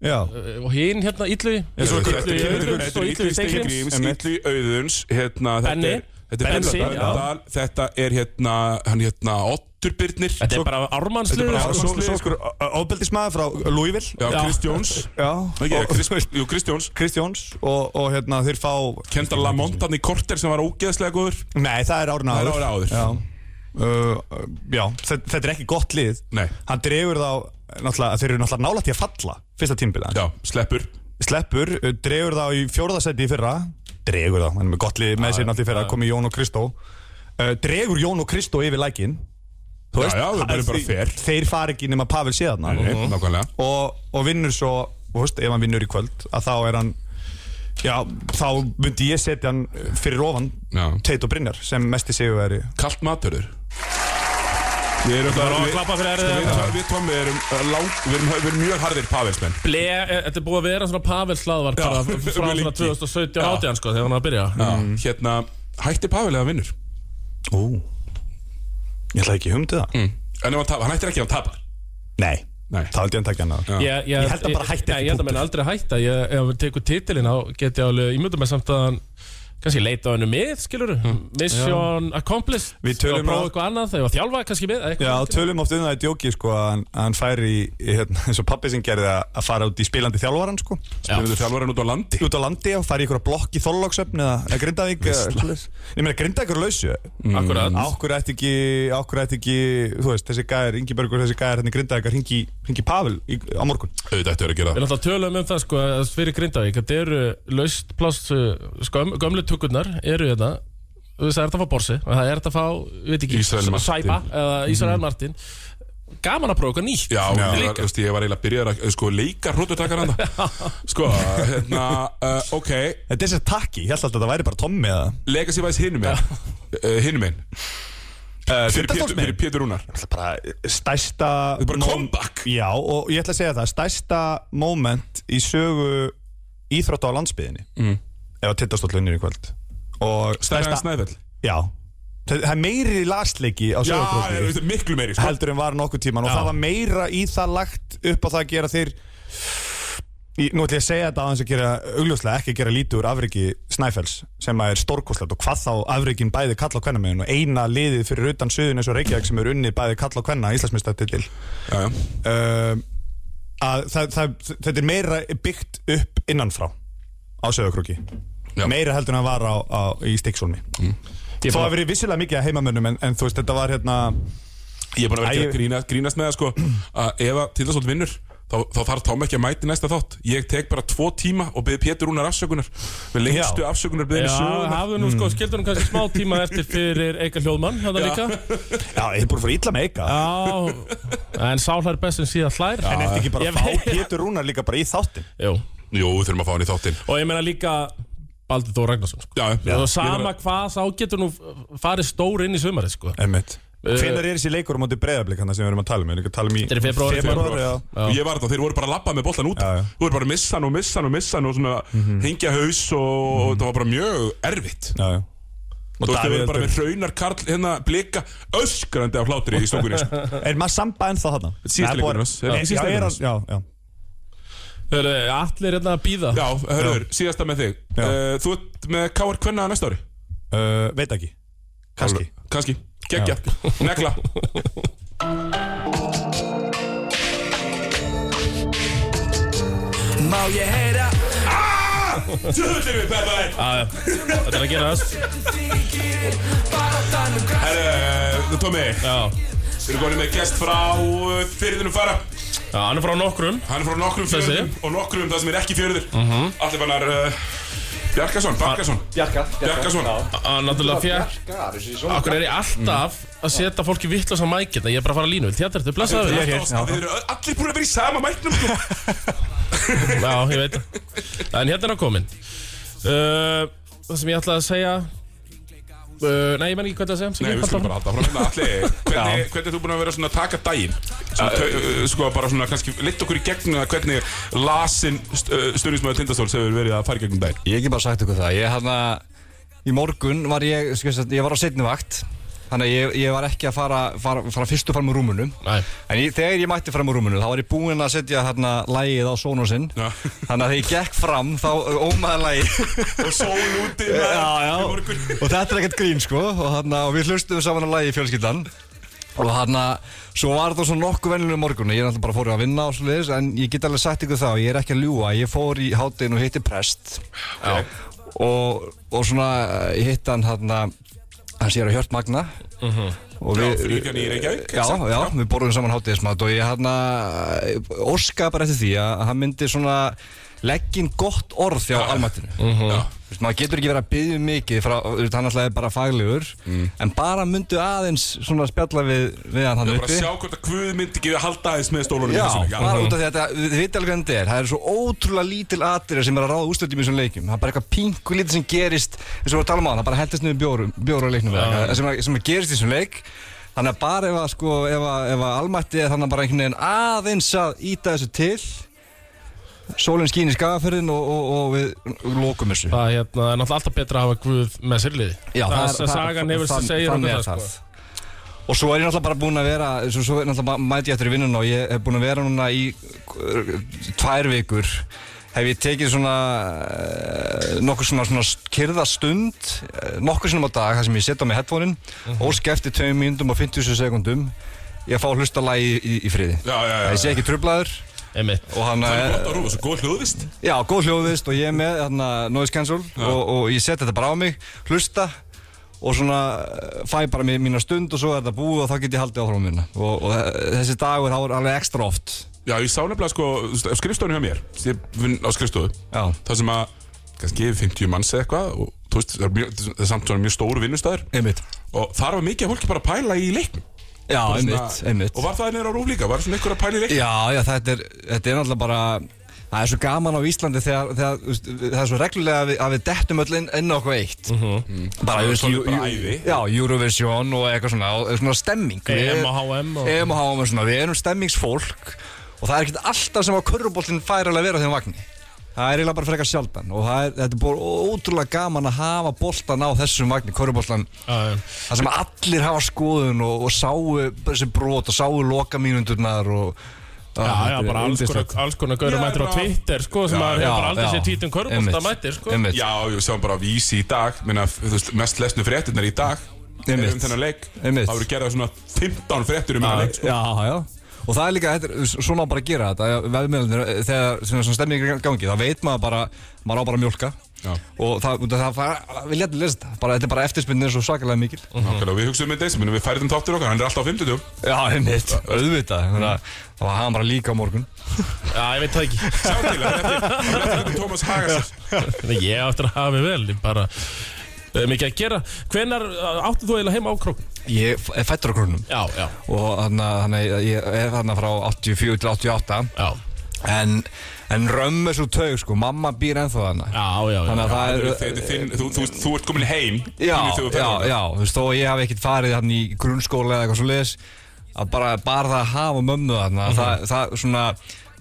Speaker 5: Já,
Speaker 3: og hinn hérna Illu
Speaker 2: En svo
Speaker 3: Illu
Speaker 2: Þetta
Speaker 3: í
Speaker 2: kemur
Speaker 3: Auðuns
Speaker 2: Þetta
Speaker 3: og
Speaker 2: er Ítlu
Speaker 3: Illu
Speaker 2: Steingrims, Ítlu Auðuns hérna,
Speaker 3: í Steingríms Benni.
Speaker 2: Þetta er, þetta er
Speaker 3: Bensi,
Speaker 2: Bensi, Blöndal Þetta er hérna, hann hérna Ottur Birnir
Speaker 3: Þetta er bara
Speaker 2: Þetta er
Speaker 3: ármannslu
Speaker 2: bara
Speaker 5: Já, svo
Speaker 2: Ármannslið,
Speaker 5: svo
Speaker 2: sko.
Speaker 5: okkur ofbeldismaður frá Louisville
Speaker 2: Já,
Speaker 3: Já.
Speaker 2: Kristjóns
Speaker 5: Já,
Speaker 2: Ekki,
Speaker 5: og
Speaker 2: Krist- Jú, Kristjóns
Speaker 5: Kristjóns og, og hérna þeir fá
Speaker 2: Kendall Lamont hann í korter sem var ógeðslega góður
Speaker 5: Nei, það er árna
Speaker 2: Það er
Speaker 5: áður
Speaker 2: ára áður
Speaker 5: Já, uh, já þetta, þetta er ekki gott lið
Speaker 2: Nei.
Speaker 5: Hann dregur þá, náttúrulega, þeir eru náttúrulega nálægt í að falla Fyrsta tímbilið
Speaker 2: Já, sleppur
Speaker 5: sleppur, uh, dregur þá í fjórðasetti í fyrra dregur þá, hann er með gott lið með sér náttúrulega í fyrra, komið Jón og Kristó uh, dregur Jón og Kristó yfir lækin
Speaker 2: Já, já, það er bara fair
Speaker 5: þeir fara ekki nema Pavel séðarna
Speaker 3: Mhm.
Speaker 2: Nei, Nákvæmlega
Speaker 5: og, og vinnur svo þú veist, ef hann vinnur í kvöld, að þá er hann já, þá myndi ég setja hann uh, fyrir ofan
Speaker 2: Já.
Speaker 5: Teit og Brynjar sem mest í sigurveri
Speaker 2: Kalt maturður Við erum
Speaker 3: Það var að klappa fyrir erðið
Speaker 2: Við, við Tommi erum uh, lang, við erum, við erum mjög harðir pavelsmenn
Speaker 3: Ble, e- þetta er búið að vera svona Pavel Slaðvar
Speaker 2: [LAUGHS]
Speaker 3: bara
Speaker 2: Já,
Speaker 3: frá
Speaker 2: mjög
Speaker 3: svona
Speaker 2: lengi.
Speaker 3: 2017 átján sko þegar hann var að byrja
Speaker 2: mm. Hérna, hætti Pavel eða vinnur
Speaker 5: Ú, ég ætla ekki humdið það
Speaker 2: mm. En ef hann tapar, hann hættir ekki ef hann tapar
Speaker 5: Nei,
Speaker 2: Nei.
Speaker 5: þá held ég hann takja hann að
Speaker 3: ég, ég,
Speaker 5: Ég held að bara hætti
Speaker 3: Nei,
Speaker 5: ekki
Speaker 3: Ég held að menn aldrei hætta ég, Ef við tekur titilinn á get ég alveg ímyndum með samt að hann kannski leita á hennu mið skilur Mission accomplished
Speaker 5: Hmm. Við
Speaker 3: að
Speaker 5: tölum
Speaker 3: prófa
Speaker 5: að-
Speaker 3: eitthvað annað þegar þjálfa kannski með eitthvað.
Speaker 5: Já, tölum oft um það í djóki sko að hann- að hann færi í, í, hérna, eins og pappi sem gerði að að fara út í spilandi þjálfaran sko
Speaker 2: Spilum við þjálfarinn út á landi
Speaker 5: út á landi og fara í ykkur blokk í Þorlóksöfn eða eða Grindavík eða svoleiðis. Ég meina Grindavík eru lausu
Speaker 2: Mm.
Speaker 3: Akkúrat.
Speaker 5: Ákkur ætti ekki, ákkur ætti ekki þú veist, þessi gæðir, Ingi Bergur, þessi gæðir hérna í Grindavík að hringi, hringi Pavel í, á morgun
Speaker 2: Auðvitað ættu að vera að gera
Speaker 3: Við náttúrulega tölum um það sko að fyrir Grindavík þetta eru laust plást sko, göm- gömlu tökurnar eru þetta það er þetta að fá Borsi og það er þetta að fá ég veit ekki,
Speaker 2: Ísrael
Speaker 3: s-
Speaker 2: Martin.
Speaker 3: Sæpa eða
Speaker 5: Mhm.
Speaker 3: Ísrael Martin gaman að prófa eitthvað nýtt
Speaker 2: Já, ég var,
Speaker 3: líka.
Speaker 2: þú veist, ég var eiginlega að byrja að sko, leika hrótutakar [LAUGHS] hann Sko, hérna, uh, ok
Speaker 5: Þetta er sér takki, ég held alltaf að þetta væri bara Tommi eða
Speaker 2: Legacy Vice hinum minn uh, Hinum minn uh, fyrir, Pétur-
Speaker 5: Tindastólsmegin?
Speaker 2: fyrir Pétur Rúnar
Speaker 5: Þetta er bara stæsta
Speaker 2: Þetta er bara
Speaker 5: mom-
Speaker 2: comeback.
Speaker 5: Já, og ég ætla að segja það, stæsta moment í sögu íþrótta á landsbyðinni mm. ef að tindastóllunir í kvöld og
Speaker 2: Stærra en
Speaker 5: stærsta,
Speaker 2: Snæfell
Speaker 5: já það það er meiri lasleiki á
Speaker 2: Já, ég
Speaker 5: sögurkvöldi
Speaker 2: veist, miklu meiri sko.
Speaker 5: heldur en var nokkuð tíman og það var meira í það lagt upp á það að gera þeir Í, nú ætlum ég að segja þetta aðeins að gera augljóslega ekki gera lítið úr afriki Snæfells sem að er stórkoslegt og hvað þá afrikin bæði kalla á kvennamiðin og eina liðið fyrir utan suðun eins og Reykjavík sem er unni bæði kalla á kvenna Íslandsmyndstartitil
Speaker 2: Já, já.
Speaker 5: um, að það, það, þetta er meira byggt upp innanfrá á söðakrúki
Speaker 2: Já. Mm.
Speaker 5: meira heldur en að var á, á, í Stíksólmi
Speaker 3: Ég
Speaker 5: þó
Speaker 3: bara-
Speaker 5: að verið vissulega mikið að heimamönnum en, en þú veist þetta var hérna
Speaker 2: Ég er búin að vera
Speaker 5: Æ,
Speaker 2: ekki
Speaker 5: ég-
Speaker 2: að grínast, grínast með það sko að ef að Tindastóll vinnur þá, þá þarf Tom ekki að mæti næsta þátt Ég tek bara tvo tíma og byrði Pétur Rúnar afsökunar með lengstu
Speaker 5: Já.
Speaker 2: afsökunar
Speaker 3: Já,
Speaker 2: byrði sögunar
Speaker 3: hafðu nú sko, skildur hún kannski smá tíma eftir fyrir Eikar Hljóðmann, hérna líka
Speaker 5: Mm. já, ég er búin að fara illa með eika
Speaker 3: Já, en sálar best sem síðan hlær
Speaker 5: en eftir ekki bara
Speaker 3: Ég
Speaker 5: að fá
Speaker 3: veit-
Speaker 5: Pétur Rúnar líka bara í þáttin
Speaker 3: Jú,
Speaker 2: Jú, við þurfum að fá hann í þáttinn
Speaker 3: og ég meina líka Baldur Þór Ragnarsson sko.
Speaker 2: Já, já.
Speaker 3: og
Speaker 2: Ég
Speaker 3: sama
Speaker 2: meina-
Speaker 3: hvað sá getur nú farið stór inn í sumari sko.
Speaker 5: Einmitt. Hvenær er þessi leikur á móti breyðablík hann sem við erum að tala um? Við erum ekki að tala um í...
Speaker 3: Þetta er í febrúar.
Speaker 5: Febrúar, já.
Speaker 2: Og ég var þetta, þeir voru bara að labba með boltan út
Speaker 5: Já, Mhm. já.
Speaker 2: Þú voru bara að missa hann og missa hann og missa hann og svona hengja haus og mm það var bara mjög erfitt
Speaker 5: Já, já.
Speaker 2: Þú veist, þau
Speaker 5: Mhm. Davíð
Speaker 2: voru bara
Speaker 5: Eldur.
Speaker 2: með hraunar karl hérna blika öskrandi af hlátri í stúkunni
Speaker 5: [LAUGHS]
Speaker 2: sko.
Speaker 5: Er maður samba ennþá þarna?
Speaker 2: Síðasti
Speaker 5: Nei, búin-
Speaker 2: leikurinn hans. Er
Speaker 5: Já,
Speaker 2: ekki síðasti
Speaker 5: já, er
Speaker 2: leikurinn
Speaker 5: hann- Já, já.
Speaker 3: Hörru, Allir er hérna að býða
Speaker 2: Já, hörður, síðasta með þig
Speaker 5: Já.
Speaker 2: uh, Þú ert með KR Kvenna næsta ári
Speaker 5: Uh, Veit ekki. Kanski.
Speaker 2: Kanski, geggja, negla
Speaker 6: Má ég heyra
Speaker 2: Ah! Tjöðlir við peppaðir
Speaker 5: Ah.
Speaker 3: Þetta er að gera þess
Speaker 2: Herru, Tómi,
Speaker 3: Já,
Speaker 2: við erum konið með gest frá uh, fyrðinum fara
Speaker 3: Já, hann er frá nokkrum
Speaker 2: Hann er frá nokkrum
Speaker 3: Þessi.
Speaker 2: fjörðum og nokkrum um það sem er ekki fjörður uh -huh. Allir fannar uh, Bjarkason, Barkason
Speaker 7: Bjarkar
Speaker 2: Bjarkason,
Speaker 3: Hann náttúrulega fjart
Speaker 7: Bjarkar þessi svona
Speaker 3: Akkur er ég alltaf
Speaker 2: Mm.
Speaker 3: að setja fólki vittlösa mækinn Ég er bara að fara að línu, vil þér þetta, blessaðu
Speaker 2: Þið
Speaker 3: við
Speaker 2: eru öll- allir búin að vera í sama mæknum sko.
Speaker 3: Já, ég veit það En hérna er hann kominn uh, Það sem ég ætlaði að segja uh, Nei, ég menn ekki hvað það að segja sem
Speaker 2: Nei,
Speaker 3: ég
Speaker 2: við
Speaker 3: hélt
Speaker 2: skulum
Speaker 3: áfram.
Speaker 2: bara halda áfram hérna Alli, hvernig, hvernig er þú búin að vera svona að taka daginn? Svona, tau- uh, sko bara svona, kannski litt okkur í gegnum að hvernig lasin st uh, stjórnismöðu Tindastóls hefur verið að fara í gegnum daginn
Speaker 7: Ég get bara sagt ykkur það Ég, hana,
Speaker 6: hérna, í morgun var ég, sko, sagt, ég var á setni vakt Þannig að ég, ég var ekki að fara, fara, fara fyrstu fram úr rúmunu
Speaker 3: Nei.
Speaker 6: En ég, þegar ég mætti fram úr rúmunu þá var ég búinn að setja hérna lægið á sónu sinn
Speaker 2: Já.
Speaker 6: Þannig að þegar ég gekk fram þá ómaði lægið
Speaker 2: Og sól úti maður,
Speaker 6: Já, já.
Speaker 2: í morgun.
Speaker 6: [LAUGHS] Og þetta er ekkert grín sko og, hana, og við hlustum saman að lægi í fjölskyldan Og hann svo var það svona nokkuð vennilega morgun Ég er alltaf bara fór að vinna og svoleiðis En ég get alveg sagt ykkur þá, ég er ekki að ljúga Ég fór í hátinn og hitti prest og, og svona eh, hitti hann hann Hann sér að hjört magna Og
Speaker 2: Mhm. Já,
Speaker 6: við
Speaker 2: fríkan í Reykjavík,
Speaker 6: Já,
Speaker 2: exakt,
Speaker 6: já,
Speaker 2: já.
Speaker 6: við borðum saman hátíðismat Og ég hann Óska bara eftir því að hann myndi svona Leggin gott orð hjá almatinu
Speaker 2: Já.
Speaker 6: Þú veist, maður getur ekki verið að byggja um mikið frá, þú veist, hann alltaf er bara faglegur
Speaker 2: Mm.
Speaker 6: en bara myndu aðeins svona spjalla við, við hann hann
Speaker 2: Bara að
Speaker 6: uppi
Speaker 2: sjá hvort að Guð myndi ekki halda aðeins með stólunum í
Speaker 6: Já,
Speaker 2: þessum leik.
Speaker 6: bara út af því að þetta- þið veit alveg hvernig þetta er það er svo ótrúlega lítil atriða sem er að ráða úrstöldjum í þessum leikum það er bara eitthvað pingu lítið sem gerist eins og við vorum að tala um á það, það bara heldist niður bjóru, bjóru á leiknum ja. sem, að- sem að gerist í þessum leik þannig að bara ef að, sko, ef að, ef að almætti er þannig að bara einhvern veginn aðeins að íta þessu til sólinn skín í skagaferðin og, og, og við lokum þessu
Speaker 3: Það hérna, er náttúrulega alltaf betra að hafa Guð með sér í liði
Speaker 6: Já,
Speaker 3: það, það, sagan hefur
Speaker 6: þann-
Speaker 3: það segir
Speaker 6: þannig
Speaker 3: okkur
Speaker 6: er
Speaker 3: það, sko.
Speaker 6: Og svo er ég náttúrulega bara búinn að vera Svo, svo er náttúrulega ma- mæti ég eftir í vinnun Og ég hef búinn að vera núna í uh, Tvær vikur Hef ég tekið svona uh, Nokkur svona, svona kyrðastund uh, Nokkur sinnum á dag þar sem ég setja á mig headphone-in
Speaker 3: Mhm.
Speaker 6: Ósk eftir 2 mínútum og 50 sekundum Ég fá að hlusta lagi í, í, í friði
Speaker 2: Já, já, já.
Speaker 6: Það sé ekki trublaður
Speaker 3: Einmitt.
Speaker 6: Og hann
Speaker 2: Það er gott að rúfa, svo góð hljóðvist
Speaker 6: Já, góð hljóðist og ég er með þarna, noise cancel og, og ég set þetta bara á mig, hlusta og svona eh, fæ bara mín, mína stund og svo er þetta búið og þá get ég haldið áfram minna og, og eh, þessi dagur þá er alveg ekstra oft
Speaker 2: Já, ég sá nefnilega sko, skrifstofun hjá mér Ég vinn á skrifstofu
Speaker 6: Já.
Speaker 2: Það sem að, kannski yfir 50 manns eða eitthvað Og þú veist, það er, mjög, það er samt svona mjög stóru vinnustæður
Speaker 6: Einmitt
Speaker 2: Og þar var mikið að fólki bara að pæla í leiknum
Speaker 6: Já,
Speaker 2: Bara svona-
Speaker 6: einmitt, einmitt
Speaker 2: Og var það neyra á rúf líka, var svona ykkur að pæla í leiknum
Speaker 6: Já, já, þetta er, þetta er náttúrulega bara Það er svo gaman á Íslandi þegar, þegar þú veist, við- það er svo reglulega að við, að við dettum öll inn, inn á okkur eitt Bara,
Speaker 2: Mhm. Það
Speaker 6: þú
Speaker 2: er
Speaker 6: veist,
Speaker 2: svolítið
Speaker 6: Ju-
Speaker 2: bara
Speaker 6: Ju-
Speaker 2: ævi.
Speaker 6: Já, Eurovision og eitthvað svona, og svona stemming Við-
Speaker 3: EM og HM og-
Speaker 6: EM og HM og svona, við erum stemmingsfólk Og það er ekkert alltaf sem að körfuboltinn fær alveg að vera á þeim vagnir Það er eiginlega bara frekar sjaldan og það er, þetta er bara ótrúlega gaman að hafa boltan á þessum vagnir, körfuboltan
Speaker 3: Já, já.
Speaker 6: Það sem allir hafa skoðun og, og sáu þessi brot og sáu loka mínundurnar og
Speaker 3: Já,
Speaker 6: Ah,
Speaker 3: já, bara alls konar, alls konar gaurum
Speaker 2: Já,
Speaker 3: mættir á
Speaker 2: bara-
Speaker 3: Twitter, sko, sem maður hefur bara aldrei séð tvítum körpústa mættir, sko.
Speaker 6: einmitt,
Speaker 2: Já, ég sá bara vísi í dag Meina, þú veist, mest lesnu fréttirnar í dag
Speaker 6: Einmitt.
Speaker 2: eru Um þennan leik
Speaker 6: Einmitt.
Speaker 2: Það voru gerða svona 15 fréttir um þennan
Speaker 6: já,
Speaker 2: leik sko.
Speaker 6: já, já og það er líka, þetta, er- svona á bara að gera þetta veðmjölnir, þegar sem svona stemning er í gangi þá veit maður bara, maður á bara að mjólka
Speaker 2: Já.
Speaker 6: og það, það, það, það við létum lesa þetta, bara, þetta er bara eftirspynnir svo svakalega mikil
Speaker 2: Nákvæmlega, og við hugsaum með Deysi, við færðum þáttir okkar, hann er alltaf á 50
Speaker 6: já, einmitt, auðvitað þannig að það var hann bara líka á morgun
Speaker 3: Já, ég veit það ekki.
Speaker 2: Sjá til, hann er eftir, hann er eftir Thomas Hagas
Speaker 3: Þannig ég á eftir að hafa mig vel, ég bara eh, mikið að gera. Hvenar áttu þú eiginlega heima á krókn?
Speaker 6: ég f- er fættur á krónum
Speaker 3: Já, já,
Speaker 6: og þannig að ég er þarna frá 84 til 88
Speaker 3: já,
Speaker 6: En, en römm er svo taug sko, mamma býr ennþá þarna
Speaker 3: já, já, já.
Speaker 6: Þannig að það
Speaker 2: Þetta
Speaker 6: er
Speaker 2: er þinn, þú, þú, þú, þú ert komin heim
Speaker 6: Já,
Speaker 2: inn í þau að
Speaker 6: já,
Speaker 2: ferðalög.
Speaker 6: já, þú veist, þó að ég hafi ekkert farið hann í grunnskóla eða eitthvað svo leis að bara, bara það að hafa mömmu þarna
Speaker 3: Mhm.
Speaker 6: það, það svona,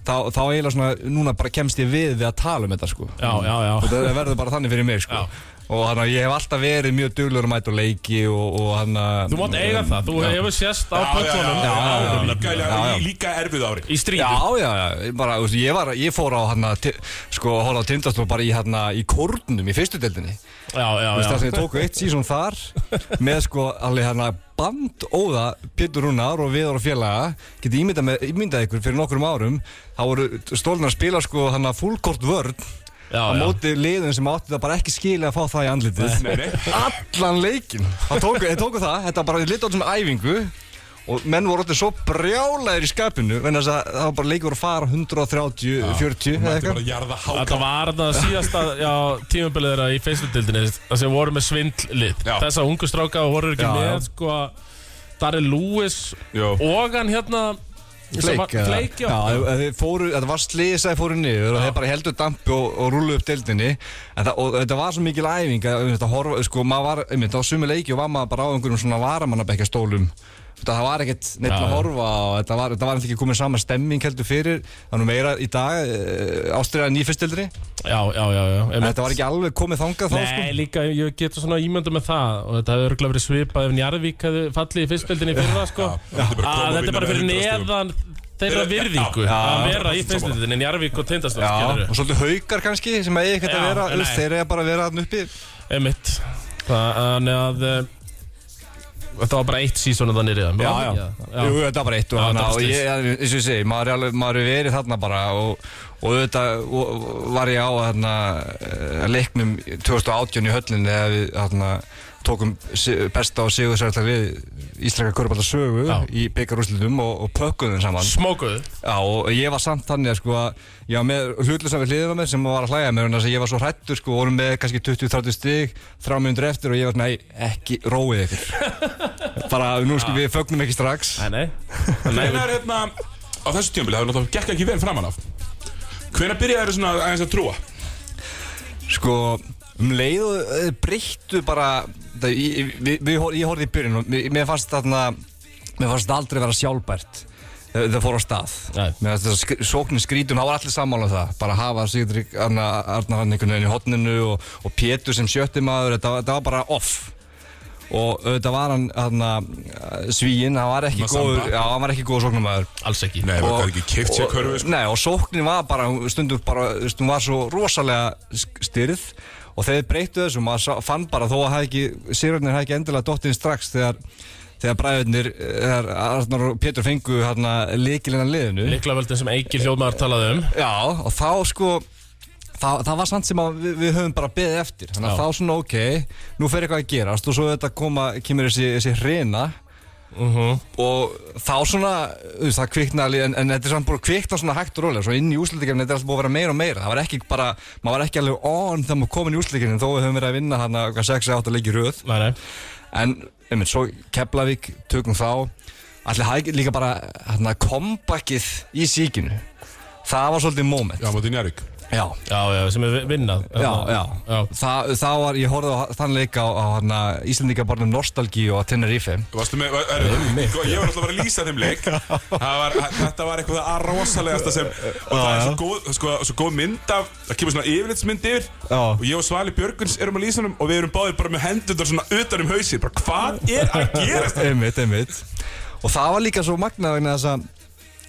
Speaker 6: þá, þá eiginlega svona núna bara kemst ég við við að tala um þetta sko
Speaker 3: Já, já, já.
Speaker 6: Og það verður bara þannig fyrir mig sko
Speaker 3: Já.
Speaker 6: Og þannig að ég hef alltaf verið mjög duglur að mæta á leiki og, og hann að
Speaker 3: Þú mátt eiga það, þú hefur sést á
Speaker 2: Já, já, já,
Speaker 3: pöllunum.
Speaker 2: já,
Speaker 6: já,
Speaker 2: já,
Speaker 6: já.
Speaker 2: líka,
Speaker 6: Já, já.
Speaker 2: líka, líka erfið ári
Speaker 3: Í stríðu.
Speaker 6: Já, já, já, ég bara, þú veist, ég, var, ég fór á hann að, sko, horfa á tindastól bara í hann í kórnum í fyrstu deildinni
Speaker 3: já, já,
Speaker 6: Þú veist það
Speaker 3: já.
Speaker 6: sem ég tóku eitt sísón þar með sko alveg hérna bandóða Pétur Rúnar og Viðar og félaga geti ímyndað, með, ímyndað ykkur fyrir nokkrum árum þá voru stólnar að spila sko hann að fullkort vörn
Speaker 3: Já, já.
Speaker 6: á móti liðum sem áttu það bara ekki skilja að fá það í andlitið
Speaker 2: Nei, nei.
Speaker 6: allan leikin það tóku, þeir tóku það, þetta bara lítið átt sem æfingu og menn voru alltaf svo brjálæðir í skapinu en þess að það var bara leikur að fara 130,
Speaker 2: Þetta
Speaker 6: 40 eða
Speaker 2: er
Speaker 6: eitthvað
Speaker 2: bara jarða
Speaker 3: Þetta
Speaker 2: háka
Speaker 3: var það síðasta já, tímabilið þeirra í Facebook-dildinni Það sem voru með svindlið
Speaker 2: Já.
Speaker 3: Þessa ungu stráka voru ekki
Speaker 6: Já,
Speaker 3: með
Speaker 6: já.
Speaker 3: Sko, Darri Lewis
Speaker 2: Jó.
Speaker 3: Og hann hérna sem var-
Speaker 6: Fleik, eða?
Speaker 3: Fleik, já,
Speaker 6: já þeir- þeir fóru, þetta var slisaði fóru niður og þeir bara heldur dampi og, og rúlu upp deildinni en það, og þetta var svo mikil æfing að um, þetta horfa, sko, maður var, um, þetta var sumi leiki og var maður bara á einhverjum svona varamannabekja stólum það var ekkert neitt að horfa og þetta var, þetta var ekki komið saman stemming heldur fyrir þannig meira í dag eh, ástriða nýfyrstildri
Speaker 3: Já, já, já, já einmitt.
Speaker 6: þetta var ekki alveg komið þangað þá sko.
Speaker 3: Nei, líka, ég getur svona ímyndu með það og þetta hefur örgulega verið svipað ef Njarðvík hefði fallið í fyrstöldinni fyrra sko
Speaker 2: já, þetta er bara að koma
Speaker 3: að
Speaker 2: og
Speaker 3: þetta er bara
Speaker 2: vinna
Speaker 3: fyrir
Speaker 2: með 100 stigum.
Speaker 3: neðan þeirra virðingu
Speaker 6: já,
Speaker 3: að
Speaker 6: já,
Speaker 3: vera í fyrstöldinni Njarðvík og Tindastótt,
Speaker 6: Já,
Speaker 3: skilur við
Speaker 6: og svolítið haukar kannski sem að eiga ekkert að
Speaker 3: Já,
Speaker 6: vera
Speaker 3: nei.
Speaker 6: þú veist, þeir eiga bara að vera þarna uppi
Speaker 3: Emitt Þannig að eh, þetta var bara eitt sísonu þannig riða
Speaker 6: Já, já, Jú, þetta var bara eitt og
Speaker 3: Já, þetta
Speaker 6: hana
Speaker 3: var
Speaker 6: og
Speaker 3: slys.
Speaker 6: ég, ég- eins og ég segi, maður er alveg, maður er verið þarna bara og, og auðvitað og- var ég á þarna eh, leiknum 2018 í höllinni þegar við þarna tókum si- besta og sigursæðar við Ísleika Körballa sögu
Speaker 3: Já.
Speaker 6: í byggarúslitum og, og pökkuðum saman
Speaker 3: Smókuðu
Speaker 6: Já, og ég var samt þannig að sko að ég var með hlutlösa við hliðina mér sem var að hlæja mér en þess að ég var svo hrættur sko, vorum með kannski 20-30 stig, þrjá minnundur eftir og ég var svona, nei, ekki róið ykkur
Speaker 3: [LAUGHS]
Speaker 6: bara, nú sko, við fögnum ekki strax
Speaker 3: Nei, nei
Speaker 2: Hvernig er hérna á þessu tímabili, það er náttúrulega gekk ekki vel framan af Hvernig byrjaði þér svona aðeins að trúa?
Speaker 6: sko, um leið og eh, breyttu bara það, ég, við, við, hor- ég horfði í byrjun og mér- mér fannst þarna mér fannst þetta aldrei vera sjálfbært eh, þegar það fór á stað
Speaker 3: Nei.
Speaker 6: mér fannst þetta sk sóknir skrítum, það var allir sammála um það bara hafa Sigurður Arna, Arnar hann einhvern veginn í hotninu og, og Pétur sem sjötti maður, þetta, var- þetta var bara off og auðvitað var hann, hann svíin, hann var ekki
Speaker 2: Massamba.
Speaker 6: góður já, hann var ekki góður sóknumæður
Speaker 3: Alls ekki
Speaker 2: Nei, það er ekki kipt sér
Speaker 6: og-
Speaker 2: körfu sko.
Speaker 6: Nei, og sóknin var bara, hún- stundum bara, þú veist, hún var svo rosalega sk- styrð og þegar þeir breyttu þessu, maður sá- fann bara þó að hafi ekki, sérarnir hafi ekki endilega dottin strax þegar, þegar bræðurnir, eh, þegar Arnar og Pétur fengu hérna líkilina liðinu.
Speaker 3: Liklaveldin sem Eikil Hljóðmaður talaði um
Speaker 6: Já, og þá sko, það, það var samt sem að við, við höfum bara beðið eftir. Þannig að
Speaker 3: Já.
Speaker 6: þá svona, ok, nú fer eitthvað að gerast og svo þetta koma, kemur þessi, þessi hreina og þá svona, þú veist, það kvikna alveg, en, en þetta er samt búin að kvikna svona hægt og rólega, svo inn í úslitikefni, þetta er alltaf búin að vera meira og meira, það var ekki bara, maður var ekki alveg on þegar maður kom inn í úslitikefni, þó við höfum verið að vinna hann að 6-8 leiki í röð,
Speaker 3: Nei, nei
Speaker 6: en, einmitt, svo Keflavík, tökum þá, allir hægir líka bara, hann að kompakið í síkinu, það var svolítið moment,
Speaker 2: Já, mótið Njarvík
Speaker 6: já,
Speaker 3: Já, já, sem er vinnað
Speaker 6: já, já,
Speaker 3: Já.
Speaker 6: það, það var, ég horfði á þann leika á, á hann að Íslandingabarnum Nostalgi og Tenerife,
Speaker 2: Varstu með, er, sko, ég var alltaf að vera að lýsa þeim [LAUGHS] leik Það var, Þetta var eitthvað það rosalegasta sem Og það er svo góð, sko, svo góð mynd af Það kemur svona yfirlitsmynd yfir
Speaker 6: Já.
Speaker 2: Og ég og Svali Björguns erum að lýsa þeim Og við erum báðir bara með hendurnar svona utan um hausinn Bara hvað er að gerast?
Speaker 6: einmitt, einmitt og það var líka svo magna vegna þess að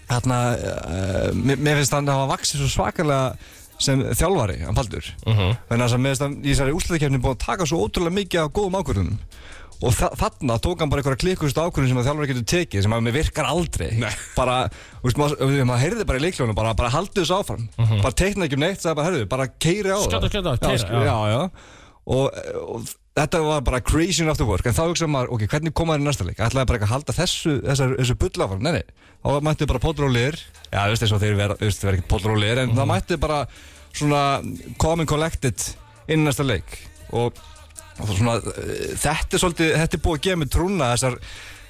Speaker 6: þarna, uh, mér mér finnst hann að hafa vaksið svo svakalega sem þjálfari, hann Paldur vegna þess að mér finnst hann í þessari úrslutakefni búið að taka svo ótrúlega mikið af góðum ákvörðunum og þa þarna tók hann bara einhverja klikkust ákvörðun sem að þjálfari getur tekið sem að mér virkar aldrei
Speaker 2: Nei.
Speaker 6: bara, þú veist, maður, maður, maður heyrði bara í leikljónu bara, bara haldið þessu áfram, bara teikna ekki um neitt sagði bara, heyrðu, bara keiri á
Speaker 3: Skjóta,
Speaker 6: það
Speaker 3: skjóta,
Speaker 6: Já,
Speaker 3: keyra,
Speaker 6: sk-
Speaker 3: já.
Speaker 6: já, já. Og, og þetta var bara crazy enough to work en þá hugsaði maður, ok, hvernig koma þér í næsta leik ætlaði bara ekki að halda þessu, þessar, þessu bullafan nei, nei, þá mættu bara podrólir já, þú veist eins og þeir vera, þú veist, þeir vera ekki podrólir en það mættu bara svona come and collected inn í næsta leik og, og svona eh, þetta er svolítið, þetta er búið að gefa mig trúna þessar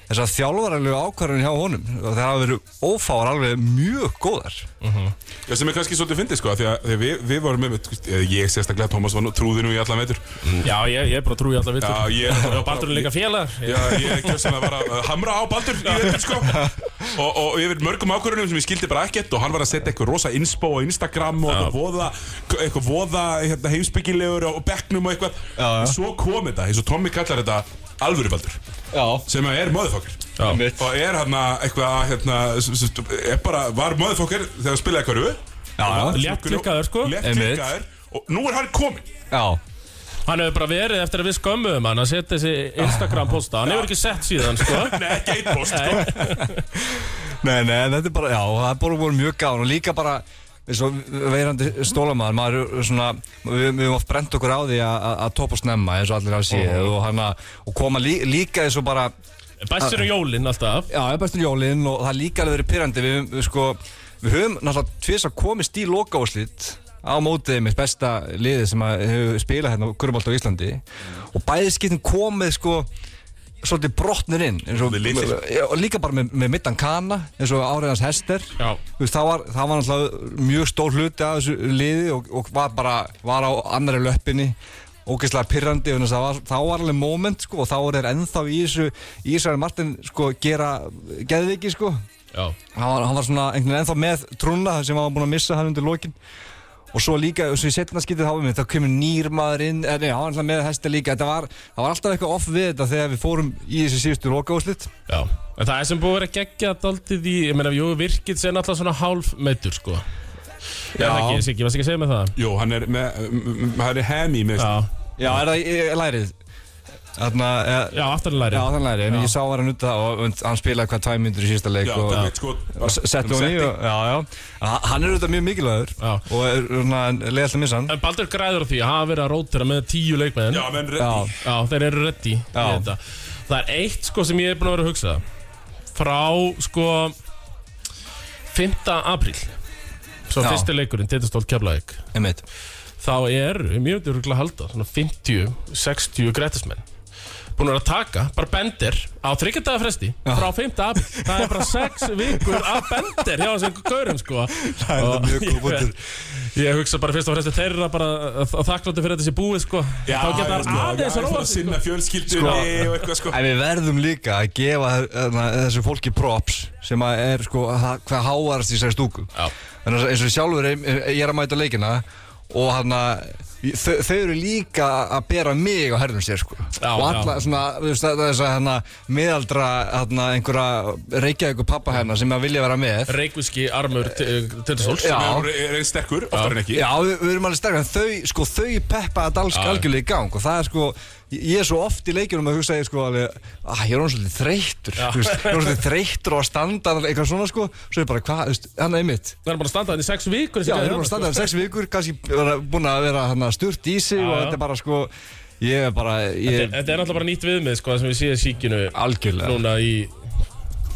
Speaker 6: þessar þjálfaralegu ákvarðan hjá honum og það hafa verið ófáar alveg mjög góðar
Speaker 2: Já, sem er kannski svolítið fyndið sko Því að því að við, við varum með, eða ég sérstaklega Tómas var nú trúðinu í allan veitur
Speaker 3: Já, ég, ég er bara að trúi alltaf við
Speaker 2: Já, ég
Speaker 3: Og Baldur er líka félagar
Speaker 2: Já, ég kjössanlega var að hamra á Baldur í veitur [LAUGHS] sko og, og yfir mörgum ákvörunum sem ég skildi bara ekkert og hann var að setja eitthvað rosa inspo á Instagram og eitthvað voða, eitthvað voða hérna, heimsbyggilegur og bekknum og eitthvað já. Svo kom þetta, eins og Tommy kallar þetta alvöru Baldur
Speaker 6: Já,
Speaker 2: sem er möðufokkar
Speaker 6: Einmitt.
Speaker 2: og er hann eitthvað hérna, s- s- er bara, var möðufokkar þegar hann spilaði hverju
Speaker 6: já,
Speaker 3: létt klikkaður, sko.
Speaker 2: Létt
Speaker 6: Einmitt.
Speaker 2: klikkaður og nú er hann kominn
Speaker 6: já.
Speaker 3: Hann hefur bara verið eftir að við skömmuðum hann að setja þessi Instagram posta Hann hefur ekki sett síðan, sko
Speaker 2: Nei, ekki eitt post sko.
Speaker 6: Nei, nei, en þetta er bara, já, það er bara voru mjög gáðan og líka bara eins og veirandi stólamaður, maður er svona, við, við höfum oft brent okkur á því að- að að topa snemma eins og allir hafa séð og, hana, og koma lí, líka eins og bara,
Speaker 3: Bessir og jólinn um alltaf
Speaker 6: já, ég bestur jólinn og það er líka alveg verið pyrrandi, við, við sko, við höfum náttúrulega tvis að komist í lokaúslit á mótiðið mitt besta liðið sem að hefur spilað hérna Kurmalt á Íslandi og bæði skiptin komið sko svolítið brotnir inn eins og,
Speaker 2: Með litlir.
Speaker 6: Já, og líka bara með, með mittan kana eins og áriðans hester
Speaker 3: Já,
Speaker 6: Þú veist, það var, það var náttúrulega mjög stór hluti af þessu liði og, og var bara var á annari löppinni ógeðslega pirrandi þannig að það var- þá var alveg moment sko, og þá er þeir ennþá í þessu í þessu að Martin sko, gera geðviki sko.
Speaker 3: Já,
Speaker 6: hann, var, hann var svona einhvern veginn ennþá með trúna sem hann var búin að missa hann undir lokin og svo líka, og svo í setna skiptið þá við mig, þá kemur nýr maður inn, eh, nei, hann var alltaf með hesta líka, þetta var, það var alltaf eitthvað off við þetta þegar við fórum í þessi síðustu lokaúslit
Speaker 3: já En það er sem búið að vera geggja daldið í Ég meina, jú, virkið sé náttúrulega svona hálf meittur, sko Já Það ekki, Siggi, varst ekki að segja með það?
Speaker 2: Jó, hann er með, m- m- hann er hemi með
Speaker 3: Já,
Speaker 6: Já, er það í, í lærið? Þarna, eh,
Speaker 3: já, aftarlæri
Speaker 6: já, þann lærið, en ég sá hann út það og und- hann spilaði hvað tvæm myndur í síðasta leik
Speaker 2: Já,
Speaker 6: og,
Speaker 2: það er sko
Speaker 6: og s- setti hún í og, já, já, Ha- hann er auðvitað mjög mikilvægur
Speaker 3: Já.
Speaker 6: og er svona leið alltaf missa hann
Speaker 3: En Baldur græður á því að hafa verið að rótera með tíu leikmenn
Speaker 2: Já, menn
Speaker 6: Já,
Speaker 2: reddi
Speaker 3: Já, þeir eru ready í þetta Það er eitt sko sem ég er búin að vera að hugsa Frá sko 5. apríl Svo
Speaker 6: Já.
Speaker 3: fyrsti leikurinn, Tindastóll Keflavík
Speaker 6: einmitt
Speaker 3: Þá eru, mjög myndi örgulega að halda Svona 50-60 grætismenn Búin að vera að taka, bara bender Á þryggjadaga fresti, frá 5. apríl Það er bara 6 vikur af bender Hjá þessum gaurum sko Það
Speaker 6: er mjög góð punktur.
Speaker 3: Ég hugsa bara fyrst og fremst að þeirra bara Þakkláttu fyrir að þetta sé búið sko Þá geta
Speaker 2: sko,
Speaker 3: hann aðeins
Speaker 2: já,
Speaker 3: að
Speaker 2: fara
Speaker 3: róa
Speaker 2: að
Speaker 3: sig sko.
Speaker 2: sinna fjölskyldunni og eitthvað sko
Speaker 6: En við verðum líka að gefa þarna, þessu fólki props sem að er sko ha- hvað háarast í þessari stúku
Speaker 3: Já.
Speaker 6: Þannig að eins og sjálfur er- ég er að mæta á leikina og hann að þau, þau eru líka að bera mig á herðum sér sko
Speaker 3: Já,
Speaker 6: og alla
Speaker 3: já.
Speaker 6: svona þú veist, þetta- þess að hann að miðaldra hann að einhverja reykja ykkur pappa hennar sem að vilja vera með
Speaker 3: Reykjavíski sko. armur eh, Tindastóls
Speaker 6: Já.
Speaker 2: Hann er einn sterkur, oftar en ekki
Speaker 6: Já, við, við erum alveg sterkar, en þau, sko, þau peppa þetta alls
Speaker 3: Já.
Speaker 6: algjörlega í gang og það er sko, ég er svo oft í leikjunum að hugsa ég sko alveg, að ég er orðin svolítið þreyttur, þú veist, ég er orðin svolítið þreyttur og að standa þarna, eitthvað svona sko, svo er bara, hvað, þú veist, hann er einmitt.
Speaker 3: Það er bara að standa þannig í sex vikur
Speaker 6: Já, við erum bara
Speaker 3: sko.
Speaker 6: að standa þarna sex vikur, kannski vera- búin að vera hann sturt í sig
Speaker 3: Já,
Speaker 6: og
Speaker 3: já.
Speaker 6: þetta er bara sko, ég er bara,
Speaker 3: Þetta
Speaker 6: ég
Speaker 3: er náttúrulega bara nýtt viðmið sko sem við síðan síkinu
Speaker 6: algjörlega.
Speaker 3: núna í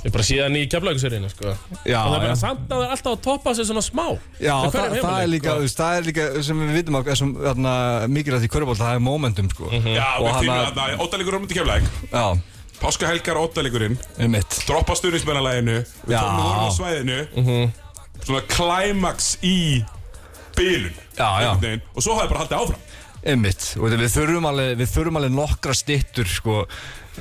Speaker 3: Ég bara síðan í keflaugusörinu sko
Speaker 6: Já,
Speaker 3: Og það er
Speaker 6: já.
Speaker 3: bara samt að það er alltaf að toppa sig svona smá
Speaker 6: Já,
Speaker 3: Með hverjum
Speaker 6: það, það er
Speaker 3: heimaleik,
Speaker 6: líka,
Speaker 3: sko.
Speaker 6: þú veist, það er líka sem við vitum að sem, þarna, mikilvægt í körubólta, það er momentum sko.
Speaker 3: Mhm.
Speaker 2: Já,
Speaker 6: og
Speaker 2: við
Speaker 6: hann
Speaker 2: þýmum
Speaker 6: að,
Speaker 2: að Óttalegur Rómundi Keflæk
Speaker 6: já,
Speaker 2: Páskahelgar Óttalegurinn
Speaker 6: um
Speaker 2: Droppa stuðnismennalæginu Við
Speaker 6: Já. Mhm.
Speaker 2: tónum vorum á svæðinu Svona klæmaks í Bilun
Speaker 6: Já, já.
Speaker 2: Og svo hafði bara haldið áfram
Speaker 6: Einmitt, og þetta- við þurfum alveg, við þurfum alveg nokkra stittur sko,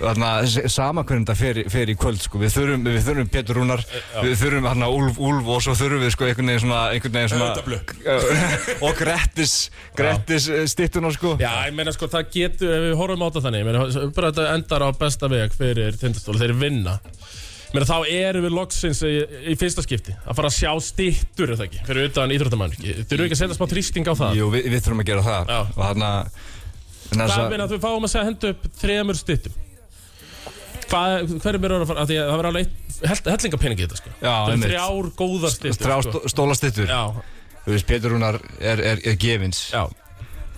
Speaker 6: þarna, s- sama hvernig þetta fer, í- fer í kvöld sko. við, þurfum, við þurfum Pétur Rúnar við þurfum hérna Úlf Úlf og svo þurfum við sko, einhvern veginn svona, einhvern veginn
Speaker 2: Auðvitað
Speaker 6: svona
Speaker 2: blökk.
Speaker 6: [LAUGHS] og Grettis, Grettis eh, stittuna sko.
Speaker 3: Já, ég meina sko það getur, ef við horfum á þetta þannig ég meina, bara þetta endar á besta veg fyrir tindastóla, þeir vinna Ég meina, þá erum við loksins í, í fyrsta skipti að fara að sjá stýttur eða ekki fyrir utan íþróttamann þurfum við ekki að setja smá þrýsting á það
Speaker 6: Jú, við, við þurfum að gera það
Speaker 3: Já.
Speaker 6: og þarna en þess
Speaker 3: Það
Speaker 6: að-
Speaker 3: meina að við fáum að segja hendu upp þremur stuttum Hvað, hverjum er að fara, af því að það verður alveg eitt hell, hellingapeningi í þetta sko
Speaker 6: Já,
Speaker 3: Það er
Speaker 6: einmitt.
Speaker 3: þrjár góðar stuttum
Speaker 6: þrjá stó, stóla stittur
Speaker 3: sko? Já,
Speaker 6: Þú veist, Pétur Rúnar er, er, er gefins
Speaker 3: já,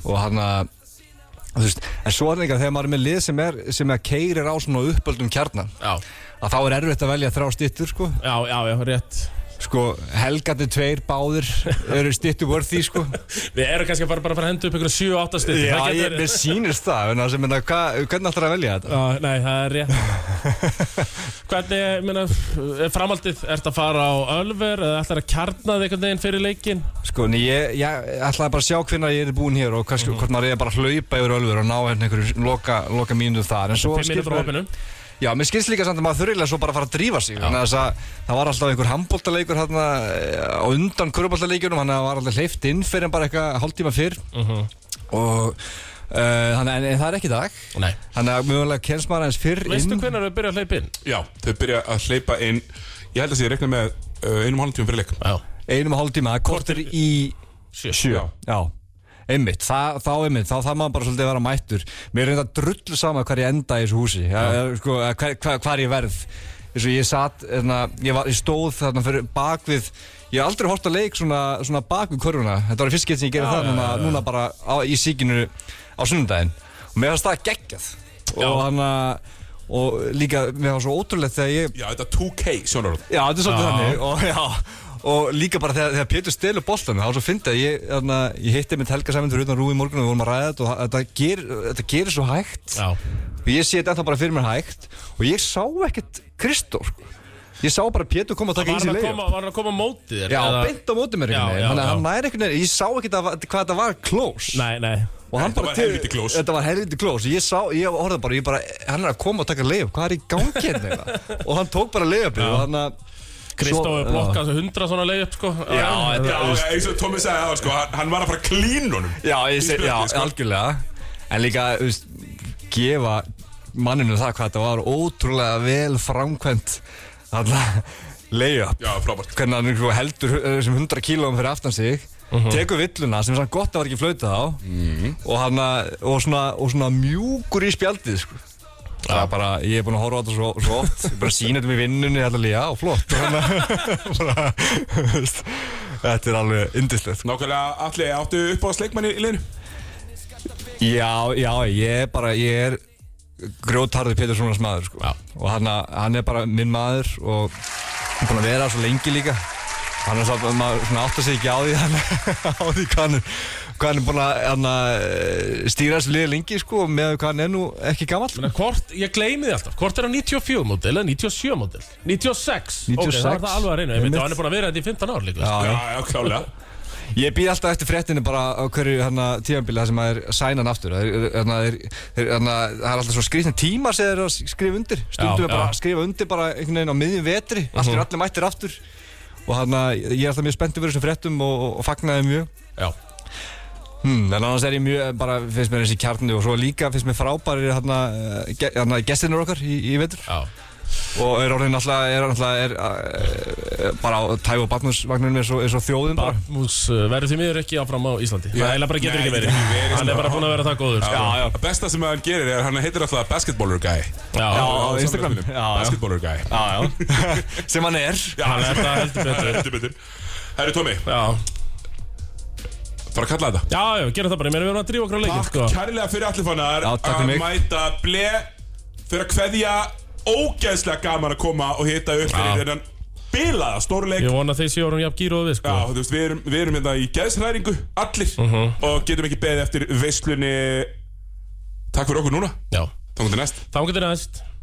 Speaker 6: og hann að þú veist, en svo er það líka þegar maður er með lið sem er sem að keirir á svona uppöldum kjarnan
Speaker 3: já,
Speaker 6: að þá er erfitt að velja þrjá stittur sko.
Speaker 3: já, já, já, rétt
Speaker 6: sko, helgandi tveir báðir eru stittu worthy sko.
Speaker 3: Við erum kannski bara, bara að fara að henda upp einhverjum 7-8 stuttum
Speaker 6: [LAUGHS] já, ég, mér sýnist það en það sem, menna, hva, hvernig ætlar að velja þetta?
Speaker 3: Já, nei, það er
Speaker 6: [LAUGHS]
Speaker 3: rétt Hvernig, ég meina, er framhaldið, ertu að fara á Ölver eða ætlar að kjarna þig einhvern veginn fyrir leikin
Speaker 6: sko, en ég, ég ætlaði bara að sjá hvernig ég er búinn hér og kannski, hvort maður er bara að hlaupa yfir ölfur og ná hérna einhverju loka, loka mínutu þar en svo
Speaker 3: 5 minútur á
Speaker 6: mér-
Speaker 3: opinum
Speaker 6: Já, mér skilst líka samt að maður þurrilega svo bara að fara að drífa sig Þannig að þess að það var alltaf einhver handbóltaleikur hérna á undan körubóltaleikunum Þannig að það var alltaf hleyft inn fyrir en bara eitthvað hálftíma fyrr Og uh, þannig en, en það er ekki í dag
Speaker 3: Nei
Speaker 6: Þannig að mögulega kennst maður aðeins fyrr
Speaker 3: Veistu
Speaker 6: inn
Speaker 3: hvernig við byrjað að hleypa inn?
Speaker 2: Já, þau byrja að hleypa inn Ég held að sé, ég rekna með uh, einum og hálfum tíum fyrir leik
Speaker 3: Já,
Speaker 6: Einum hálftíma, kortir í
Speaker 3: sjö
Speaker 6: sjö
Speaker 2: Já.
Speaker 6: Já Einmitt, það, þá einmitt, þá þarf maður bara svolítið að vera mættur Mér er reynda drullu sama hvar ég enda í þessu húsi ja, sko, eh, hvar, hvar, hvar ég verð Þessu ég satt, hérna, ég, var, ég stóð þarna fyrir bakvið Ég hef aldrei hort að leik svona, svona bakvið körfuna Þetta var fyrst gett sem ég gerði það núna, núna bara á, í síkinu á sunnudaginn Og mér fannst það geggjað Og hann að, og líka, mér var svo ótrúlegt þegar ég
Speaker 2: Já, þetta 2K sjónarótt
Speaker 6: Já, þetta er svolítið þannig og, já, og líka bara þegar, þegar Pétur stelur boltan þá er svo fyndið að ég, þarna, ég hitti mitt Helga Sæmund fyrir utan Rúi í morgun og við vorum að ræða þetta og það- þetta, ger, þetta gerir svo hægt
Speaker 3: Já,
Speaker 6: og ég sé þetta ennþá bara fyrir mér hægt og ég sá ekkert Kristór sko. Ég sá bara Pétur koma að
Speaker 3: Var
Speaker 6: taka í
Speaker 3: hann
Speaker 6: sig
Speaker 3: að
Speaker 6: leið
Speaker 3: koma- var hann að koma á móti þér?
Speaker 6: Já,
Speaker 3: Eða-
Speaker 6: beint á móti mér
Speaker 3: Já,
Speaker 6: einhvern
Speaker 3: já,
Speaker 6: veginn Þannig að
Speaker 3: já.
Speaker 6: hann næri einhvern veginn Ég sá ekki að, hvað þetta var close
Speaker 3: Nei, nei
Speaker 6: Og hann
Speaker 2: Þetta
Speaker 6: bara
Speaker 2: var
Speaker 6: til-
Speaker 2: helviti close.
Speaker 6: Þetta var helviti close Ég sá, ég horfði bara, ég bara Hann er að koma og taka leið Hvað er í gangi hérna eitthvað? Og hann tók bara leiðabíð Og hann að
Speaker 3: Kristófi
Speaker 6: Svo-
Speaker 3: blokkað þessu hundra svona leið upp sko Já,
Speaker 2: Já, já, eins og Tommi sagði aðan sko, hann, hann var að fara að klín honum
Speaker 6: Já, ég
Speaker 2: Í
Speaker 6: sé, já,
Speaker 2: spjaldið, sko.
Speaker 6: algjörlega En líka, þú veist, gefa manninu það hvað þetta var ótrúlega vel framkvæmt Þarna leiðabíð
Speaker 2: Já, frábært
Speaker 6: Hvernig hann sko heldur eh, þessum 100 kílóum fyrir aftan sig Tekur villuna sem sann gott að var ekki flautað á og, hann, að- og, svona, og svona mjúkur í spjaldið sko. Það er bara, ég er búin að horfa á þetta svo, svo oft Ég er bara að sína þetta með vinnunni alltaf líka og flott Og hann að- [LAUGHS] bara, þú veist, Þetta er alveg indislegt sko.
Speaker 2: Nákvæmlega, allir áttu upp á sleikmanni í liðinu
Speaker 6: Já, já, ég er bara, ég er grjótharði Péturssonars maður sko. og hann, að- hann er bara minn maður og hann er búin að vera svo lengi líka hann er svo, maður svona áttar sig ekki á því [LAUGHS] hann, á því hvað hann er hvað hann er búin að hann, að, eh, stýra þessu liði lengi sko, með hvað hann er nú ekki gamall
Speaker 3: Menna, hvort, ég gleymi því alltaf, hvort er hann 94 módel eða 97 módel? 96, ok, það
Speaker 6: 96.
Speaker 3: var það alveg að reyna, ég myndi
Speaker 6: Einmitt.
Speaker 3: að hann er búin að vera þetta í 15 ár líka
Speaker 2: Já,
Speaker 6: já.
Speaker 2: já, klálega
Speaker 6: Ég býð alltaf eftir fréttinu bara á hverju hana, tímanbili það sem maður sæna hann aftur það er, hérna, hana, er, er, hana, það er alltaf svo skrifna tímar sem þeir eru að skrifa undir
Speaker 3: Já,
Speaker 6: stundum er bara
Speaker 3: já.
Speaker 6: að skrifa undir bara einhvern veginn á miðjum vetri uh allir, allir mættir aftur og hann ég er alltaf mjög spenntið fyrir þessum fréttum og, og, og fagnaði mjög
Speaker 3: Já,
Speaker 6: hmm, en annars er ég mjög bara finnst mér þessi kjarni og svo líka finnst mér frábæri hana, ge, hana, gestinur okkar í, í vetur
Speaker 3: já,
Speaker 6: og er orðin alltaf er, alltaf, er, er, er bara á tæf og barnusvagnunum er svo, er svo þjóðum bara
Speaker 3: Barmús uh, verður því miður ekki áfram á Íslandi Það eiginlega bara getur
Speaker 2: Nei,
Speaker 3: ekki
Speaker 2: getur
Speaker 3: verið,
Speaker 2: ekki verið,
Speaker 3: hann
Speaker 2: sko.
Speaker 3: er bara búin að vera það góður sko.
Speaker 2: já Það besta sem hann gerir er, hann heitir alltaf Basketballer Guy
Speaker 3: Já,
Speaker 2: Á-
Speaker 6: já.
Speaker 2: á
Speaker 6: Instagram.
Speaker 2: samfélagsmiðlum.
Speaker 6: Já, já.
Speaker 2: Basketballer Guy
Speaker 6: Já, já. sem hann er
Speaker 2: Já,
Speaker 3: hann er það heldur
Speaker 2: það er
Speaker 3: betur
Speaker 2: heldur betur Herri Tommi,
Speaker 3: Já,
Speaker 2: fara að kalla þetta
Speaker 3: já, já, gerum það bara, ég meina við erum að drífa okkur á leikin
Speaker 2: Takk
Speaker 3: sko.
Speaker 2: kærlega fyrir allir fannar
Speaker 6: Já, takk fyrir
Speaker 2: að
Speaker 6: mig.
Speaker 2: mæta ble fyrir að kveðja ógeðslega gaman að koma og hita upp fyrir þennan bilaða stórleik
Speaker 3: Ég vona að þeir séu orðum jafn gíruð við sko
Speaker 2: Já, þú veist, við erum, við erum hérna í geðsræringu, allir og getum ekki beðið eftir veislunni Takk fyrir okkur núna,
Speaker 3: Já,
Speaker 2: þá komum til næst
Speaker 3: þá getur næst